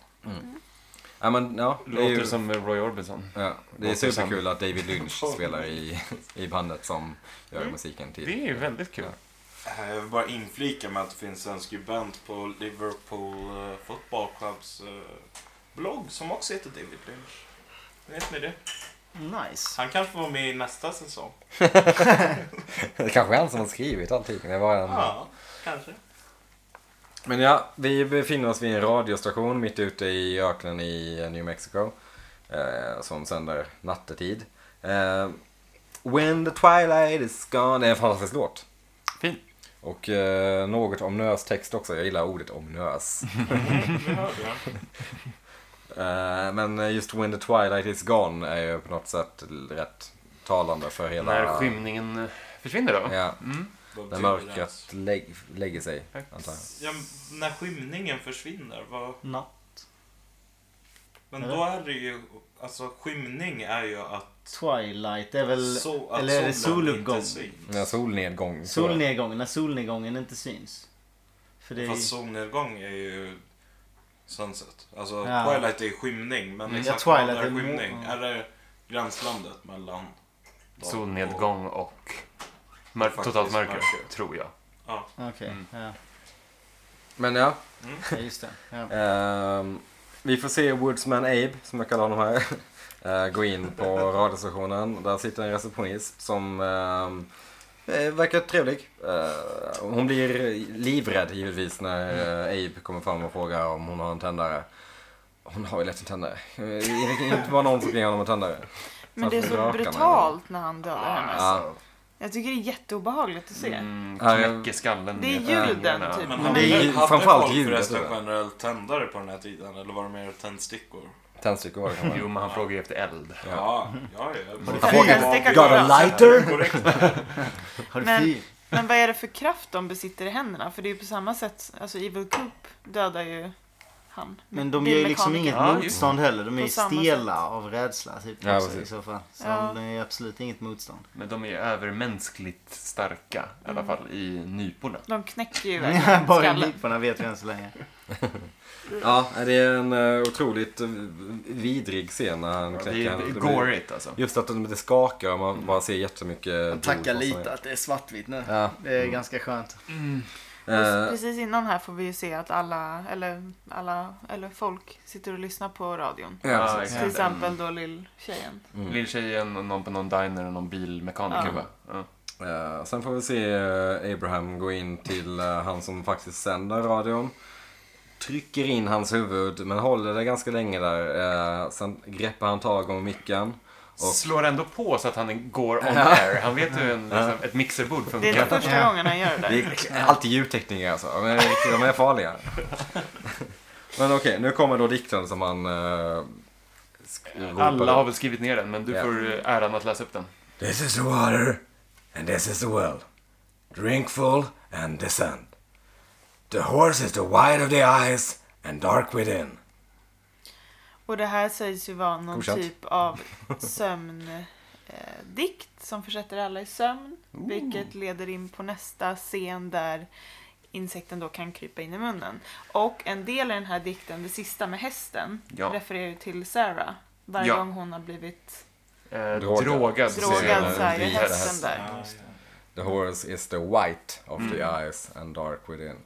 S2: Ja, men ja. Det är,
S5: Låter
S2: ju,
S5: som Roy Orbison.
S2: ja, det är
S5: låter som-
S2: superkul att David Lynch spelar i, i bandet som gör
S5: Mm.
S2: musiken till.
S5: Det är ju väldigt kul.
S1: Eh, Jag vill bara inflika med att det finns en skribent på Liverpool eh, Football Clubs eh, blogg som också heter David Lynch. Vet ni det?
S4: Nice.
S1: Han kanske var med i nästa säsong.
S2: Det kanske är han som har skrivit allting. Det var en...
S1: Ja, kanske.
S2: Men ja, vi befinner oss vid en radiostation mitt ute i öknen i New Mexico. Eh, som sänder nattetid. Eh, When the twilight is gone. Det är en fantastisk låt.
S5: Fin.
S2: Och eh, något om nös text också. Jag gillar ordet om nös.
S1: Vi hör det.
S2: eh, men just When the twilight is gone är ju på något sätt rätt talande för hela...
S5: När skymningen försvinner då?
S2: Ja,
S1: Vad
S2: när
S1: betyder
S2: mörkret lägg, lägger sig. Antar jag.
S1: det? Ja, när skymningen försvinner, vad...
S4: Natt.
S1: Men
S4: Eller?
S1: då är det ju... Alltså skymning är ju att...
S4: Twilight är väl...
S1: so- att
S4: eller är det
S1: solen
S4: soluppgång?
S1: inte syns.
S2: När solnedgång. så-
S4: Solnedgången, när solnedgången inte syns. För det är
S1: Fast solnedgång är ju sunset. Alltså
S4: Ja.
S1: twilight är ju skymning. Men
S5: Mm.
S1: exakt
S4: Ja,
S1: vad
S4: twilight
S1: är
S4: är mo-
S1: skymning?
S4: ja.
S1: Är det gränslandet mellan... dag och-
S5: Solnedgång och mör-
S1: Faktiskt
S5: totalt mörker,
S1: mörker.
S5: tror jag.
S1: Ja.
S4: Okej,
S5: Mm.
S4: ja.
S2: Men ja,
S4: ja. Just det. Ja.
S2: Ehm, vi får se Woodsman Abe, som jag kallar honom här, eh, gå in på radiostationen. Där sitter en receptionist som ehm, eh, verkar trevlig. Eh, hon blir livrädd givetvis när eh, Abe kommer fram och frågar om hon har en tändare. Hon har ju lätt en tändare. Eh, Det kan inte vara någon som kan ge honom en tändare.
S3: Men det är
S2: Varför
S3: så
S2: rakar man
S3: brutalt när han dödar
S5: Alltså.
S3: henne.
S2: Ja.
S3: Jag tycker det är jätteobehagligt att se.
S5: Mm,
S2: Ja, jag-
S5: knäcker skallen
S3: Det är
S5: med
S3: ljuden,
S5: fingrarna.
S3: typ.
S1: Men
S3: Men
S1: hade-
S2: det är ju-
S1: hade
S2: framförallt
S1: folk
S2: ljudet,
S1: förresten
S2: tror jag.
S1: generellt tändare på den här tiden? Eller var det mer tändstickor?
S2: Tändstickor var det kanske.
S5: Jo, men han frågar ju efter eld.
S2: Ja.
S1: Ja, ja, ja.
S3: frågar,
S1: Ja,
S3: "Got a
S1: det är
S2: lighter?"
S1: korrekt.
S4: Har du
S3: Men-
S4: fyr?
S3: Men vad är det för kraft de besitter i händerna? För det är ju på samma sätt, alltså Evil Coop dödar ju han.
S4: Men de gör ju liksom
S3: Bilmekaniker.
S4: inget
S5: Ja, just det.
S4: motstånd heller. De är
S3: På
S4: ju
S3: samma
S4: stela av rädsla typ,
S2: Ja,
S4: också, i
S2: precis.
S4: så fall. Så
S3: Ja.
S4: de är absolut inget motstånd.
S5: Men de är ju övermänskligt starka, i
S3: Mm.
S5: alla fall i nyporna.
S3: De knäcker ju verkligen
S4: Bara
S3: skallen.
S4: nyporna vet vi än så länge.
S2: Ja, det är en eh, otroligt eh, vidrig scen när han
S5: Ja,
S2: knäcker
S5: det är
S2: han.
S5: det är
S2: Det blir-
S5: gorigt alltså.
S2: Just att de- det skakar och man bara ser jättemycket
S4: De
S2: blod
S4: tackar
S2: på sig.
S4: lite att det är svartvitt nu.
S2: Ja.
S4: Det är ganska skönt.
S2: Eh,
S3: Precis innan här får vi ju se att alla, eller alla, eller folk sitter och lyssnar på radion.
S2: ja, Mm. precis.
S3: Till exempel då lill-tjejen.
S5: Lilltjejen och någon på någon diner och någon bilmekaniker
S3: Ja.
S5: va? Ja.
S2: Eh, sen får vi se eh, Abraham gå in till eh, han som faktiskt sänder radion. Trycker in hans huvud men håller det ganska länge där. Eh, sen greppar han tag om micken. Och-
S5: Slår ändå på så att han går on air. Han vet hur en, liksom, ett mixerbord
S3: Det är inte
S5: funkar.
S3: första gången han gör det
S2: Det
S3: där.
S2: är alltid ljudtekniker alltså. De är, de är farliga. Men okej, nu kommer då dikten som han eh, sk- ropade.
S5: Alla har väl skrivit ner den, men du
S2: Ja.
S5: får eh, äran att läsa upp den.
S2: This is the water, and this is the well. Drink full and descend. The horse is the wide of the eyes and dark within.
S3: Och det här sägs ju vara någon
S2: Godkänt.
S3: typ av sömndikt som försätter alla i sömn. Vilket leder in på nästa scen där insekten då kan krypa in i munnen. Och en del i den här dikten, det sista med hästen,
S5: Ja.
S3: refererar ju till Sarah. Varje
S5: Ja.
S3: gång hon har blivit
S5: Eh,
S2: Drogad.
S5: drogad.
S2: Drogad,
S5: säger
S3: drogad
S5: den.
S3: så är ju
S2: vita
S3: hästen
S2: hästen.
S3: där.
S2: The horse is the white of the eyes and dark within.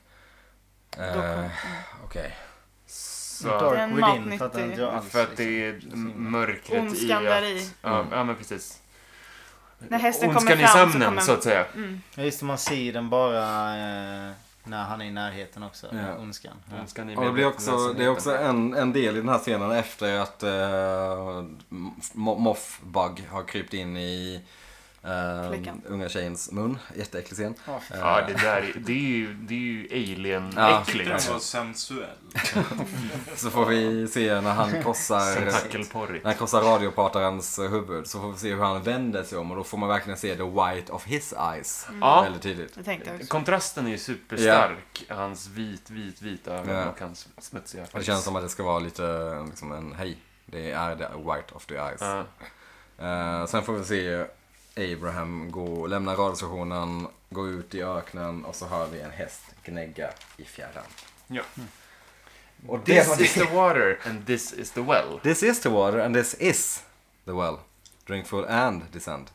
S3: Då
S2: Eh,
S3: kom-
S2: Okej.
S5: Så,
S3: Det är
S4: Dark
S3: en
S4: Within fattar
S3: matnyttig-
S4: inte jag alls.
S5: för att
S4: liksom.
S5: det är mörkret
S3: Ondskan
S5: i
S3: där
S5: att...
S3: i. Mm.
S5: Ja, ja, men precis.
S3: När hästen
S5: Ondskan
S3: kommer
S5: i
S3: fram så
S5: sömnen,
S3: kommer...
S5: så att säga.
S4: Ja, just det, man ser ju den bara eh, när han är i närheten också.
S2: Ja.
S4: Ondskan. Ja.
S5: Ondskan i
S2: Och det, blir också, det är
S5: medvetenheten.
S2: också en, en del i den här scenen efter att uh, Moffbug har krypt in i eh,
S3: Flickan.
S2: unga tjejens mun. Jätteäcklig scen. Eh,
S4: Ja, för
S5: Ja, det där är, det är ju, det är ju
S2: Ja.
S5: alien-äckligt.
S1: Tyckte den
S5: Ja. typ
S1: var sensuell.
S2: Så får vi se när han krossar,
S5: Tentakelporrigt.
S2: när han krossar radiopratarens huvud. Så får vi se hur han vänder sig om och då får man verkligen se the white of his eyes.
S5: Mm. Ja,
S2: Väldigt tydligt.
S3: Det tänkte jag också.
S5: kontrasten är ju superstark. Hans vit, vit, vita ögon
S2: Ja.
S5: och hans smutsiga
S2: Och det känns som att det ska vara lite liksom en hej. Det är the white of the eyes.
S5: Ja.
S2: Eh, sen får vi se Abraham gå, lämna radiostationen, gå ut i öknen och så hör vi en häst gnägga i fjärran.
S5: Ja.
S1: Mm.
S2: Och det var
S5: This
S2: det.
S5: is the water and this is the well.
S2: This is the water and this is the well. Drink full and descend.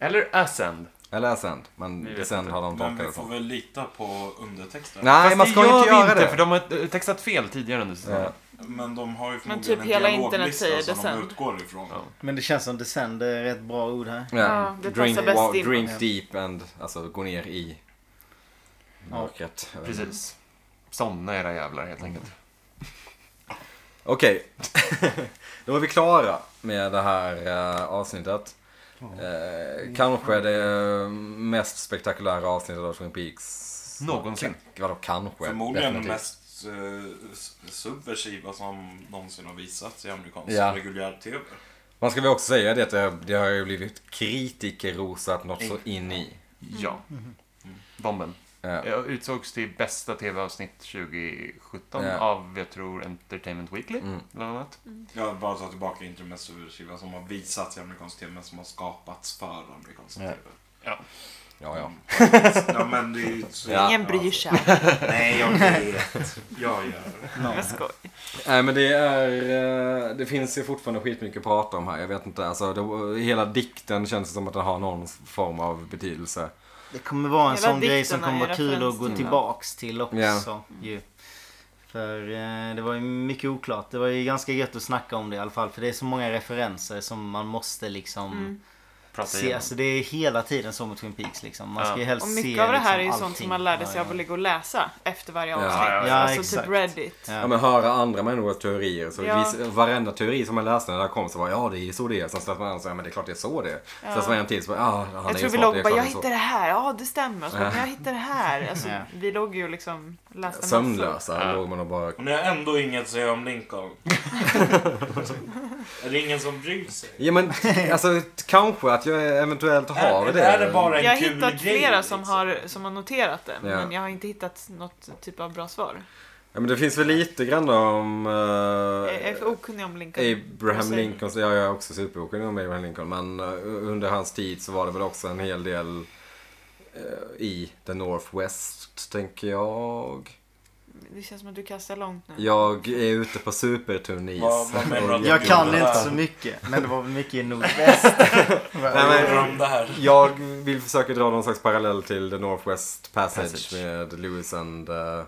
S5: Eller ascend.
S2: Eller ascend, men
S5: Vi vet
S2: descend
S5: inte.
S2: har de
S1: Men
S2: tolkat
S1: vi
S2: det
S1: får
S2: som.
S1: väl lita på undertexten.
S2: Nej,
S5: Fast
S2: man ska ju
S5: gör
S2: inte
S5: vi
S2: göra det.
S5: För de har eh, textat fel tidigare under säsongen.
S1: Men de har ju
S3: Men
S1: förmodligen
S3: typ
S1: en
S3: hela
S1: dialoglista
S3: internet säger
S1: som
S3: det
S1: de
S3: sen.
S1: utgår ifrån.
S5: Ja.
S4: Men det känns som descend är ett bra ord här.
S2: Ja,
S3: Ja, det
S2: drink,
S3: passar bäst
S2: wa-
S3: in.
S2: drink
S4: Ja.
S2: deep and, alltså gå ner i
S4: Ja.
S2: mörkret. Jag vet inte.
S5: Precis. Somna era jävlar helt enkelt.
S2: Okej, då är vi klara med det här eh, avsnittet. Eh, kanske det eh, mest spektakulära avsnittet av Twin Peaks.
S5: Någonsin.
S2: Vadå kanske?
S1: Förmodligen
S2: Definitivt.
S1: mest eh, s- subversiva som någonsin har visats i amerikansk
S2: Ja.
S1: reguljär-tv.
S2: Man ska väl också säga det att det, det har ju blivit kritikerrosat något så in i.
S3: Mm.
S5: Ja. Bomben.
S2: Eh,
S5: Jag utsågs till bästa tv-avsnitt 2017
S2: Ja.
S5: av, jag tror, Entertainment Weekly.
S2: Mm.
S5: Bland annat.
S1: Jag vill bara ta tillbaka inte det mest subversiva som har visats i amerikansk tv men som har skapats för amerikansk
S2: Ja.
S1: tv.
S2: ja, ja.
S1: Ja, men det är ju så...
S2: Ja.
S3: Ingen bryr sig.
S1: Nej, jag vet. Jag gör det.
S3: Jag skojar.
S2: Nej men det är, eh, det finns ju fortfarande skitmycket att prata om här. Jag vet inte, alltså det, hela dikten känns som att den har någon form av betydelse.
S4: Det kommer vara en
S3: Hela
S4: sån grej som
S3: dikterna
S4: kommer
S3: är
S4: vara kul att gå
S3: referenstilla.
S4: tillbaks till också.
S2: Ja.
S4: Ju. För eh, det var ju mycket oklart. Det var ju ganska gött att snacka om det i alla fall. För det är så många referenser som man måste liksom
S3: Mm.
S5: Prata
S4: se.
S5: igenom.
S4: Alltså det är hela tiden så med Twin Peaks liksom. Man ska ju
S5: Ja.
S4: helst
S3: Och
S4: se
S3: mycket av det här är ju
S4: liksom
S3: sånt som
S4: allting.
S3: man lärde sig
S4: Ja,
S3: av att ligga och läsa efter varje
S2: Ja,
S3: avsnitt.
S5: ja,
S4: ja.
S3: alltså
S4: Ja,
S3: typ
S4: exakt.
S3: Reddit.
S2: Ja men höra andra människors teorier. Så
S3: Ja.
S2: vis, varenda teori som man läste när det kom så var ja det är så det är. Sen släppte man an så ja men det är klart det är så det är.
S3: Ja.
S2: Sen så var det en till så bara ja han är
S3: jag
S2: ju
S3: tror vi
S2: smart,
S3: låg
S2: det
S3: och
S2: är
S3: bara,
S2: klart
S3: jag
S2: det är så.
S3: hittade det här, ja det stämmer. Och Så,
S2: Ja.
S3: bara, men jag hittade det här. Alltså,
S4: Ja.
S3: Vi låg ju och liksom läste massor.
S2: Sömnlösa
S5: Ja.
S2: låg man och bara
S1: Och ni har ändå inget att säga om Lincoln. är det ingen som bryr sig?
S2: Ja men alltså kanske att att jag eventuellt har
S1: Är-
S2: det.
S1: är det bara-
S3: Jag har
S1: en kul
S3: hittat
S1: grej,
S3: flera som,
S1: liksom.
S3: har, som har noterat det,
S2: Ja.
S3: men jag har inte hittat något typ av bra svar.
S2: Ja, men det finns väl lite grann om... eh,
S3: Jag är för okunnig om Lincoln.
S2: Abraham
S3: Hussein.
S2: Lincoln, ja, jag är också superokunnig om Abraham Lincoln, men eh, under hans tid så var det väl också en hel del eh, i the Northwest, tänker jag.
S3: Det känns som att du kastar långt nu.
S2: Jag är ute på supertunnis.
S1: Vad- vad menar du att-
S4: Jag kan
S1: Ja.
S4: inte så mycket, men det var väl mycket i nordväst.
S2: Nej, men-
S1: Vad gjorde de där?
S2: Jag vill försöka dra någon slags parallell till the Northwest Passage,
S5: Passage.
S2: med Lewis and eh,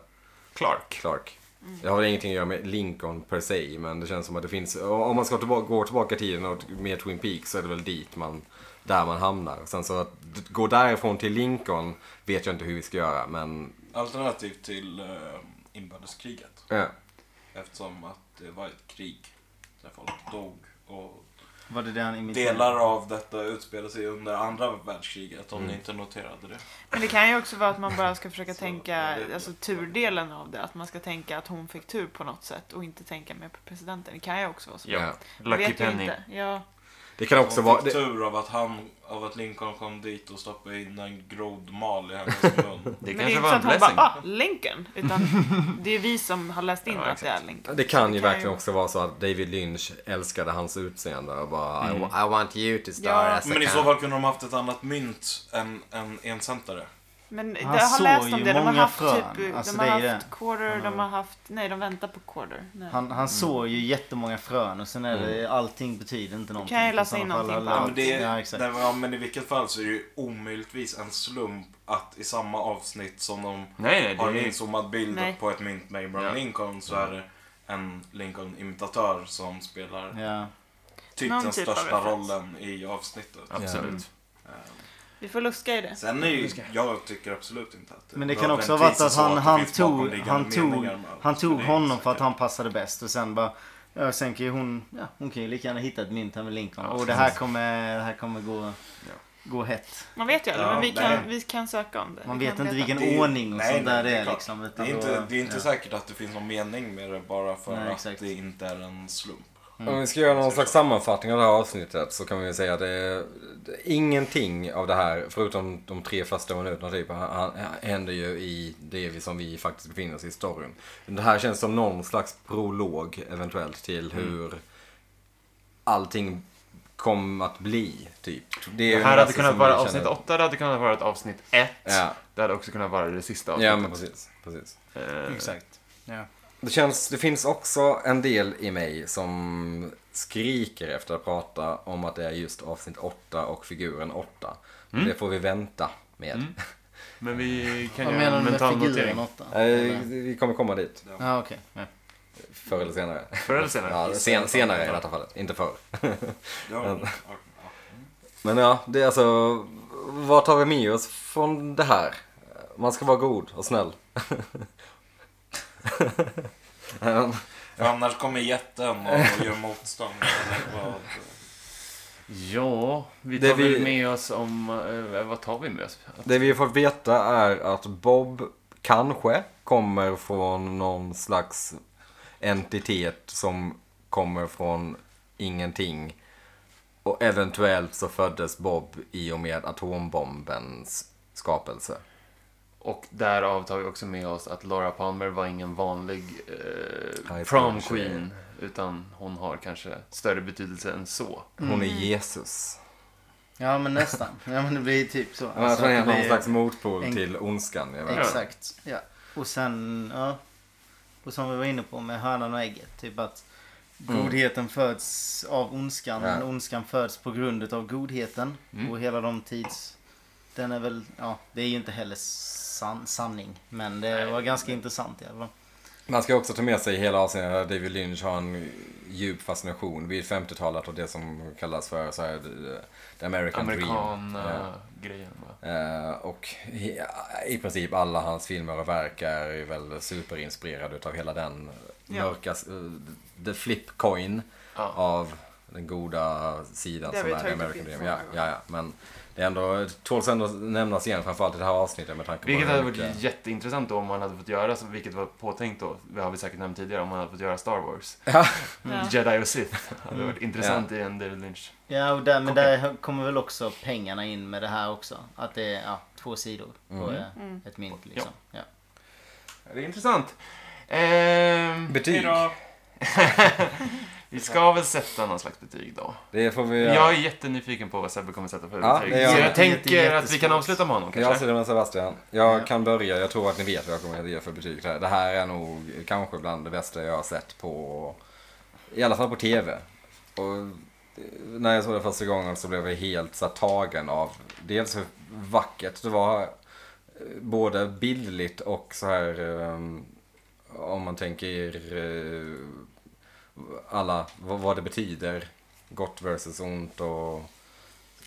S5: Clark.
S2: Clark. Det har väl ingenting att göra med Lincoln per se, men det känns som att det finns, om man ska tillbaka, gå tillbaka i tiden och med Twin Peaks så är det väl dit man, där man hamnar. Sen så att d- gå därifrån till Lincoln vet jag inte hur vi ska göra, men
S1: Alternativ till eh, inbördeskriget.
S2: ja.
S1: Eftersom att det var ett krig där folk dog. Och
S4: Var det det han imiterade?
S1: delar av detta utspelade sig under andra världskriget om ni
S2: Mm.
S1: inte noterade det.
S3: Men det kan ju också vara att man bara ska försöka
S1: Så,
S3: tänka,
S1: jag vet
S3: alltså
S1: inte.
S3: turdelen av det. Att man ska tänka att hon fick tur på något sätt och inte tänka mer på presidenten. Det kan ju också vara så.
S5: Ja.
S2: Ja.
S3: Jag
S5: Lucky
S3: vet ju
S5: Penny.
S3: inte. Ja.
S2: det kan också vara...
S1: Hon
S2: Det,
S1: fick tur av att, han, av att Lincoln kom dit och stoppade in en groddmal i hennes mun.
S5: Det
S3: Men det är
S5: kanske
S3: inte
S5: var
S3: så
S5: en
S3: att hon
S5: blessing.
S3: bara, ah, Lincoln. Utan det är vi som har läst in
S5: Ja,
S3: att det är Lincoln.
S2: det kan ju
S3: Det kan
S2: verkligen
S3: ju-
S2: också vara så att David Lynch älskade hans utseende och bara I, wa- I want you to star
S3: Ja.
S2: as a
S1: Mm. Men i
S2: cat."
S1: så fall kunde de haft ett annat mynt än en encentare.
S3: Men jag
S4: Han
S3: har
S4: såg
S3: läst om
S4: ju
S3: det. De har
S4: många
S3: haft
S4: frön.
S3: typ,
S4: Alltså,
S3: de har
S4: det är
S3: haft
S4: ju
S3: quarter,
S4: Han har-
S3: de har haft, nej de väntar på quarter. Nej.
S4: Han,
S1: Mm.
S4: han såg ju jättemånga frön och sen är det allting betyder inte någonting.
S3: kan ju
S4: I
S3: läsa in
S4: sådana fall
S3: någonting
S4: hade
S1: Ja,
S3: på
S4: allt-
S1: men, det är,
S4: Ja, exakt.
S1: nej, men- ja, men i vilket fall så är det ju omöjligtvis en slump att i samma avsnitt som de
S5: Nej,
S1: har en
S5: nej, det är
S1: inzoomad bild
S3: Nej.
S1: på ett mynt med Abraham
S5: Ja.
S1: Lincoln så är det en Lincoln-imitatör som spelar
S4: Ja.
S1: typ
S3: Någon
S1: den
S3: typ av
S1: största
S3: referens.
S1: rollen i avsnittet.
S5: absolut.
S1: Eh,
S3: Vi får luska i det.
S1: Sen är ju, jag tycker absolut inte att
S4: Men det kan
S1: behöver
S4: också ha varit
S1: visa
S4: att
S1: så
S4: han,
S1: det
S4: han,
S1: finns
S4: tog,
S1: bakomliggande
S4: han, tog,
S1: meningar med allt.
S4: han
S1: Så
S4: tog
S1: det är
S4: honom för att
S1: säkert-
S4: han passade bäst och sen bara Ja, sen kan ju hon, ja, hon kan ju lika gärna hitta ett mynt här med Lincoln.
S5: Ja,
S4: och det här kommer, det här kommer gå, gå hett.
S3: Man vet ju aldrig,
S1: Ja,
S3: men vi
S1: nej.
S3: kan, vi kan söka om det.
S4: Man
S3: Vi
S4: vet
S3: kan
S4: inte
S3: leta.
S4: vilken
S1: Det är ju-
S4: ordning och
S1: nej,
S4: sånt
S1: nej,
S4: där
S1: det
S4: det
S1: är
S4: är
S1: klart.
S4: liksom.
S1: Det
S4: utan
S1: är inte,
S4: då-
S1: det är inte
S4: ja.
S1: säkert att det finns någon mening med det bara för
S4: Nej,
S1: att
S4: exakt.
S1: det inte är en slump.
S5: Mm.
S2: Om vi ska göra någon slags sammanfattning av det här avsnittet så kan vi väl säga att det är, det är ingenting av det här, förutom de tre första minuterna typ, han- han- händer ju i det vi, som vi faktiskt befinner oss i storyn. Det här känns som någon slags prolog eventuellt till
S5: Mm.
S2: hur allting kom att bli, typ. Det, är
S5: Det
S2: ju
S5: här hade
S2: nästan
S5: kunnat
S2: som
S5: vara
S2: vi känner-
S5: avsnitt 8, det hade kunnat vara ett avsnitt 1.
S2: Ja.
S5: Det hade också kunnat vara det sista
S2: Ja,
S5: avsnittet.
S2: men precis. precis.
S5: Eh,
S4: Exakt. Ja.
S2: Det, känns, det finns också en del i mig som skriker efter att prata om att det är just avsnitt 8 och figuren 8. Det får vi vänta med.
S5: men vi kan
S4: Vad
S5: göra
S4: menar
S5: en
S4: du med
S5: mental
S4: figuren
S5: notering.
S4: åtta?
S2: Eh, Vi kommer komma dit,
S4: Ja, okej. Ja.
S2: förr eller senare.
S5: Förr eller senare.
S2: Ja, sen, senare i detta fallet, inte förr.
S1: Ja,
S2: Men-
S1: ja, ja.
S2: Men ja, det är alltså, vad tar vi med oss från det här? Man ska vara god och snäll. Eh,
S1: För annars kommer jätten och gör motstånd. Eller vad-
S5: Ja, vi
S2: Det
S5: tar
S2: vi-
S5: väl med oss om... eh, vad tar vi med oss?
S2: Det vi får veta är att Bob kanske kommer från någon slags entitet som kommer från ingenting. Och eventuellt så föddes Bob i och med atombombens skapelse.
S5: Och därav tar vi också med oss att Laura Palmer var ingen vanlig eh,
S2: High
S5: prom
S2: school-tjej.
S5: queen. Utan hon har kanske större betydelse än så.
S2: Hon är Jesus.
S4: ja, men nästan. Ja, men det blir typ så.
S2: Hon alltså,
S4: det
S2: är någon
S4: blir-
S2: slags motpol
S4: en-
S2: till ondskan. Jag vet.
S4: Exakt. Ja. Och sen, ja. Och som vi var inne på med hönan och ägget. Typ att godheten föds av ondskan.
S2: Ja.
S4: Men ondskan föds på grund av godheten. Och hela de tids... Den är väl, ja, det är ju inte heller san, sanning. Men det var ganska intressant i alla fall.
S2: Man ska också ta med sig i hela avsnittet att David Lynch har en djup fascination vid 50-talet och det som kallas för så här, eh, the American Dream. Ja.
S5: Amerikan-grejen. va?
S2: Eh, och i, i princip alla hans filmer och verk är ju väl superinspirerade utav hela den
S3: Ja.
S2: mörka, eh, the flip coin
S5: Ja.
S2: av den goda sidan
S3: Det har
S2: som
S3: vi
S2: är The
S3: tagit upp
S2: American Dream.
S3: inför
S2: Ja,
S3: många gånger.
S2: ja, ja. Men det är ändå, tåls ändå nämnas igen, framförallt i det här avsnittet med tanke
S5: Vilket
S2: på hur
S5: hade varit
S2: mycket-
S5: jätteintressant då om man hade fått göra, så- vilket var påtänkt då, det har vi säkert nämnt tidigare, om man hade fått göra Star Wars.
S3: Ja.
S5: Jedi och Sith hade
S2: Mm.
S5: varit intressant i en David Lynch.
S4: Ja, och där, men
S5: Okej.
S4: där kommer väl också pengarna in med det här också. Att det är ja, två sidor på
S2: Mm.
S4: eh, ett mynt liksom. Ja.
S5: Det är intressant. Ehm,
S2: betyg.
S1: Hejdå!
S5: vi ska väl sätta någon slags betyg då.
S2: Det får vi
S5: Jag är jättenyfiken på vad Sebbe kommer sätta för
S2: Ja,
S5: betyg.
S2: det gör
S5: Så
S2: jag.
S5: jag tänker att vi
S4: Jättesvårt.
S5: kan avsluta med honom
S2: Jag
S5: kanske.
S2: ser det med Sebastian. Jag
S4: Ja.
S2: kan börja. Jag tror att ni vet vad jag kommer att ge för betyg. till Det här. Det här är nog kanske bland det bästa jag har sett på, i alla fall på TV. Och eh, när jag såg det första gången så blev jag helt så här, tagen av dels hur vackert det var. eh, Både bildligt och så här eh, om man tänker eh, alla, vad, vad det betyder. Gott versus ont och,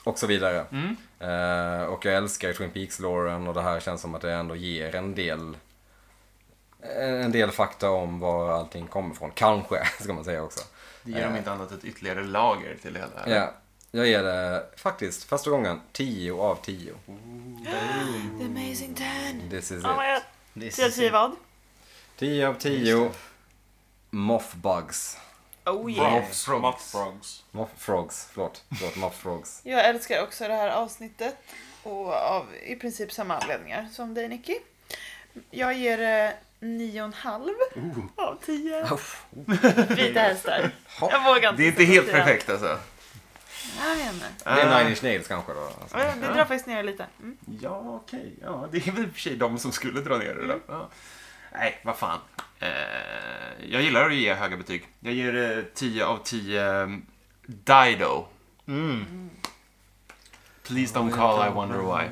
S2: och så vidare.
S5: Mm.
S2: Eh, och jag älskar Twin Peaks-loren och det här känns som att det ändå ger en del eh, en del fakta om var allting kommer ifrån. Kanske, ska man säga också.
S5: Det ger om
S2: Eh.
S5: inte annat ett ytterligare lager till det hela.
S2: Ja, jag ger det faktiskt första gången 10 av 10.
S3: The Amazing Ten!
S2: This is
S3: Oh my
S2: it.
S3: god.
S4: Det är
S3: Tio av
S4: så-
S3: tio vad?
S2: 10 av 10. Moth bugs.
S3: Oh yeah.
S1: Frogs.
S5: Frogs.
S1: Muffrogs.
S2: Moth frogs, förlåt. Förlåt, moth frogs.
S3: Jag älskar också det här avsnittet. Och av i princip samma anledningar som dig Nicky. Jag ger eh, det 9,5 av 10. Vita hästar. Jag vågar inte.
S5: Det är inte helt
S3: sätta
S5: perfekt alltså.
S3: fyra. Jag vet inte.
S2: Det är Nine Inch Nails kanske då. Alltså.
S3: Ja, Det drar faktiskt ner det lite. Mm.
S5: Ja, okej. Ja, det är väl i och för sig de som skulle dra ner det då. Ja. Nej, vad fan. Eh, jag gillar att ge höga betyg. Jag ger eh, 10 av 10 um, Dido.
S4: Mm.
S5: Please don't call, I wonder why.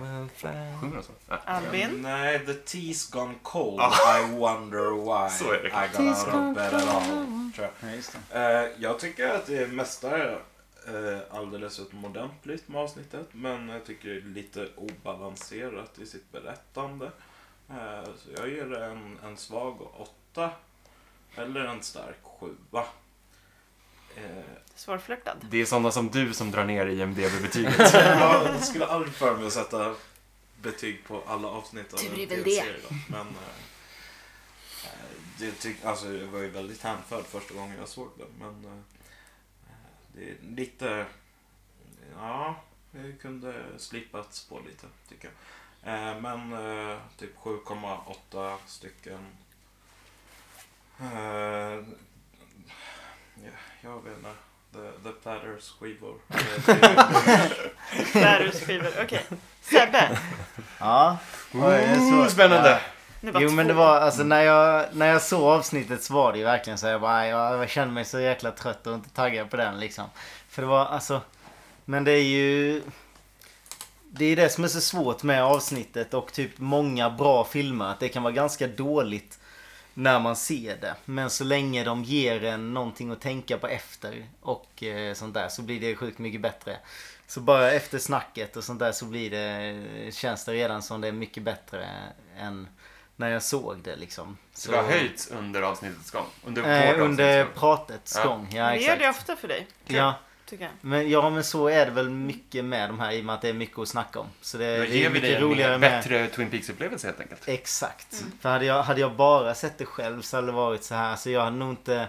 S5: Sjunger de så? Ja.
S3: Albin.
S1: Nej, the tea's gone cold.
S5: Ah.
S1: I wonder why.
S5: Så är det.
S1: I got out of bed at all. Tror jag.
S4: Ja, just det.
S1: Eh, jag tycker att det mästar eh, alldeles utomordentligt med avsnittet. Men jag tycker det är lite obalanserat i sitt berättande. Eh, så jag ger det en, en svag åtta. Eller en stark sjua. Eh,
S3: Svårflörtad.
S5: Det är sådana som du som drar ner IMDB-betyget.
S1: jag skulle aldrig för mig att sätta betyg på alla avsnitt av
S3: Tur är
S1: en
S3: väl
S1: tv-serie. då. Men eh, eh, det tyck, alltså, jag var ju väldigt hänförd första gången jag såg den. Men eh, det är lite... Ja, det kunde slipats på lite tycker jag. Eh, men eh, typ 7,8 stycken. Eh, ja, jag vet inte. The, the Platters skivor. Eh, det-
S3: Bärusskivor. Okej. Sebbe.
S4: Ja. Oj, det är svårt.
S5: spännande!
S3: Nu bara
S4: Jo men
S3: två.
S4: det var alltså när jag, när jag såg avsnittet så var det ju verkligen så jag bara jag, jag kände mig så jäkla trött och inte taggad på den liksom. För det var alltså Men det är ju Det är det som är så svårt med avsnittet och typ många bra filmer att det kan vara ganska dåligt när man ser det. Men så länge de ger en någonting att tänka på efter och eh, sånt där så blir det sjukt mycket bättre. Så bara efter snacket och sånt där så blir det, eh, känns det redan som det är mycket bättre än när jag såg det liksom.
S5: Så det har höjts under avsnittets gång. Under vårt
S4: Eh,
S5: avsnitt,
S4: under
S5: så.
S4: pratets
S5: liksom? Ja.
S4: gång. Ja,
S3: Vi gör
S4: exakt.
S3: det ofta för dig.
S4: Ja,
S3: Tycker jag.
S4: men, ja, men så är det väl mycket med de här i och med att det är mycket att snacka om. Så det,
S5: Då
S4: det
S5: ger
S4: är
S5: vi dig
S4: mycket
S5: en
S4: roligare
S5: mer-
S4: med... Eh.
S5: bättre Twin Peaks-upplevelse helt enkelt.
S4: Exakt. För hade jag, hade jag bara sett det själv så hade det varit så här. Så jag hade nog inte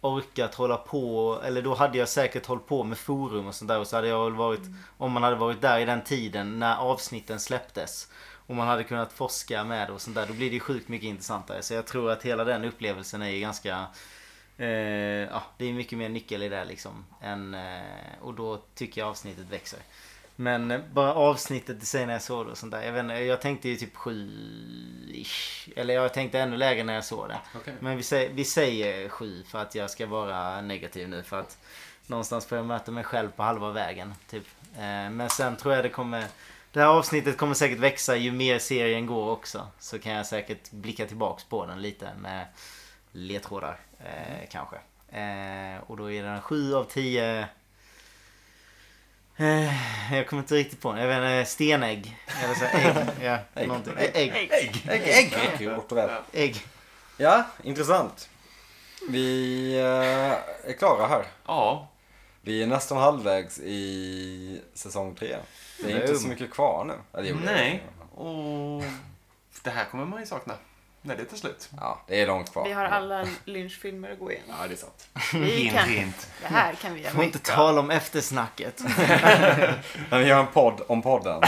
S4: orkat hålla på. Eller då hade jag säkert hållit på med forum och sånt där. Och så hade jag väl varit, om man hade varit där i den tiden när avsnitten släpptes. Och man hade kunnat forska med det och sånt där. Då blir det ju sjukt mycket intressantare. Så jag tror att hela den upplevelsen är ju ganska... Eh, ja, det är mycket mer nyckel i det liksom. Än, eh, och då tycker jag avsnittet växer. Men eh, bara avsnittet i sig när jag såg det och sånt där. Jag, vet inte, jag tänkte ju typ 7-ish. Eller jag tänkte ännu lägre när jag såg det.
S5: Okej.
S4: Men vi säger, vi säger 7 för att jag ska vara negativ nu. För att någonstans får jag möta mig själv på halva vägen. Typ. Eh, Men sen tror jag det kommer... Det här avsnittet kommer säkert växa ju mer serien går också. Så kan jag säkert blicka tillbaks på den lite med ledtrådar. Eh, kanske. Eh, och då är den 7 av 10... Eh, jag kommer inte riktigt på den. Jag vet inte, stenägg. Eller så här, ägg. Ja,
S2: Ägg.
S4: någonting. Ä- Ägg.
S3: Ägg.
S2: Ägg! Kort och väl.
S4: Ägg.
S2: Ja, intressant. Vi eh, är klara här.
S5: Ja,
S2: Vi är nästan halvvägs i säsong tre. Det är inte så mycket kvar nu. Eller, jo, det är
S5: Nej,
S2: det.
S5: och det här kommer man ju sakna när det tar slut.
S2: Ja, det är långt kvar.
S3: Vi har alla Lynch-filmer att gå igenom.
S5: Ja, det är sant.
S3: Vi kan, det här kan vi göra
S4: Får inte
S3: mycket av.
S4: tala om eftersnacket.
S2: Men vi gör en podd om podden.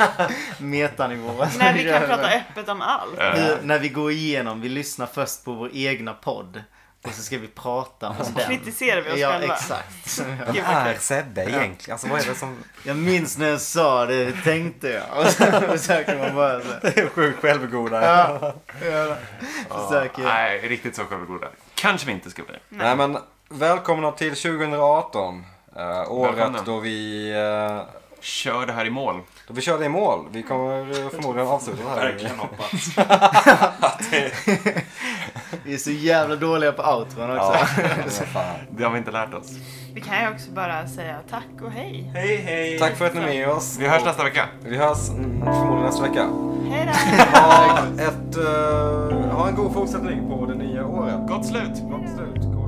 S4: Metanivå.
S3: När vi kan prata öppet om allt.
S4: Nu, när vi går igenom, vi lyssnar först på vår egna podd. Och så ska vi prata
S3: Alltså,
S4: om den.
S3: Kritiserar vi oss
S4: ja,
S3: själva.
S4: exakt.
S2: Vem
S3: Gud, vad
S2: är
S3: kul.
S2: Sebbe egentligen? Alltså vad är det som...
S4: Jag minns när jag sa det, hur tänkte jag. Och så försöker man bara så. här.
S2: Sjukt självgoda.
S4: Ja, Försöker.
S5: Nej, riktigt så självgoda. Kanske vi inte ska bli.
S2: Nej. men välkomna till 2018. eh, året
S5: Välkomna.
S2: då vi, eh,
S5: Kör det här i mål.
S2: då vi körde i mål. Vi kommer eh, förmodligen avsluta det här.
S1: Verkligen hoppas.
S4: Vi är så jävla dåliga på outron också.
S2: Ja, men fan.
S5: Det har vi inte lärt oss.
S3: Vi kan ju också bara säga tack och hej.
S1: Hej, hej!
S2: Tack för att ni är med oss.
S5: Vi hörs nästa vecka.
S2: Vi hörs mm, förmodligen nästa vecka.
S3: Hej då!
S2: Ha, ett, eh, ha en god fortsättning på det nya året.
S5: Gott slut!
S2: Gott slut. God